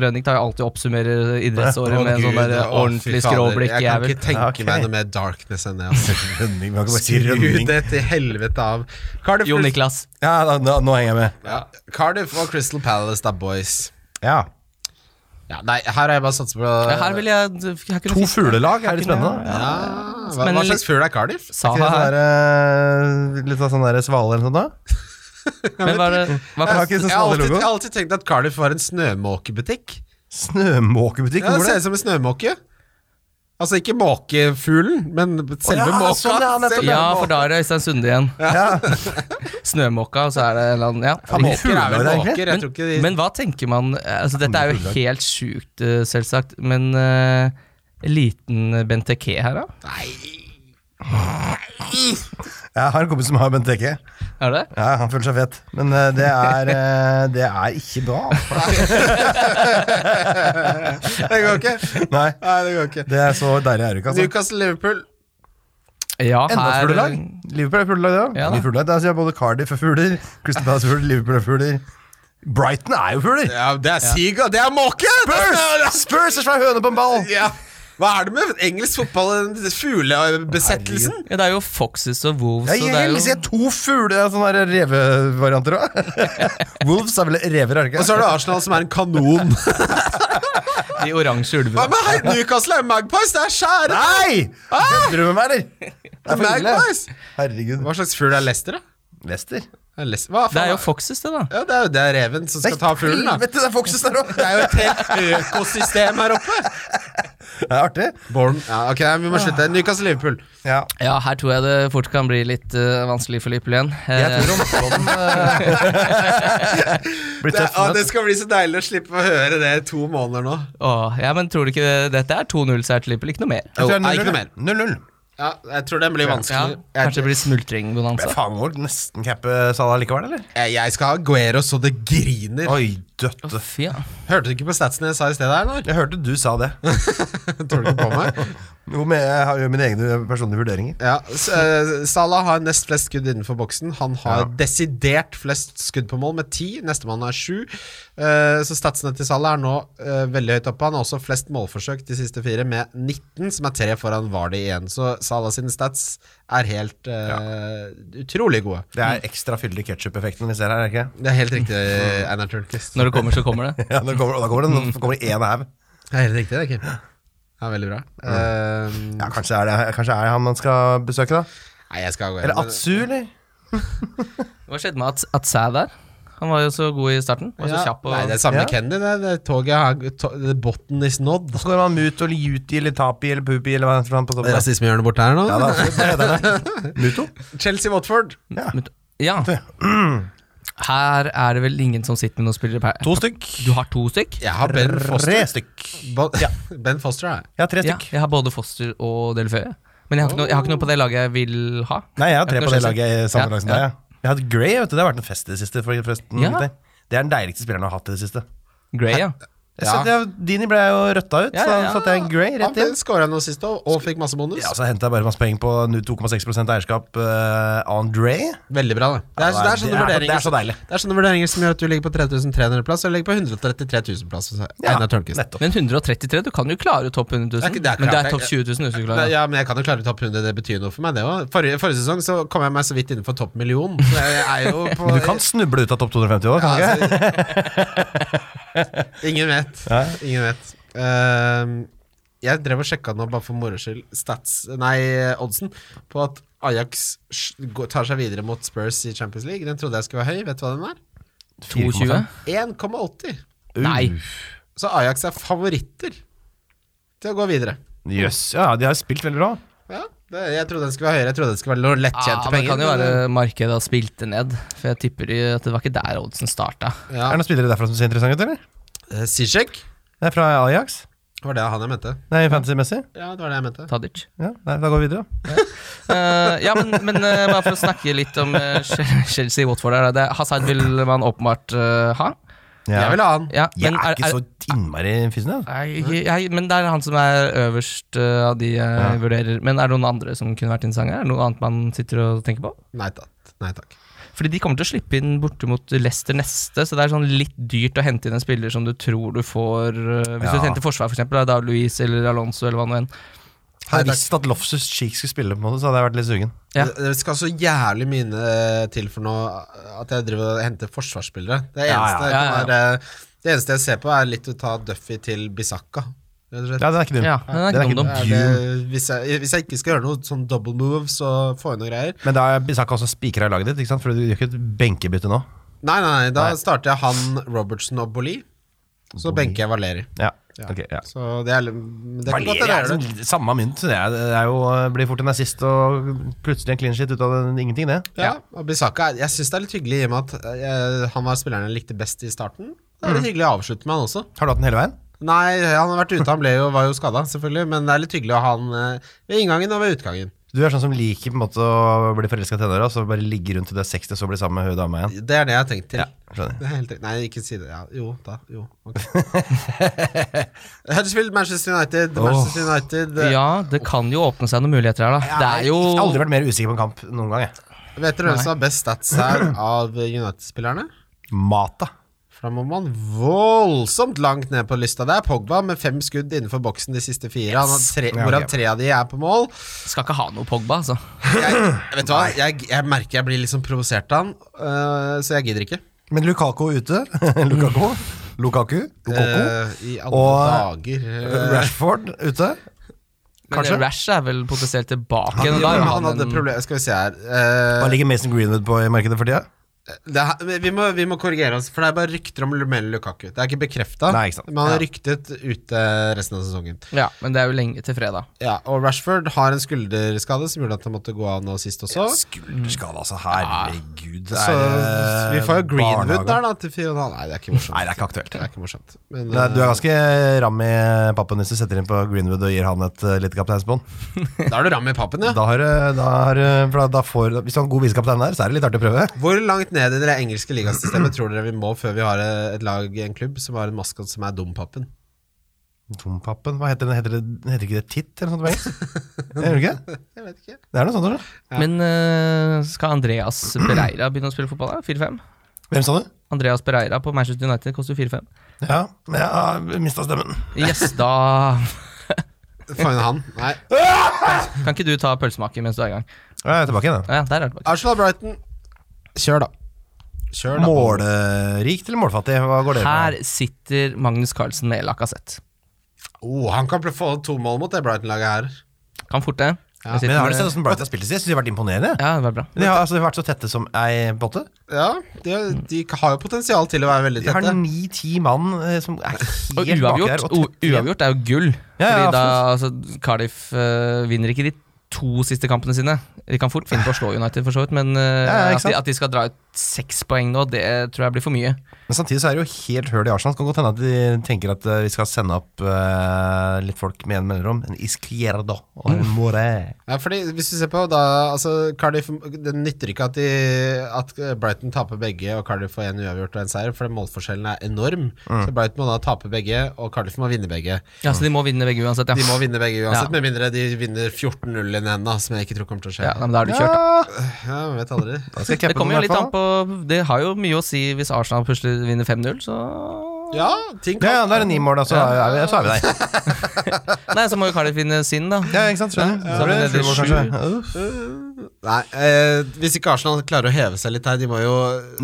[SPEAKER 4] Rønning tar jo alltid og oppsummerer idrettsåret med en sånn der eh, ordentlig skråblikk.
[SPEAKER 2] Jeg kan
[SPEAKER 4] jævel.
[SPEAKER 2] ikke tenke
[SPEAKER 3] Ok.
[SPEAKER 2] meg noe mer darkness enn det. Altså.
[SPEAKER 3] Rønning, man kan bare si
[SPEAKER 2] Skru
[SPEAKER 3] rønning.
[SPEAKER 2] det til helvete av. Cardiff,
[SPEAKER 4] Jon Niklas.
[SPEAKER 3] Ja, da, nå, nå henger jeg med.
[SPEAKER 2] ja, Cardiff og Crystal Palace, da, boys.
[SPEAKER 3] Ja.
[SPEAKER 2] Ja, nei, her har jeg bare satsa på
[SPEAKER 4] Ja, her vil jeg, her kunne
[SPEAKER 3] To
[SPEAKER 4] fint-
[SPEAKER 3] fuglelag er litt spennende.
[SPEAKER 2] ja, hva, hva
[SPEAKER 4] Men-
[SPEAKER 2] slags fugl er
[SPEAKER 3] Er
[SPEAKER 2] Cardiff?
[SPEAKER 3] ikke det sånn
[SPEAKER 4] Saha her.
[SPEAKER 3] der, øh, litt av sånn der svale eller noe sånt da?
[SPEAKER 4] Men hva, er det-
[SPEAKER 3] Jeg
[SPEAKER 4] hva
[SPEAKER 3] har
[SPEAKER 4] koster
[SPEAKER 3] ikke
[SPEAKER 2] Jeg
[SPEAKER 3] så
[SPEAKER 2] har,
[SPEAKER 3] smal
[SPEAKER 2] alltid,
[SPEAKER 3] logo.
[SPEAKER 2] jeg har alltid tenkt at Cardiff var en snømåkebutikk.
[SPEAKER 3] Snømåkebutikk,
[SPEAKER 2] Ja,
[SPEAKER 3] hvor
[SPEAKER 2] det
[SPEAKER 3] var
[SPEAKER 2] ser
[SPEAKER 3] det?
[SPEAKER 2] ut som en snømåke. Altså ikke måkefuglen, men selve
[SPEAKER 3] ja,
[SPEAKER 2] måka.
[SPEAKER 3] sånn, ja, nettopp,
[SPEAKER 2] Selve-
[SPEAKER 4] Ja, for da er det Øystein Sunde igjen.
[SPEAKER 3] Ja.
[SPEAKER 4] Snømåka, og så er det en eller annen Ja.
[SPEAKER 3] Faen,
[SPEAKER 2] Måker er vel
[SPEAKER 3] Fugler, egentlig.
[SPEAKER 2] måker, jeg tror ikke de
[SPEAKER 4] Men hva tenker man altså, Dette er jo helt sjukt, eh, selvsagt, men eh, liten Benteke her, da?
[SPEAKER 3] Jeg har en kompis som har Bent Eke.
[SPEAKER 4] Er det?
[SPEAKER 3] Ja, han føler seg fet. Men eh, det, er, eh, det er ikke bra. altså.
[SPEAKER 2] Det går ikke.
[SPEAKER 3] Nei,
[SPEAKER 2] Nei, det går ikke.
[SPEAKER 3] det er så deilig er det ikke, altså.
[SPEAKER 2] Newcastle Liverpool.
[SPEAKER 4] Ja,
[SPEAKER 3] Enda et
[SPEAKER 4] her-
[SPEAKER 3] fuglelag. Liverpool er fuglelag, det
[SPEAKER 4] Ja
[SPEAKER 3] ja.
[SPEAKER 4] da.
[SPEAKER 3] Mye fuglelag. Der ser jeg både Cardiff er fugler, Crystal Palace er fugler, Liverpool er fugler. Brighton er jo fugler!
[SPEAKER 2] Ja, det er Siga, det er måke!
[SPEAKER 3] Spurs! Spurs er svær høne på en ball!
[SPEAKER 2] Ja. Hva er det med engelsk fotball, den fuglebesettelsen?
[SPEAKER 4] Ja, det er jo Foxes og Wolves
[SPEAKER 3] Jeg
[SPEAKER 4] og det er
[SPEAKER 3] helst
[SPEAKER 4] jo,
[SPEAKER 3] jeg to fugle sånne der revevarianter òg. Wolves er vel rever, er det
[SPEAKER 2] Og så
[SPEAKER 3] ikke?
[SPEAKER 2] har du Arsenal, som er en kanon.
[SPEAKER 4] De oransje
[SPEAKER 2] Hva
[SPEAKER 4] ulvene.
[SPEAKER 2] med hei, Newcastle er Magpies? Det er skjære!
[SPEAKER 3] Nei! Kødder du med meg, eller? Det er for ille.
[SPEAKER 2] Ah! Magpies!
[SPEAKER 3] Herregud.
[SPEAKER 2] Hva slags fugl er Leicester, da?
[SPEAKER 3] Lester?
[SPEAKER 2] Er Leicester- Hva faen?
[SPEAKER 4] Det er jo Foxes, det, da.
[SPEAKER 2] ja, det er jo det er reven som skal ta fuglen, da.
[SPEAKER 3] Helvete, det er Foxes der
[SPEAKER 2] Det
[SPEAKER 3] òg!
[SPEAKER 2] er jo et helt økosystem her oppe.
[SPEAKER 3] Det er artig.
[SPEAKER 2] Born. Ja, ok, vi må slutte. Newcastle Liverpool.
[SPEAKER 3] Ja.
[SPEAKER 4] Ja, her tror jeg det fort kan bli litt eh, vanskelig for Liverpool igjen.
[SPEAKER 3] Jeg
[SPEAKER 4] Eh,
[SPEAKER 3] tror omtalen blir
[SPEAKER 2] Det,
[SPEAKER 3] tøff.
[SPEAKER 2] å,
[SPEAKER 3] nå.
[SPEAKER 2] det skal bli så deilig å slippe å høre det i to måneder nå.
[SPEAKER 4] åh, ja, men tror du ikke det- dette er 2-0-seier til Liverpool? Ikke noe mer?
[SPEAKER 3] Jeg tror det er
[SPEAKER 2] Nei, ikke noe
[SPEAKER 3] 0-0. 0-0.
[SPEAKER 2] Ja, jeg tror den blir
[SPEAKER 4] Ja,
[SPEAKER 2] vanskelig.
[SPEAKER 4] kanskje det
[SPEAKER 2] Jeg,
[SPEAKER 4] blir smultringbonanza.
[SPEAKER 3] Men faen, må vel nesten cappe Salah likevel, eller?
[SPEAKER 2] jeg- jeg skal ha Guero så det griner.
[SPEAKER 3] Oi, døtte.
[SPEAKER 4] Fy, ja.
[SPEAKER 2] Hørte du ikke på statsene jeg sa i sted her, eller?
[SPEAKER 3] Jeg hørte du sa det.
[SPEAKER 2] Tåler du ikke på meg?
[SPEAKER 3] Jo, men jeg har jo mine egne personlige vurderinger.
[SPEAKER 2] Ja, s- eh, Salah har nest flest skudd innenfor boksen. Han har desidert flest skudd på mål, med ti. Nestemann er sju. Eh, så statsene til Salah er nå eh, veldig høyt oppe. Han har også flest målforsøk de siste fire, med 19, som er tre foran Vardy igjen. Så Salah sine stats er helt eh, utrolig gode.
[SPEAKER 3] Det er ekstra fyldig ketsjup-effekten vi ser her, er det ikke?
[SPEAKER 2] Det er helt riktig, Einar Tørnquist.
[SPEAKER 4] Når det kommer, så kommer det.
[SPEAKER 3] Ja, nå kommer, og da kommer det nå kommer det en haug.
[SPEAKER 2] Det er helt riktig, det, Kim. Ja, veldig bra. Eh,
[SPEAKER 3] Mm. Ja, kanskje er, det, kanskje er det han man skal besøke, da?
[SPEAKER 2] nei, jeg skal gå
[SPEAKER 3] Eller
[SPEAKER 2] hjem.
[SPEAKER 3] Atsu, eller?
[SPEAKER 4] Hva skjedde med Ats- Atsæ der? Han var jo så god i starten. Var så
[SPEAKER 2] Ja,
[SPEAKER 4] kjapp og
[SPEAKER 2] Nei, det er samme
[SPEAKER 3] Ja.
[SPEAKER 2] Kenny. Det, det toget har to, The bottom is not.
[SPEAKER 3] Så går man Muto eller Yuti eller Tapi eller Pupi eller hva heter han på toppen? der?
[SPEAKER 2] Rasismehjørnet bort her nå.
[SPEAKER 3] Ja, da, det heter det. Muto?
[SPEAKER 2] Chelsea-Watford.
[SPEAKER 3] Ja.
[SPEAKER 4] Men- Ja. Her er det vel ingen som sitter med noen spillere per
[SPEAKER 3] To stykk.
[SPEAKER 4] Du har to stykk?
[SPEAKER 2] Jeg har Ben
[SPEAKER 3] Tre
[SPEAKER 2] Foster.
[SPEAKER 3] stykk.
[SPEAKER 2] Bo- Ben Foster er
[SPEAKER 3] Jeg har tre
[SPEAKER 4] Ja,
[SPEAKER 3] stykk.
[SPEAKER 4] jeg har både Foster og Delføye. Men jeg har, ikke noe, jeg har ikke noe på det laget jeg vil ha.
[SPEAKER 3] Nei, jeg har tre
[SPEAKER 4] Jeg
[SPEAKER 3] på det
[SPEAKER 4] kan skjønne.
[SPEAKER 3] laget i samme
[SPEAKER 4] Ja,
[SPEAKER 3] lag som deg.
[SPEAKER 4] ja.
[SPEAKER 3] ja. Jeg har hatt Gray, vet du. Det har vært en fest i det siste. For forresten,
[SPEAKER 4] Ja.
[SPEAKER 3] gutter. Det er den deiligste spilleren jeg har hatt i det siste.
[SPEAKER 4] Gray, ja.
[SPEAKER 3] Jeg
[SPEAKER 2] Ja.
[SPEAKER 3] satt, jeg, Dini ble jo røtta ut,
[SPEAKER 4] Ja,
[SPEAKER 3] så
[SPEAKER 4] ja,
[SPEAKER 3] da
[SPEAKER 4] ja.
[SPEAKER 3] satte jeg Gray rett inn.
[SPEAKER 2] Han skåra nå sist òg, og fikk masse bonus.
[SPEAKER 3] Ja, så hentet jeg bare masse penger på nu- 2,6 eierskap eh, André.
[SPEAKER 2] Veldig bra, det. Det
[SPEAKER 3] det
[SPEAKER 2] er, det er, sånne,
[SPEAKER 3] er- det
[SPEAKER 2] vurderinger,
[SPEAKER 3] er så deilig.
[SPEAKER 2] som- Det er sånne vurderinger som gjør at du ligger på 3300-plass, eller ligger på 133.000-plass.
[SPEAKER 3] Ja,
[SPEAKER 2] Einar Tørnquist.
[SPEAKER 3] nettopp.
[SPEAKER 4] Men 133, du kan jo klare topp 100
[SPEAKER 2] Det er
[SPEAKER 4] 000.
[SPEAKER 2] ikke- det er
[SPEAKER 4] men det
[SPEAKER 2] klart,
[SPEAKER 4] er topp
[SPEAKER 2] jeg-
[SPEAKER 4] 20 000 hvis du
[SPEAKER 2] Nei,
[SPEAKER 4] klarer det.
[SPEAKER 2] Ja, men jeg kan jo klare topp 100, det betyr noe for meg, det òg. Forrige, forrige sesong så kom jeg meg så vidt innenfor topp million. Så jeg er jo på
[SPEAKER 3] Du kan snuble ut av topp 250 òg, kan du
[SPEAKER 2] Ja,
[SPEAKER 3] ikke?
[SPEAKER 2] altså, Ingen vet. Ingen vet. Ehm, jeg drev og sjekka nå, bare for moro skyld, stats Nei, oddsen på at Ajax sj- går- tar seg videre mot Spurs i Champions League. Den trodde jeg skulle være høy. Vet du hva den er?
[SPEAKER 4] 22?
[SPEAKER 2] 1,80.
[SPEAKER 4] Nei.
[SPEAKER 2] Så Ajax er favoritter til å gå videre.
[SPEAKER 3] Jøss. Ja, de har spilt veldig bra.
[SPEAKER 2] Ja, det, jeg trodde den skulle være høyere. Jeg trodde den skulle være noe
[SPEAKER 4] Ja,
[SPEAKER 2] lettkjente
[SPEAKER 4] Ah, men det
[SPEAKER 2] penger.
[SPEAKER 4] kan jo
[SPEAKER 2] men-
[SPEAKER 4] være markedet har spilt det ned. For jeg tipper de, at det var ikke der oddsen starta.
[SPEAKER 2] ja.
[SPEAKER 3] Er det noen spillere derfra som ser interessante ut, eller?
[SPEAKER 2] Eh, Zizek
[SPEAKER 3] Det er fra Ajax?
[SPEAKER 2] var det han jeg mente.
[SPEAKER 3] Nei, fantasy-messig?
[SPEAKER 2] Ja, det var det jeg mente.
[SPEAKER 4] Tadic.
[SPEAKER 3] Ja, nei, da går vi videre, da.
[SPEAKER 4] Eh, ja, men, men eh, bare for å snakke litt om eh, Chelsea-Watford her. det- Hazard vil man åpenbart eh, ha.
[SPEAKER 2] Jeg vil ha han.
[SPEAKER 4] Ja,
[SPEAKER 3] Jeg
[SPEAKER 4] men
[SPEAKER 3] er ikke så innmari fysen, jeg.
[SPEAKER 4] Nei, ikke- jeg, men det er han som er øverst eh, av de jeg vurderer. Men er det noen andre som kunne vært interessante? Er det noe annet man sitter og tenker på?
[SPEAKER 2] Nei takk. Nei, takk.
[SPEAKER 4] Fordi de kommer til å slippe inn borte mot Leicester neste, så det er sånn litt dyrt å hente inn en spiller som du tror du får eh, Hvis
[SPEAKER 3] Ja.
[SPEAKER 4] du henter forsvar, for eksempel, da, da Luis eller Alonso eller hva nå enn.
[SPEAKER 3] Hadde jeg visst at Loftus Cheek skulle spille, på en måte, så hadde jeg vært litt sugen.
[SPEAKER 4] Ja.
[SPEAKER 2] Det, det skal så jævlig mine eh, til for nå at jeg driver og henter forsvarsspillere. Det
[SPEAKER 3] Ja, ja,
[SPEAKER 2] eneste, jeg
[SPEAKER 4] ja, ja.
[SPEAKER 2] kan Være, det eneste jeg ser på, er litt å ta Duffy til Bisakka. Rett og slett.
[SPEAKER 3] Ja, den er ikke dum.
[SPEAKER 4] Ja, den er ikke dum,
[SPEAKER 2] Er det, hvis, jeg, hvis jeg ikke skal gjøre noe sånn double moves og få inn noen greier
[SPEAKER 3] Men da er Bisaka også spikra i laget ditt, ikke sant? for du gjør ikke et benkebytte nå.
[SPEAKER 2] Nei, nei, nei, da starter jeg han, Robertson og Boli. Så benker jeg Valeri.
[SPEAKER 3] Ja.
[SPEAKER 2] Ja.
[SPEAKER 3] Ok, ja.
[SPEAKER 2] Så det er, men det kan godt
[SPEAKER 3] Valeria er
[SPEAKER 2] hende det. er det.
[SPEAKER 3] liksom samme mynt. Det, er, det er jo, eh, blir fort en assist og plutselig en clean shit ut av det, ingenting, det.
[SPEAKER 2] Ja, og Bissaka, er- jeg syns det er litt hyggelig i og med at eh, han var spilleren jeg likte best i starten. Det
[SPEAKER 3] Mm.
[SPEAKER 2] er litt hyggelig å avslutte med han også.
[SPEAKER 3] Har du hatt den hele veien?
[SPEAKER 2] Nei, han har vært ute, han ble jo, var jo skada, selvfølgelig. Men det er litt hyggelig å ha han eh, ved inngangen og ved utgangen.
[SPEAKER 3] Du er sånn som liker på en måte å bli forelska i tenåra, så bare ligge rundt til du er 60 og så bli sammen med hun dama igjen.
[SPEAKER 2] Det er det jeg har tenkt til.
[SPEAKER 3] Ja, skjønner.
[SPEAKER 2] Det er helt, riktig. nei, ikke si det. Ja, jo, da. Jo. ok. Huddersfield, Manchester United. Manchester United eh,
[SPEAKER 4] Ja, det kan jo åpne seg noen muligheter her, da. Det er jo
[SPEAKER 3] Jeg har aldri vært mer usikker på en kamp noen gang, jeg.
[SPEAKER 2] Vet dere hvem som har best stats her av United-spillerne?
[SPEAKER 3] Mata.
[SPEAKER 2] For da må man voldsomt langt ned på lista. Det er Pogba med fem skudd innenfor boksen de siste fire, han har tre,
[SPEAKER 3] Ja, ok.
[SPEAKER 2] hvorav tre av de er på mål.
[SPEAKER 4] Skal ikke ha noe Pogba, altså.
[SPEAKER 2] Jeg, vet du hva? Jeg, jeg merker jeg blir liksom provosert av han, øh, så jeg gidder ikke.
[SPEAKER 3] Men Lukako ute. Lukako. Lukaku. Lukoko.
[SPEAKER 2] Eh, I alle
[SPEAKER 3] Og-
[SPEAKER 2] dager. eh,
[SPEAKER 3] Rashford ute.
[SPEAKER 4] Men
[SPEAKER 3] Kanskje.
[SPEAKER 4] Rash er vel potensielt tilbake.
[SPEAKER 2] jo,
[SPEAKER 4] men da
[SPEAKER 2] men
[SPEAKER 4] er jo
[SPEAKER 2] Eh, han
[SPEAKER 4] han
[SPEAKER 2] hadde
[SPEAKER 4] en-
[SPEAKER 2] problem Skal vi se her eh,
[SPEAKER 3] Hva ligger Mason Greenwood på i markedet for tida?
[SPEAKER 2] det er, vi, må, vi må korrigere oss, for det er bare rykter om Lumel Lukaku. Det er ikke bekrefta,
[SPEAKER 3] Nei, ikke sant.
[SPEAKER 2] men han er ryktet ute resten av sesongen.
[SPEAKER 4] Ja, men det er jo lenge til fredag.
[SPEAKER 2] Ja, Og Rashford har en skulderskade som gjorde at han måtte gå av nå sist også.
[SPEAKER 3] Skulderskade, altså. Herregud. Det
[SPEAKER 2] Så
[SPEAKER 3] er, eh,
[SPEAKER 2] vi får jo Greenwood
[SPEAKER 3] barnehage.
[SPEAKER 2] der, da, til 4,5. Nei, det er ikke morsomt.
[SPEAKER 3] Nei, det er ikke aktuelt.
[SPEAKER 2] Det er ikke morsomt. Men,
[SPEAKER 3] Nei, du er
[SPEAKER 2] eh,
[SPEAKER 3] ganske ram i pappen hvis du setter inn på Greenwood og gir han et uh, lite kapteinsbånd.
[SPEAKER 2] eh, da er du ram i pappen, ja.
[SPEAKER 3] Da har, du- da har, du- for da, da får, hvis du har en god visekaptein der, så er det litt artig å prøve.
[SPEAKER 2] Hvor langt ned i det engelske ligasystemet tror dere vi må før vi har eh, et lag i en klubb som har en maskot som er Dompapen?
[SPEAKER 3] Dompappen, hva heter den? Heter, det, heter ikke det Titt eller noe sånt på engelsk? Gjør det ikke?
[SPEAKER 2] Jeg vet ikke.
[SPEAKER 3] Det er noe sånt, eller?
[SPEAKER 4] Men eh, skal Andreas Pereira begynne å spille fotball? da? 4-5?
[SPEAKER 3] Hvem sa du?
[SPEAKER 4] Andreas Pereira på Manchester United koster 4-5.
[SPEAKER 3] Ja, jeg har mista stemmen.
[SPEAKER 4] Yes, da
[SPEAKER 2] Få inn han. Nei.
[SPEAKER 4] Kan ikke du ta pølsemaker mens du er i gang?
[SPEAKER 3] Ja, jeg er tilbake igjen,
[SPEAKER 4] Ja, der er det tilbake.
[SPEAKER 2] Arsenal Brighton. Kjør, da.
[SPEAKER 3] da.
[SPEAKER 2] Kjør, da.
[SPEAKER 3] Målerikt eller målfattig? Hva går det
[SPEAKER 4] Her sitter Magnus Carlsen med Lacassette.
[SPEAKER 2] Oh, han kan pl- få to mål mot det Brighton-laget her.
[SPEAKER 4] Kan fort det.
[SPEAKER 2] Ja,
[SPEAKER 4] Jeg sitter
[SPEAKER 3] Men har du
[SPEAKER 4] med-
[SPEAKER 3] sett hvordan Brighton har spilt i sist? De har vært imponerende.
[SPEAKER 4] Ja, det var bra.
[SPEAKER 3] De har, altså, de har vært så tette som ei botte.
[SPEAKER 2] Ja, de, de har jo potensial til å være veldig
[SPEAKER 3] De har
[SPEAKER 2] tette.
[SPEAKER 3] ni-ti mann eh, som er helt
[SPEAKER 4] Og
[SPEAKER 3] baki der.
[SPEAKER 4] uavgjort,
[SPEAKER 3] og tette
[SPEAKER 4] o-
[SPEAKER 3] igjen.
[SPEAKER 4] uavgjort er jo gull.
[SPEAKER 3] Ja, ja,
[SPEAKER 4] fordi da, altså, Cardiff eh, vinner ikke de to siste kampene sine. De kan fort finne på å slå United, for så vidt, men eh,
[SPEAKER 3] Ja, ja, ikke
[SPEAKER 4] at, de,
[SPEAKER 3] sant?
[SPEAKER 4] at de skal dra ut seks poeng nå, det tror jeg blir for mye.
[SPEAKER 3] Men samtidig så er det jo helt høl i Arsenal. Det kan godt hende at de tenker at eh, vi skal sende opp eh, litt folk med en mellomrom. En Izquierdo og en Moré.
[SPEAKER 2] Ja, fordi hvis du ser på da, altså Cardiff, Det nytter ikke at, de, at Brighton taper begge og Cardiff får en uavgjort og en seier, for målforskjellen er enorm. Så Brighton må da tape begge, og Cardiff må vinne begge.
[SPEAKER 4] Ja, Så de må vinne begge uansett, ja.
[SPEAKER 2] De må vinne begge uansett,
[SPEAKER 4] Ja.
[SPEAKER 2] med mindre de vinner 14-0 i den ene, da, som jeg ikke tror kommer til å skje.
[SPEAKER 4] ja, nei, men da er du kjørt.
[SPEAKER 3] Ja,
[SPEAKER 2] Ja, jeg vet
[SPEAKER 3] da
[SPEAKER 2] aldri.
[SPEAKER 3] skal jeg
[SPEAKER 4] Det
[SPEAKER 3] cappe
[SPEAKER 4] kommer
[SPEAKER 3] den
[SPEAKER 4] jo
[SPEAKER 3] i
[SPEAKER 4] litt
[SPEAKER 3] hvert
[SPEAKER 4] an
[SPEAKER 3] fall.
[SPEAKER 4] på Det har jo mye å si hvis Arsenal plutselig vinner 5-0, så
[SPEAKER 2] Ja, ting
[SPEAKER 3] Ja,
[SPEAKER 2] kan
[SPEAKER 3] ja, da er det ni mål, da, så er vi, så er vi der.
[SPEAKER 4] Nei, så må jo Cardiff vinne sin, da.
[SPEAKER 3] Ja, ikke sant? Skjønner.
[SPEAKER 4] Ja,
[SPEAKER 3] Så blir det
[SPEAKER 4] så er vi
[SPEAKER 3] sju mål,
[SPEAKER 4] nede i
[SPEAKER 3] kanskje. Uff.
[SPEAKER 2] Nei, eh, hvis ikke Arsenal klarer å heve seg litt her, de må jo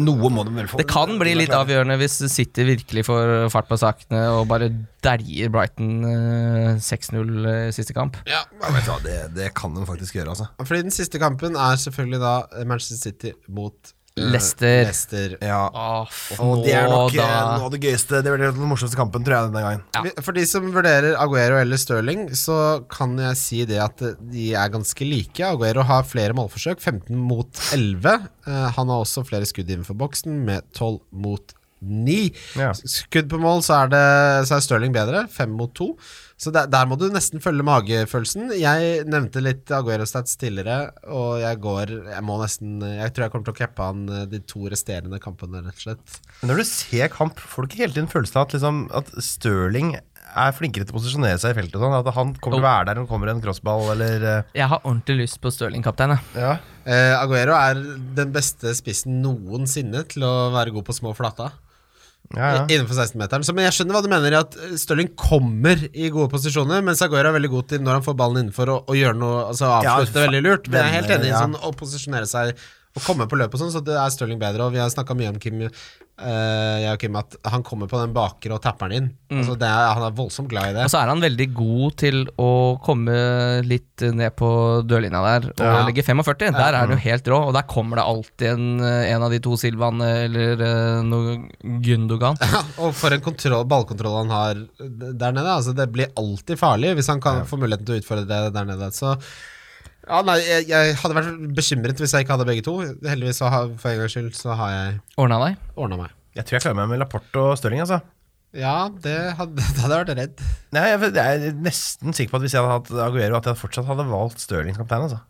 [SPEAKER 3] Noe må de vel få.
[SPEAKER 4] Det kan bli litt avgjørende hvis City virkelig får fart på sakene og bare dæljer Brighton eh, 6-0 eh, siste kamp.
[SPEAKER 2] ja.
[SPEAKER 3] Ja, vet du hva, det, det kan de faktisk gjøre, altså.
[SPEAKER 2] Fordi den siste kampen er selvfølgelig da Manchester City mot eh,
[SPEAKER 4] Leicester.
[SPEAKER 2] Leicester.
[SPEAKER 3] Ja.
[SPEAKER 4] Åh,
[SPEAKER 3] Og det er nok eh,
[SPEAKER 4] da.
[SPEAKER 3] noe av det gøyeste. Det blir den morsomste kampen, tror jeg, denne gangen.
[SPEAKER 2] Vi- For de som vurderer Aguero eller Stirling, så kan jeg si det at eh, de er ganske like. Aguero har flere målforsøk, 15 mot 11. Eh, Han har også flere skudd innenfor boksen, med 12 mot 9.
[SPEAKER 3] Ja.
[SPEAKER 2] Skudd på mål, så er, det, så er Stirling bedre, 5 mot 2. Så der, der må du nesten følge magefølelsen. Jeg nevnte litt Aguero-stats tidligere, og jeg går Jeg må nesten Jeg tror jeg kommer til å cappe han eh, de to resterende kampene, rett og slett.
[SPEAKER 3] Men når du ser kamp, får du ikke hele tiden følelsen av at, liksom, at Stirling er flinkere til å posisjonere seg i feltet. og Sånn, at han kommer til å være der når det kommer en crossball eller eh,
[SPEAKER 4] Jeg har ordentlig lyst på Stirling, kaptein. jeg.
[SPEAKER 3] ja.
[SPEAKER 2] Eh, Aguero er den beste spissen noensinne til å være god på små flata.
[SPEAKER 3] Ja, ja.
[SPEAKER 2] Innenfor 16-meteren. Så- Men jeg skjønner hva du mener i at eh, Stirling kommer i gode posisjoner, mens Aguero er veldig god til når han får ballen innenfor å, å gjøre noe, altså
[SPEAKER 3] Ja,
[SPEAKER 2] avslutte
[SPEAKER 3] fa-
[SPEAKER 2] veldig lurt. Men jeg er helt
[SPEAKER 3] venner,
[SPEAKER 2] enig i
[SPEAKER 3] ja.
[SPEAKER 2] sånn å posisjonere seg å komme på løpet og sånn, så det er Stirling bedre. Og vi har snakka mye om Kim, eh, jeg og Kim, at han kommer på den bakre og tapper den inn.
[SPEAKER 3] Mm.
[SPEAKER 2] Altså, det er, han er voldsomt glad i det.
[SPEAKER 4] Og så er han veldig god til å komme litt ned på dørlinja der og
[SPEAKER 2] Ja.
[SPEAKER 4] legge 45. Der er du
[SPEAKER 3] Mm.
[SPEAKER 4] helt rå, og der kommer det alltid en, eh, en av de to Silvan eller eh, noe Gundogan.
[SPEAKER 2] Ja, og for en kontroll, ballkontroll han har der nede. Altså, det blir alltid farlig hvis han kan få muligheten til å utfordre det der nede. Så ja, nei, jeg, jeg hadde vært bekymret hvis jeg ikke hadde begge to. Heldigvis, så har, for en gangs skyld, så har jeg
[SPEAKER 4] Ordna deg.
[SPEAKER 2] ordna meg.
[SPEAKER 3] Jeg tror jeg klarer meg med Laporte og Stirling, altså.
[SPEAKER 2] Ja, det hadde, da hadde jeg vært redd.
[SPEAKER 3] Nei, jeg, jeg er nesten sikker på at hvis jeg hadde hatt Aguero, at jeg fortsatt hadde valgt Stirling som kaptein, altså.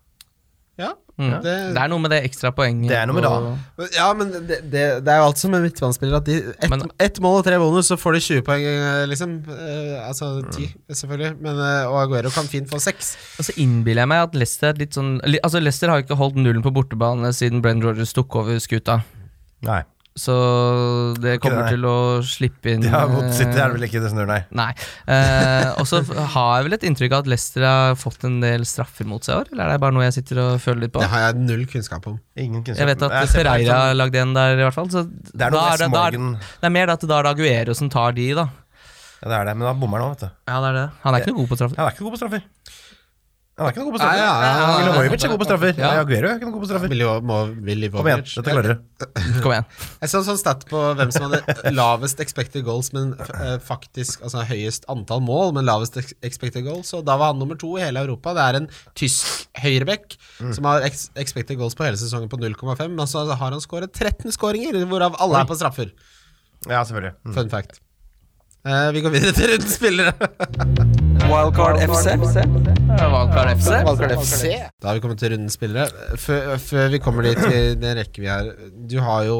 [SPEAKER 2] Ja,
[SPEAKER 4] Mm. Det,
[SPEAKER 2] det,
[SPEAKER 4] er noe med det ekstra poenget.
[SPEAKER 3] Det er noe med det.
[SPEAKER 4] og-
[SPEAKER 2] ja men det, det, det er jo alt som en midtbanespiller. At de ett
[SPEAKER 4] Men-
[SPEAKER 2] ett mål og tre bonus, så får de 20 poeng, eh, liksom. Eh, altså ti, selvfølgelig. Men, eh, og Aguero kan fint få seks.
[SPEAKER 4] Og så innbiller jeg meg at Leicester er litt sånn li- Altså Leicester har jo ikke holdt nullen på bortebane siden Brenn Rogers tok over skuta.
[SPEAKER 3] Nei.
[SPEAKER 4] Så det kommer
[SPEAKER 3] det.
[SPEAKER 4] til å slippe inn
[SPEAKER 3] De har mot City
[SPEAKER 4] eh,
[SPEAKER 3] er det vel ikke det snur, nei.
[SPEAKER 4] Nei. Eh, og så har jeg vel et inntrykk av at Leicester har fått en del straffer mot seg i år, eller er det bare noe jeg sitter og føler litt på?
[SPEAKER 2] Det har jeg null kunnskap om.
[SPEAKER 3] Ingen kunnskap.
[SPEAKER 4] Jeg vet at
[SPEAKER 3] Nei, jeg ser på det
[SPEAKER 4] Ferreira lagde en der, i hvert fall. Så
[SPEAKER 3] som- Det er noe West
[SPEAKER 4] det, da er,
[SPEAKER 3] Morgan
[SPEAKER 4] det er mer det at da er det Aguero som tar de, da.
[SPEAKER 3] Ja, det er det, men han bommer nå, vet du.
[SPEAKER 4] Ja, det er det. Han er ikke noe god på straffer.
[SPEAKER 3] Han er ikke noe god på straffer. Han er ikke noe god på
[SPEAKER 2] Nei,
[SPEAKER 3] straffer.
[SPEAKER 2] ja, ja, ja.
[SPEAKER 3] Milovojevic er god på straffer.
[SPEAKER 4] Ja.
[SPEAKER 3] Nei, Aguero er ikke noe god på straffer.
[SPEAKER 2] Willy, må, Willy
[SPEAKER 3] Kom igjen,
[SPEAKER 2] Vogt.
[SPEAKER 3] dette klarer du.
[SPEAKER 4] Kom igjen.
[SPEAKER 2] Jeg så en sånn stat på hvem som hadde lavest expected goals, men eh, faktisk altså høyest antall mål, men lavest ex- expected goals. Og da var han nummer to i hele Europa. Det er en tysk høyrebekk som har ex expected goals på hele sesongen på 0,5, men så har han skåret 13 skåringer, hvorav alle er på straffer.
[SPEAKER 3] Ja, selvfølgelig. Mm.
[SPEAKER 2] Fun fact. Eh, vi går videre til rundens spillere.
[SPEAKER 1] Wildcard FC.
[SPEAKER 4] Valkar FC.
[SPEAKER 2] Da har vi kommet til rundens spillere. Før, før vi kommer dit til det rekker vi her Du har jo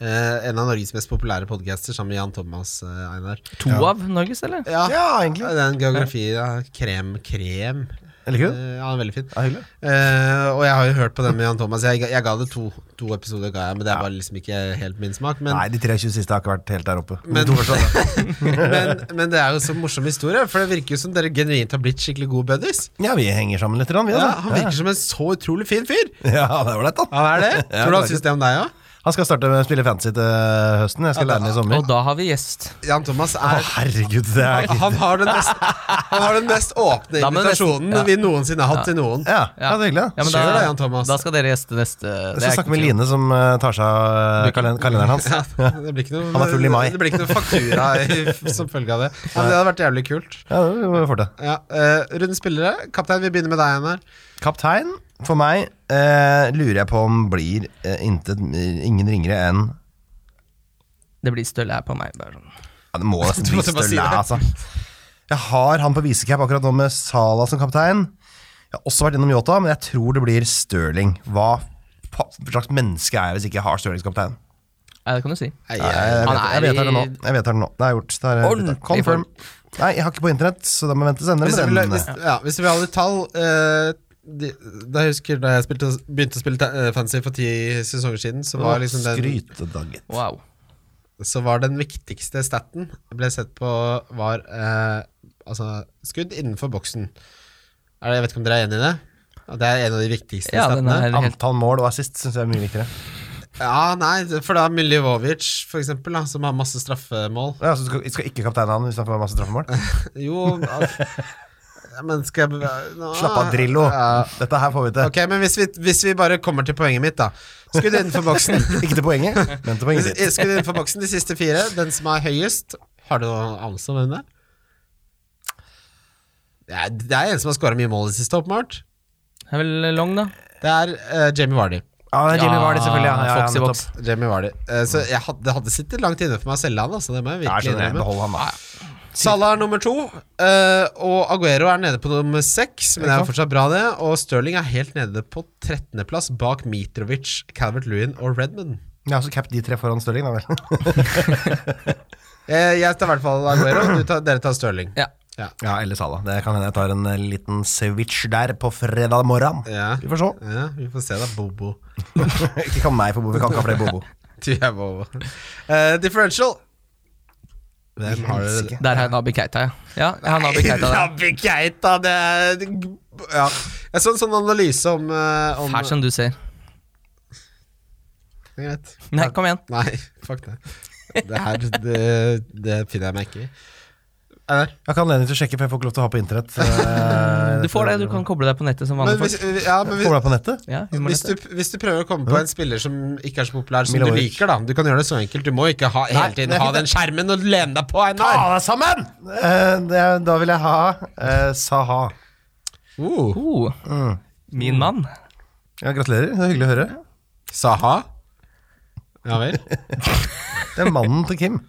[SPEAKER 2] eh, en av Norges mest populære podcaster sammen med Jan Thomas, eh, Einar.
[SPEAKER 4] To av Norges, eller?
[SPEAKER 2] Ja,
[SPEAKER 3] Ja, egentlig.
[SPEAKER 2] Den geografi, ja. Krem, krem.
[SPEAKER 3] Jeg liker det.
[SPEAKER 2] Eh, Ja, veldig fin.
[SPEAKER 3] Ja, hyggelig.
[SPEAKER 2] Eh, og jeg har jo hørt på den med Jan Thomas. Jeg, jeg ga det to, to episoder, ga jeg, men det var liksom ikke helt min smak. Men,
[SPEAKER 3] Nei, de 23 siste har ikke vært helt der oppe. De
[SPEAKER 2] Men-
[SPEAKER 3] to første, da.
[SPEAKER 2] men, men det er jo så morsom historie, for det virker jo som dere genuint har blitt skikkelig gode buddies.
[SPEAKER 3] ja, vi henger sammen litt, vi,
[SPEAKER 2] Ja,
[SPEAKER 3] altså.
[SPEAKER 2] han virker som en så utrolig fin fyr.
[SPEAKER 3] Ja, det er ålreit, da.
[SPEAKER 2] Han er det.
[SPEAKER 3] Ja,
[SPEAKER 2] Tror du han
[SPEAKER 3] det er
[SPEAKER 2] syns det om deg òg?
[SPEAKER 3] Han skal starte med å spille fantasy til høsten. Jeg skal
[SPEAKER 2] Ja,
[SPEAKER 3] lære den i sommer.
[SPEAKER 4] Og da har vi gjest.
[SPEAKER 2] Jan Thomas
[SPEAKER 3] Å,
[SPEAKER 2] er
[SPEAKER 3] herregud, det er
[SPEAKER 2] han,
[SPEAKER 3] ikke
[SPEAKER 2] Ah, han, har den mest, han har den mest åpne
[SPEAKER 4] Da må det nesten-
[SPEAKER 2] invitasjonen vi noensinne har hatt til noen.
[SPEAKER 3] Ja, ja, det er hyggelig.
[SPEAKER 4] Ja, men
[SPEAKER 2] Kjør da,
[SPEAKER 4] da,
[SPEAKER 2] Jan Thomas.
[SPEAKER 4] da skal dere gjeste neste.
[SPEAKER 3] jeg
[SPEAKER 4] det
[SPEAKER 3] skal
[SPEAKER 4] er
[SPEAKER 3] snakke
[SPEAKER 4] ikke
[SPEAKER 3] med
[SPEAKER 4] tvil om.
[SPEAKER 3] Line, som eh, tar seg av eh, kalen- kalenderen hans.
[SPEAKER 2] Ja, Altså, det blir ikke noe,
[SPEAKER 3] Han er full i mai.
[SPEAKER 2] Det blir ikke noe faktura i, som følge av det. Ja, men det hadde vært jævlig kult.
[SPEAKER 3] Ja, det var fort, det.
[SPEAKER 2] Ja, eh, Rundens spillere. Kaptein, vi begynner med deg, Einar.
[SPEAKER 3] Kaptein, for meg, eh, lurer jeg på om blir eh, intet, ingen ringere enn
[SPEAKER 4] Det blir støle her på meg. Bare. sånn.
[SPEAKER 3] ja, Det må nesten
[SPEAKER 2] Du
[SPEAKER 3] bli
[SPEAKER 2] måtte bare si
[SPEAKER 3] Støle, altså. Jeg har han på visecap akkurat nå med Sala som kaptein. Jeg har også vært innom Yota, men jeg tror det blir Stirling. Hva pa- slags menneske er jeg hvis ikke jeg har Stirling som kaptein?
[SPEAKER 4] Ja, det kan du si.
[SPEAKER 2] Nei,
[SPEAKER 3] Nei, jeg, vet,
[SPEAKER 2] Altså,
[SPEAKER 3] jeg,
[SPEAKER 4] Han er
[SPEAKER 3] vet det nå.
[SPEAKER 4] i-
[SPEAKER 3] jeg vet det nå. Det er gjort. Det er,
[SPEAKER 4] Ordentlig
[SPEAKER 3] confirm. Nei, jeg har ikke på internett, så da må jeg vente senere.
[SPEAKER 2] hvis, du vil,
[SPEAKER 3] Med
[SPEAKER 2] hvis,
[SPEAKER 3] den. eh,
[SPEAKER 2] ja, hvis du vil ha litt tall eh, de, Da jeg husker da jeg spilte, begynte å spille ta- eh, fantasy for ti sesonger siden, så var, liksom den,
[SPEAKER 3] Skrytedag, gitt.
[SPEAKER 4] Wow.
[SPEAKER 2] så var den viktigste staten ble sett på, var eh, altså, skudd innenfor boksen. Er det, jeg vet ikke om dere er enig i det? At det er en av de viktigste
[SPEAKER 4] Ja, den
[SPEAKER 2] statene?
[SPEAKER 4] er helt
[SPEAKER 3] Antall mål og assist syns jeg er mye viktigere.
[SPEAKER 2] Ja, nei, for da Milivovic, for eksempel, da, som har masse straffemål.
[SPEAKER 3] Ja, så du skal, skal ikke kapteinen han hvis han får masse straffemål?
[SPEAKER 2] Jo, al- Ja, men skal jeg bevege Nå-
[SPEAKER 3] Slapp av, Drillo.
[SPEAKER 2] Ja.
[SPEAKER 3] Dette her får vi til.
[SPEAKER 2] Ok, men hvis vi, hvis vi bare kommer til poenget mitt, da. Skudd innenfor boksen.
[SPEAKER 3] Ikke til poenget, men til poenget ditt.
[SPEAKER 2] Skudd innenfor boksen de siste fire. Den som er høyest Har du noen anelse om hvem det er? Det er- Det er en som har skåra mye mål i det siste, åpenbart.
[SPEAKER 4] Det er vel long, da.
[SPEAKER 2] Det er eh, Jamie Vardy.
[SPEAKER 3] Ja, det er Jimmy Vardy, selvfølgelig. Ja, ja, ja,
[SPEAKER 4] Foxy
[SPEAKER 3] nettopp.
[SPEAKER 4] Box.
[SPEAKER 2] Jamie Vardy. Eh, så jeg hadde, det hadde sittet langt inne for meg å selge han, altså. Det må jeg
[SPEAKER 3] Ja,
[SPEAKER 2] virkelig
[SPEAKER 3] skjønner jeg.
[SPEAKER 2] innrømme.
[SPEAKER 3] Behold han, da.
[SPEAKER 2] Salah er nummer to, eh, og Aguero er nede på nummer seks. Men det er jo fortsatt bra, det. Og Stirling er helt nede på 13.-plass, bak Mitrovic, Calvert Lewin og Redman.
[SPEAKER 3] Ja, så cap de tre foran Stirling, da vel.
[SPEAKER 2] Eh, jeg tar i hvert fall Aguero, du tar, dere tar Stirling.
[SPEAKER 4] Ja.
[SPEAKER 2] Ja.
[SPEAKER 3] Ja, eller Sala. Det kan hende jeg tar en eh, liten switch der på fredag morgen.
[SPEAKER 2] Ja.
[SPEAKER 3] Vi får se.
[SPEAKER 2] Ja, vi får se, da, Bobo.
[SPEAKER 3] Ikke kall meg for Bobo. Vi kan ikke ha flere Bobo.
[SPEAKER 2] Du er Bobo. Eh, differential. Hvem har dere?
[SPEAKER 4] Der har jeg Nabi Keita, ja. ja jeg har Nabi Keita der.
[SPEAKER 2] Rabbi Keita, det er ja. Jeg så en sånn analyse om, eh, om
[SPEAKER 4] Her som du ser.
[SPEAKER 2] Det er greit.
[SPEAKER 4] Nei, kom igjen.
[SPEAKER 2] Nei, fuck det. Det her det, det finner jeg meg ikke i. Eh, Einar?
[SPEAKER 3] Jeg har ikke anledning til å sjekke, for jeg får ikke lov til å ha på internett. eh,
[SPEAKER 4] Du får det, du kan koble deg på nettet som vanlige
[SPEAKER 2] Men hvis, eh,
[SPEAKER 4] folk.
[SPEAKER 2] ja, men hvis,
[SPEAKER 3] Får du det på nettet?
[SPEAKER 4] Ja,
[SPEAKER 2] hvis,
[SPEAKER 4] humornettet.
[SPEAKER 2] du, hvis du prøver å komme på en spiller som ikke er så populær som du
[SPEAKER 3] Milovic.
[SPEAKER 2] liker, da. Du kan gjøre det så enkelt. Du må ikke ha,
[SPEAKER 3] Nei,
[SPEAKER 2] hele tiden
[SPEAKER 3] det er
[SPEAKER 2] ha
[SPEAKER 3] fint,
[SPEAKER 2] den skjermen og lene deg på, Einar.
[SPEAKER 3] Ta deg sammen! Eh, det, er- da vil jeg ha eh, Saha.
[SPEAKER 2] Uh.
[SPEAKER 4] Oh, min mann.
[SPEAKER 3] Ja, gratulerer, det er hyggelig å høre.
[SPEAKER 2] Saha? Ja vel.
[SPEAKER 3] Det er mannen til Kim.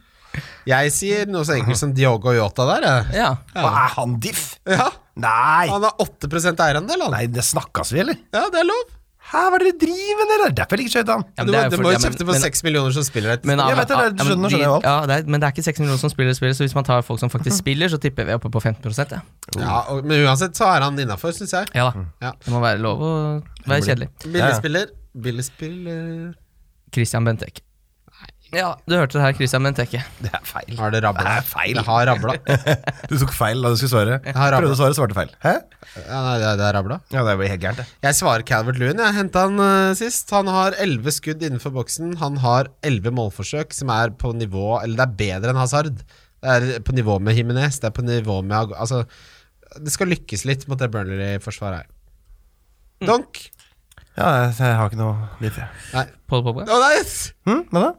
[SPEAKER 2] Jeg sier noe så enkelt som Diogo Yota der, jeg.
[SPEAKER 4] Ja.
[SPEAKER 3] Hva er han diff?
[SPEAKER 2] Ja.
[SPEAKER 3] Nei!
[SPEAKER 2] Han har 8 eierandel, han.
[SPEAKER 3] Nei, det snakkes vi, eller?
[SPEAKER 2] Ja, det er lov.
[SPEAKER 3] Hæ, hva er det dere driver med? Det er derfor jeg liker skøyter.
[SPEAKER 4] Ja,
[SPEAKER 2] Du må,
[SPEAKER 4] det er jo
[SPEAKER 2] du
[SPEAKER 4] fordi-
[SPEAKER 2] må jo
[SPEAKER 4] ja, men-
[SPEAKER 2] kjefte på
[SPEAKER 4] men-
[SPEAKER 2] seks millioner som spiller et
[SPEAKER 4] Men,
[SPEAKER 3] Jeg vet det, det er-
[SPEAKER 4] ja,
[SPEAKER 3] skjønner,
[SPEAKER 4] men de-
[SPEAKER 3] skjønner jeg jo alt.
[SPEAKER 4] ja, det er, Men det er ikke 6 millioner som spiller spillet, så hvis man tar folk som faktisk
[SPEAKER 2] Mhm.
[SPEAKER 4] spiller, så tipper vi oppe på 15 ja.
[SPEAKER 2] ja, og, Men uansett så er han innafor, syns jeg.
[SPEAKER 4] ja da.
[SPEAKER 2] Mm. Ja.
[SPEAKER 4] Det må være lov å være kjedelig.
[SPEAKER 2] Billig spiller. Billig spiller
[SPEAKER 4] Christian Benteke. Ja, du hørte det her, Christian Benteke.
[SPEAKER 3] Det er feil.
[SPEAKER 2] Har det rabla?
[SPEAKER 3] Det er feil.
[SPEAKER 2] Det har rabla.
[SPEAKER 3] Du tok feil da du skulle svare.
[SPEAKER 2] har
[SPEAKER 3] Prøvde å svare, svarte feil. Hæ?
[SPEAKER 2] Ja, nei, det, det er rabla.
[SPEAKER 3] Ja, det blir helt gærent, det.
[SPEAKER 2] Jeg svarer Calvert Lewin. Jeg henta han eh, sist. Han har elleve skudd innenfor boksen. Han har elleve målforsøk, som er på nivå Eller det er bedre enn Hazard. Det er på nivå med Himinez. Det er på nivå med Ag- Altså, det skal lykkes litt mot det Burnley-forsvaret her. Donk.
[SPEAKER 3] Ja, jeg, jeg har ikke noe diff, jeg.
[SPEAKER 2] Nei.
[SPEAKER 4] Paul Pogba.
[SPEAKER 2] Å, nei.
[SPEAKER 3] Hm, hva da?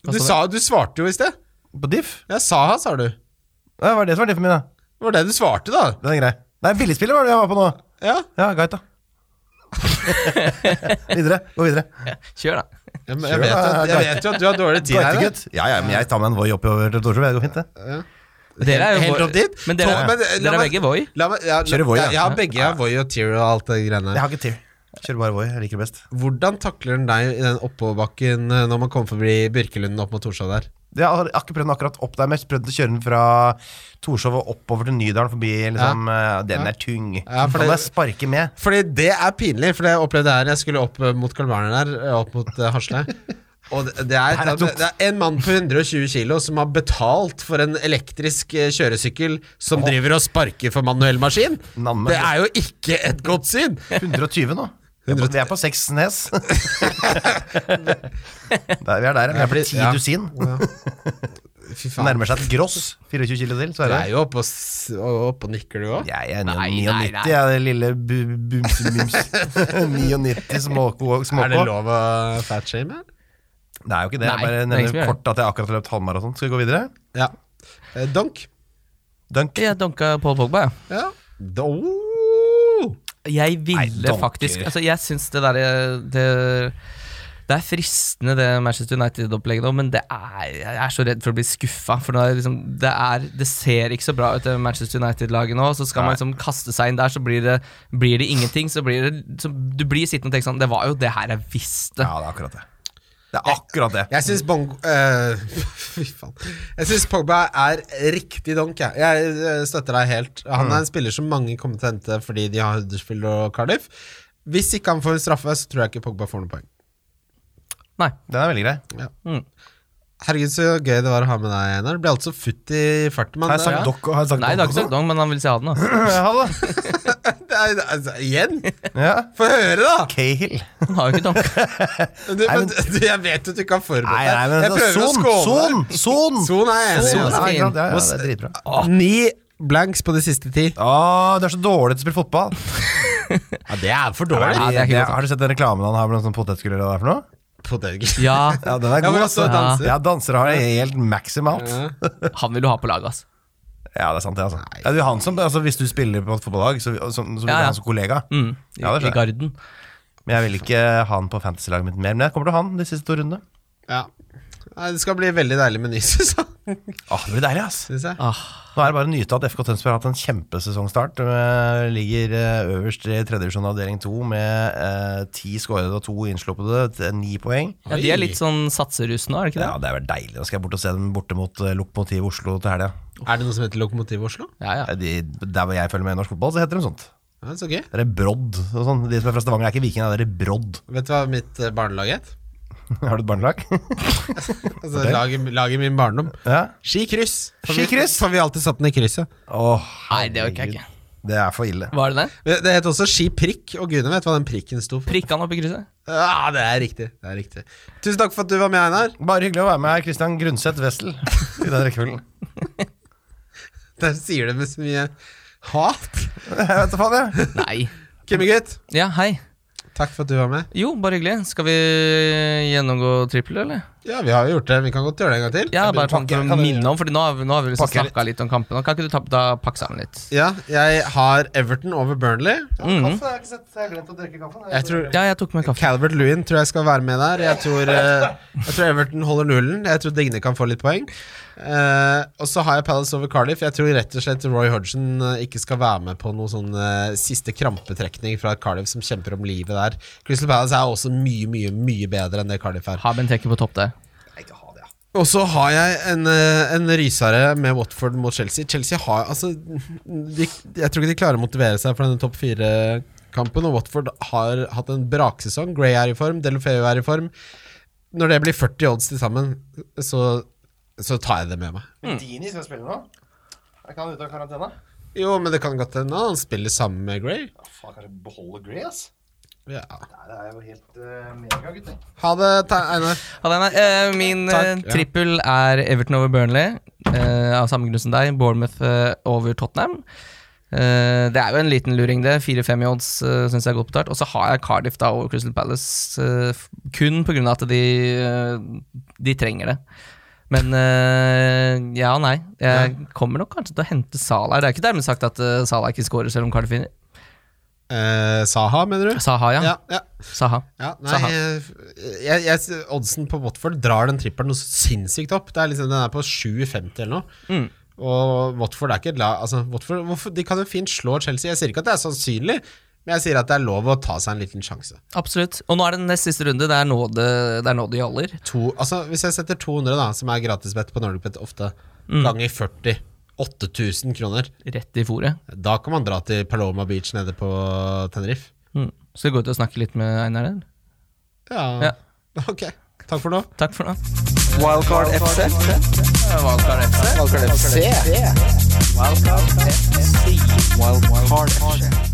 [SPEAKER 2] Du, sa, du svarte jo i sted.
[SPEAKER 3] På diff?
[SPEAKER 2] Jeg sa han, sa du. Det
[SPEAKER 3] Ja, hva er det som var diffen min, da?
[SPEAKER 2] var det du svarte, da.
[SPEAKER 3] Den er grei. Nei, billigspiller var det jeg var på nå.
[SPEAKER 2] Ja,
[SPEAKER 3] Ja, greit, da. videre. Gå videre.
[SPEAKER 4] Kjør, da.
[SPEAKER 2] jeg, jeg, vet, jo at, jeg vet jo at du har dårlig tid her. da.
[SPEAKER 3] Gutt. Ja, ja, men jeg tar meg en Voi oppover til Torshov. Det går fint, det.
[SPEAKER 4] Dere er jo
[SPEAKER 2] Helt
[SPEAKER 4] Voi-
[SPEAKER 2] opp dit?
[SPEAKER 4] Men dere,
[SPEAKER 2] Tom, men, eh, la
[SPEAKER 4] dere er
[SPEAKER 2] meg-
[SPEAKER 4] begge Voi.
[SPEAKER 2] La meg, ja,
[SPEAKER 3] Kjører Voi,
[SPEAKER 2] ja.
[SPEAKER 3] ja.
[SPEAKER 2] Jeg har begge. Jeg har Voi og Tear og alt det greiene
[SPEAKER 3] Jeg
[SPEAKER 2] der.
[SPEAKER 3] har ikke til. Kjører bare Voi. Jeg liker det best.
[SPEAKER 2] Hvordan takler den deg i den oppoverbakken eh, når man kommer forbi Birkelunden opp mot Torshov der?
[SPEAKER 3] Jeg har jeg har ikke prøvd den akkurat opp der, men jeg har prøvd å kjøre den fra Torshov og oppover til Nydalen forbi. Liksom, eh, Den er tung.
[SPEAKER 2] Ja, for
[SPEAKER 3] Den må
[SPEAKER 2] det-
[SPEAKER 3] jeg sparke med.
[SPEAKER 2] Fordi det er pinlig, for det jeg opplevde her Jeg skulle opp eh, mot Carl Werner der, eh, opp mot eh, Hasle. Og det, det, er,
[SPEAKER 3] Her er
[SPEAKER 2] det,
[SPEAKER 3] tungt.
[SPEAKER 2] er en mann på 120 kilo som har betalt for en elektrisk eh, kjøresykkel som driver og sparker for manuell maskin.
[SPEAKER 3] Namme.
[SPEAKER 2] Det er jo ikke et godt syn!
[SPEAKER 3] 120 nå. Vi er på- Vi er på seks nes. Der, vi er der. Vi er på
[SPEAKER 2] blir-
[SPEAKER 3] ti
[SPEAKER 2] ja.
[SPEAKER 3] dusin.
[SPEAKER 2] Fy
[SPEAKER 3] Det
[SPEAKER 2] faen.
[SPEAKER 3] nærmer seg et gross. 24 kilo til, så
[SPEAKER 2] Du
[SPEAKER 3] er
[SPEAKER 2] er
[SPEAKER 3] det.
[SPEAKER 2] jo oppe og, s- og, opp og nikker, du òg.
[SPEAKER 3] Jeg er
[SPEAKER 4] Nei, nei,
[SPEAKER 3] 99,
[SPEAKER 4] nei.
[SPEAKER 3] jeg, det lille bu- bumsemums. 99 småkå. småkå.
[SPEAKER 2] Er det lov å fatshame her?
[SPEAKER 3] Det er jo ikke det.
[SPEAKER 4] Nei,
[SPEAKER 3] jeg bare
[SPEAKER 4] det er ingen som
[SPEAKER 3] nevner
[SPEAKER 4] gjør det.
[SPEAKER 3] kort at jeg akkurat har løpt halvmaraton. Skal vi gå videre?
[SPEAKER 2] Ja. Eh, Donk.
[SPEAKER 3] Dunk.
[SPEAKER 4] Jeg dunka Paul Pogba, ja.
[SPEAKER 2] Ja. Da- oh!
[SPEAKER 4] Jeg ville
[SPEAKER 3] dunker.
[SPEAKER 4] faktisk Altså, jeg syns det derre det, det er fristende, det Manchester United-opplegget nå, men det er, jeg er så redd for å bli skuffa. For nå er det, liksom, det, er, det ser ikke så bra ut, det Manchester United-laget nå. Så skal man liksom kaste seg inn der, så blir det, blir det ingenting. Så blir det, så du blir sittende og tenke sånn Det var jo det her jeg visste.
[SPEAKER 3] Ja, det er akkurat det. Det er akkurat det.
[SPEAKER 2] Jeg syns Bongo eh, Fy faen. Jeg syns Pogba er riktig donk, jeg. Jeg eh, støtter deg helt. Han er en spiller som mange kommer til å hente fordi de har Huddersfield og Cardiff. Hvis ikke han får en straffe, så tror jeg ikke Pogba får noen poeng.
[SPEAKER 4] Nei.
[SPEAKER 3] Den er veldig grei.
[SPEAKER 2] Herregud, så gøy det var å ha med deg, Einar. Det Ble altså futt i farten,
[SPEAKER 3] Har
[SPEAKER 2] mann.
[SPEAKER 3] jeg sagt dokk og har jeg sagt
[SPEAKER 4] Nei, det er
[SPEAKER 3] dokk
[SPEAKER 4] ikke så
[SPEAKER 3] også?
[SPEAKER 4] dong, men han vil si ha den, da.
[SPEAKER 3] Ja, da.
[SPEAKER 2] Altså, igjen?
[SPEAKER 3] Ja.
[SPEAKER 2] Få høre, da!
[SPEAKER 3] Cahill.
[SPEAKER 4] Han har jo ikke donka.
[SPEAKER 3] Nei,
[SPEAKER 2] Du,
[SPEAKER 3] men-
[SPEAKER 2] men, du, jeg vet jo at du ikke har
[SPEAKER 3] Nei,
[SPEAKER 2] forberedt
[SPEAKER 3] nei, men altså,
[SPEAKER 2] Jeg prøver å
[SPEAKER 3] son,
[SPEAKER 2] skåne
[SPEAKER 3] son, son!
[SPEAKER 2] Son er jeg enig i,
[SPEAKER 3] Son
[SPEAKER 2] altså.
[SPEAKER 3] er fin. Ja, ja, ja, det er dritbra.
[SPEAKER 2] deg. Ni blanks på de siste ti.
[SPEAKER 3] Å, du er så dårlig til å spille fotball.
[SPEAKER 2] Ja, det er for
[SPEAKER 4] Ja, det er ikke
[SPEAKER 3] Det-
[SPEAKER 4] godt.
[SPEAKER 3] har du sett den reklamen han har med noen sånne potetgull eller hva det er for noe?
[SPEAKER 2] Potetgull.
[SPEAKER 4] Ja,
[SPEAKER 3] Ja, den er
[SPEAKER 2] Ja,
[SPEAKER 3] god,
[SPEAKER 2] men
[SPEAKER 3] altså.
[SPEAKER 2] altså, danser.
[SPEAKER 3] Ja, Mm. dansere har det helt maximalt.
[SPEAKER 4] han vil du ha på laget, altså. ass.
[SPEAKER 3] Ja, det er sant, det, altså. Ja, du, han som, altså hvis du spiller på et fotballag, så, så, så vil du
[SPEAKER 4] Ja, ja.
[SPEAKER 3] ha han som kollega.
[SPEAKER 4] Mm, i,
[SPEAKER 3] Ja, det skjønner
[SPEAKER 4] I garden.
[SPEAKER 3] Men jeg vil ikke ha han på fantasy-laget mitt mer. Men jeg kommer til å ha han de siste to rundene.
[SPEAKER 2] Ja. Nei, Det skal bli veldig deilig med ny sesong,
[SPEAKER 3] Åh, det blir deilig, ass.
[SPEAKER 2] syns jeg.
[SPEAKER 4] Ah,
[SPEAKER 3] Nå er det bare å nyte at FK Tønsberg har hatt en kjempesesongstart. Eh, Ligger eh, øverst i tredje divisjon avdeling to med eh, ti skårede og to innsluppede. t- Ni poeng.
[SPEAKER 4] ja, de er litt sånn satserus nå, er det ikke det?
[SPEAKER 3] Ja, det er vel deilig. Da skal jeg bort og se dem borte mot eh, Lokomotiv Oslo til helga.
[SPEAKER 2] Er det noe som heter Lokomotiv Oslo?
[SPEAKER 4] Ja, ja.
[SPEAKER 3] Eh, de- Der hvor jeg følger med i norsk fotball, så heter de sånt.
[SPEAKER 2] Ja, så gøy.
[SPEAKER 3] Det er Brodd og sånn. De som er fra Stavanger, er ikke vikinger, det er Brodd.
[SPEAKER 2] Vet du hva mitt eh, barnelag het?
[SPEAKER 3] Har du et barnelag?
[SPEAKER 2] Altså, laget, laget i min barndom.
[SPEAKER 3] ja.
[SPEAKER 2] Skikryss. For vi-
[SPEAKER 3] Skikryss?
[SPEAKER 2] For vi alltid satt den i krysset.
[SPEAKER 3] Åh,
[SPEAKER 4] Nei, det orker jeg ikke.
[SPEAKER 3] Det er for ille.
[SPEAKER 4] Var det det?
[SPEAKER 2] Det det het også ski prikk, og gudene vet hva den prikken sto for.
[SPEAKER 4] Prikka han opp i krysset?
[SPEAKER 2] Ja, det er riktig. det er riktig Tusen takk for at du var med, Einar.
[SPEAKER 3] Bare hyggelig å være med her, Christian Grundseth Wessel, i den rekkefølgen.
[SPEAKER 2] Der sier det med så mye hat.
[SPEAKER 3] Jeg vet da faen, jeg.
[SPEAKER 4] Nei.
[SPEAKER 2] Kimmegutt,
[SPEAKER 4] Ja, hei.
[SPEAKER 2] takk for at du var med.
[SPEAKER 4] Jo, bare hyggelig. Skal vi gjennomgå trippel, eller?
[SPEAKER 2] Ja, vi har jo gjort det. Vi kan godt gjøre det en gang til.
[SPEAKER 4] Ja,
[SPEAKER 3] Jeg begynner
[SPEAKER 4] bare
[SPEAKER 3] å
[SPEAKER 4] sånn
[SPEAKER 3] pakke.
[SPEAKER 4] for å
[SPEAKER 3] Kan du-
[SPEAKER 4] minne om, Fordi nå har vi, nå har vi liksom
[SPEAKER 3] Pakke litt.
[SPEAKER 4] snakka litt om kampen. og Kan ikke du ta, da pakke sammen litt?
[SPEAKER 2] Ja, jeg har Everton over Burnley.
[SPEAKER 3] Kaffe, jeg har ikke sett, jeg har glemt å drikke kaffen.
[SPEAKER 2] Jeg tror
[SPEAKER 4] Ja, jeg tok med kaffe.
[SPEAKER 2] Calvert Lewin tror jeg skal være med der. Jeg tror, eh, jeg tror Everton holder nullen. Jeg tror Digne kan få litt poeng. Eh, og så har jeg Palace over Cardiff. Jeg tror rett og slett Roy Hodgson eh, ikke skal være med på noen sånn eh, siste krampetrekning fra et Cardiff som kjemper om livet der. Crystal Palace er også mye, mye, mye bedre enn det Cardiff er.
[SPEAKER 4] Ha Benteke på topp der.
[SPEAKER 2] Og så har jeg en, eh, en rysere med Watford mot Chelsea. Chelsea har Altså, de, jeg tror ikke de klarer å motivere seg for denne topp fire-kampen. Og Watford har hatt en braksesong. Gray er i form, Delofeo er i form. Når det blir 40 odds til sammen, så, så tar jeg det med meg.
[SPEAKER 3] Dini skal spille nå. Er ikke han ute av karantene?
[SPEAKER 2] Jo, men det kan godt hende han spiller sammen med Gray.
[SPEAKER 3] Faen, kanskje beholde Grey, ass.
[SPEAKER 2] Ja.
[SPEAKER 3] Det er jo helt eh, mega, gutter.
[SPEAKER 2] Ha det, Te- Einar.
[SPEAKER 4] Ja, nei, nei, eh, min eh,
[SPEAKER 2] Takk, ja.
[SPEAKER 4] trippel er Everton over Burnley, eh, av samme grunn som deg. Bournemouth eh, over Tottenham. Eh, det er jo en liten luring, det. Fire-fem i odds uh, syns jeg er godt betalt. Og så har jeg Cardiff da over Crystal Palace, eh, f- kun pga. at de, eh, de trenger det. Men eh, ja og nei. Jeg kommer nok kanskje til å hente Salah. Det er ikke dermed sagt at eh, Salah ikke scorer, selv om Cardiff vinner.
[SPEAKER 2] Eh, Saha, mener du?
[SPEAKER 4] Saha, ja.
[SPEAKER 2] Ja, ja.
[SPEAKER 4] Saha.
[SPEAKER 2] Ja,
[SPEAKER 4] Saha.
[SPEAKER 2] nei, eh, jeg, jeg, oddsen på Watford drar den trippelen noe sinnssykt opp. Det er liksom, den er på 7,50 eller noe.
[SPEAKER 4] Mm.
[SPEAKER 2] Og Watford er ikke et lag altså, Watford, hvorfor, De kan jo fint slå Chelsea. Jeg sier ikke at det er sannsynlig, men jeg sier at det er lov å ta seg en liten sjanse.
[SPEAKER 4] Absolutt. Og nå er det nest siste runde. Det er nå det, det, er nå det gjaller.
[SPEAKER 2] To, altså, hvis jeg setter 200, da, som er gratisbett på Nordicbet ofte,
[SPEAKER 4] Mm.
[SPEAKER 2] ganger 40 8000 kroner.
[SPEAKER 4] Rett i fòret.
[SPEAKER 2] Da kan man dra til Paloma Beach nede på Tenerife.
[SPEAKER 4] Mm. Skal vi gå ut og snakke litt med Einar? eller?
[SPEAKER 2] Ja.
[SPEAKER 4] Ja.
[SPEAKER 2] Ok. Takk for nå.
[SPEAKER 4] Takk for nå.
[SPEAKER 1] Wildcard FC. Wildcard FC. Wildcard FC. Wildcard FC.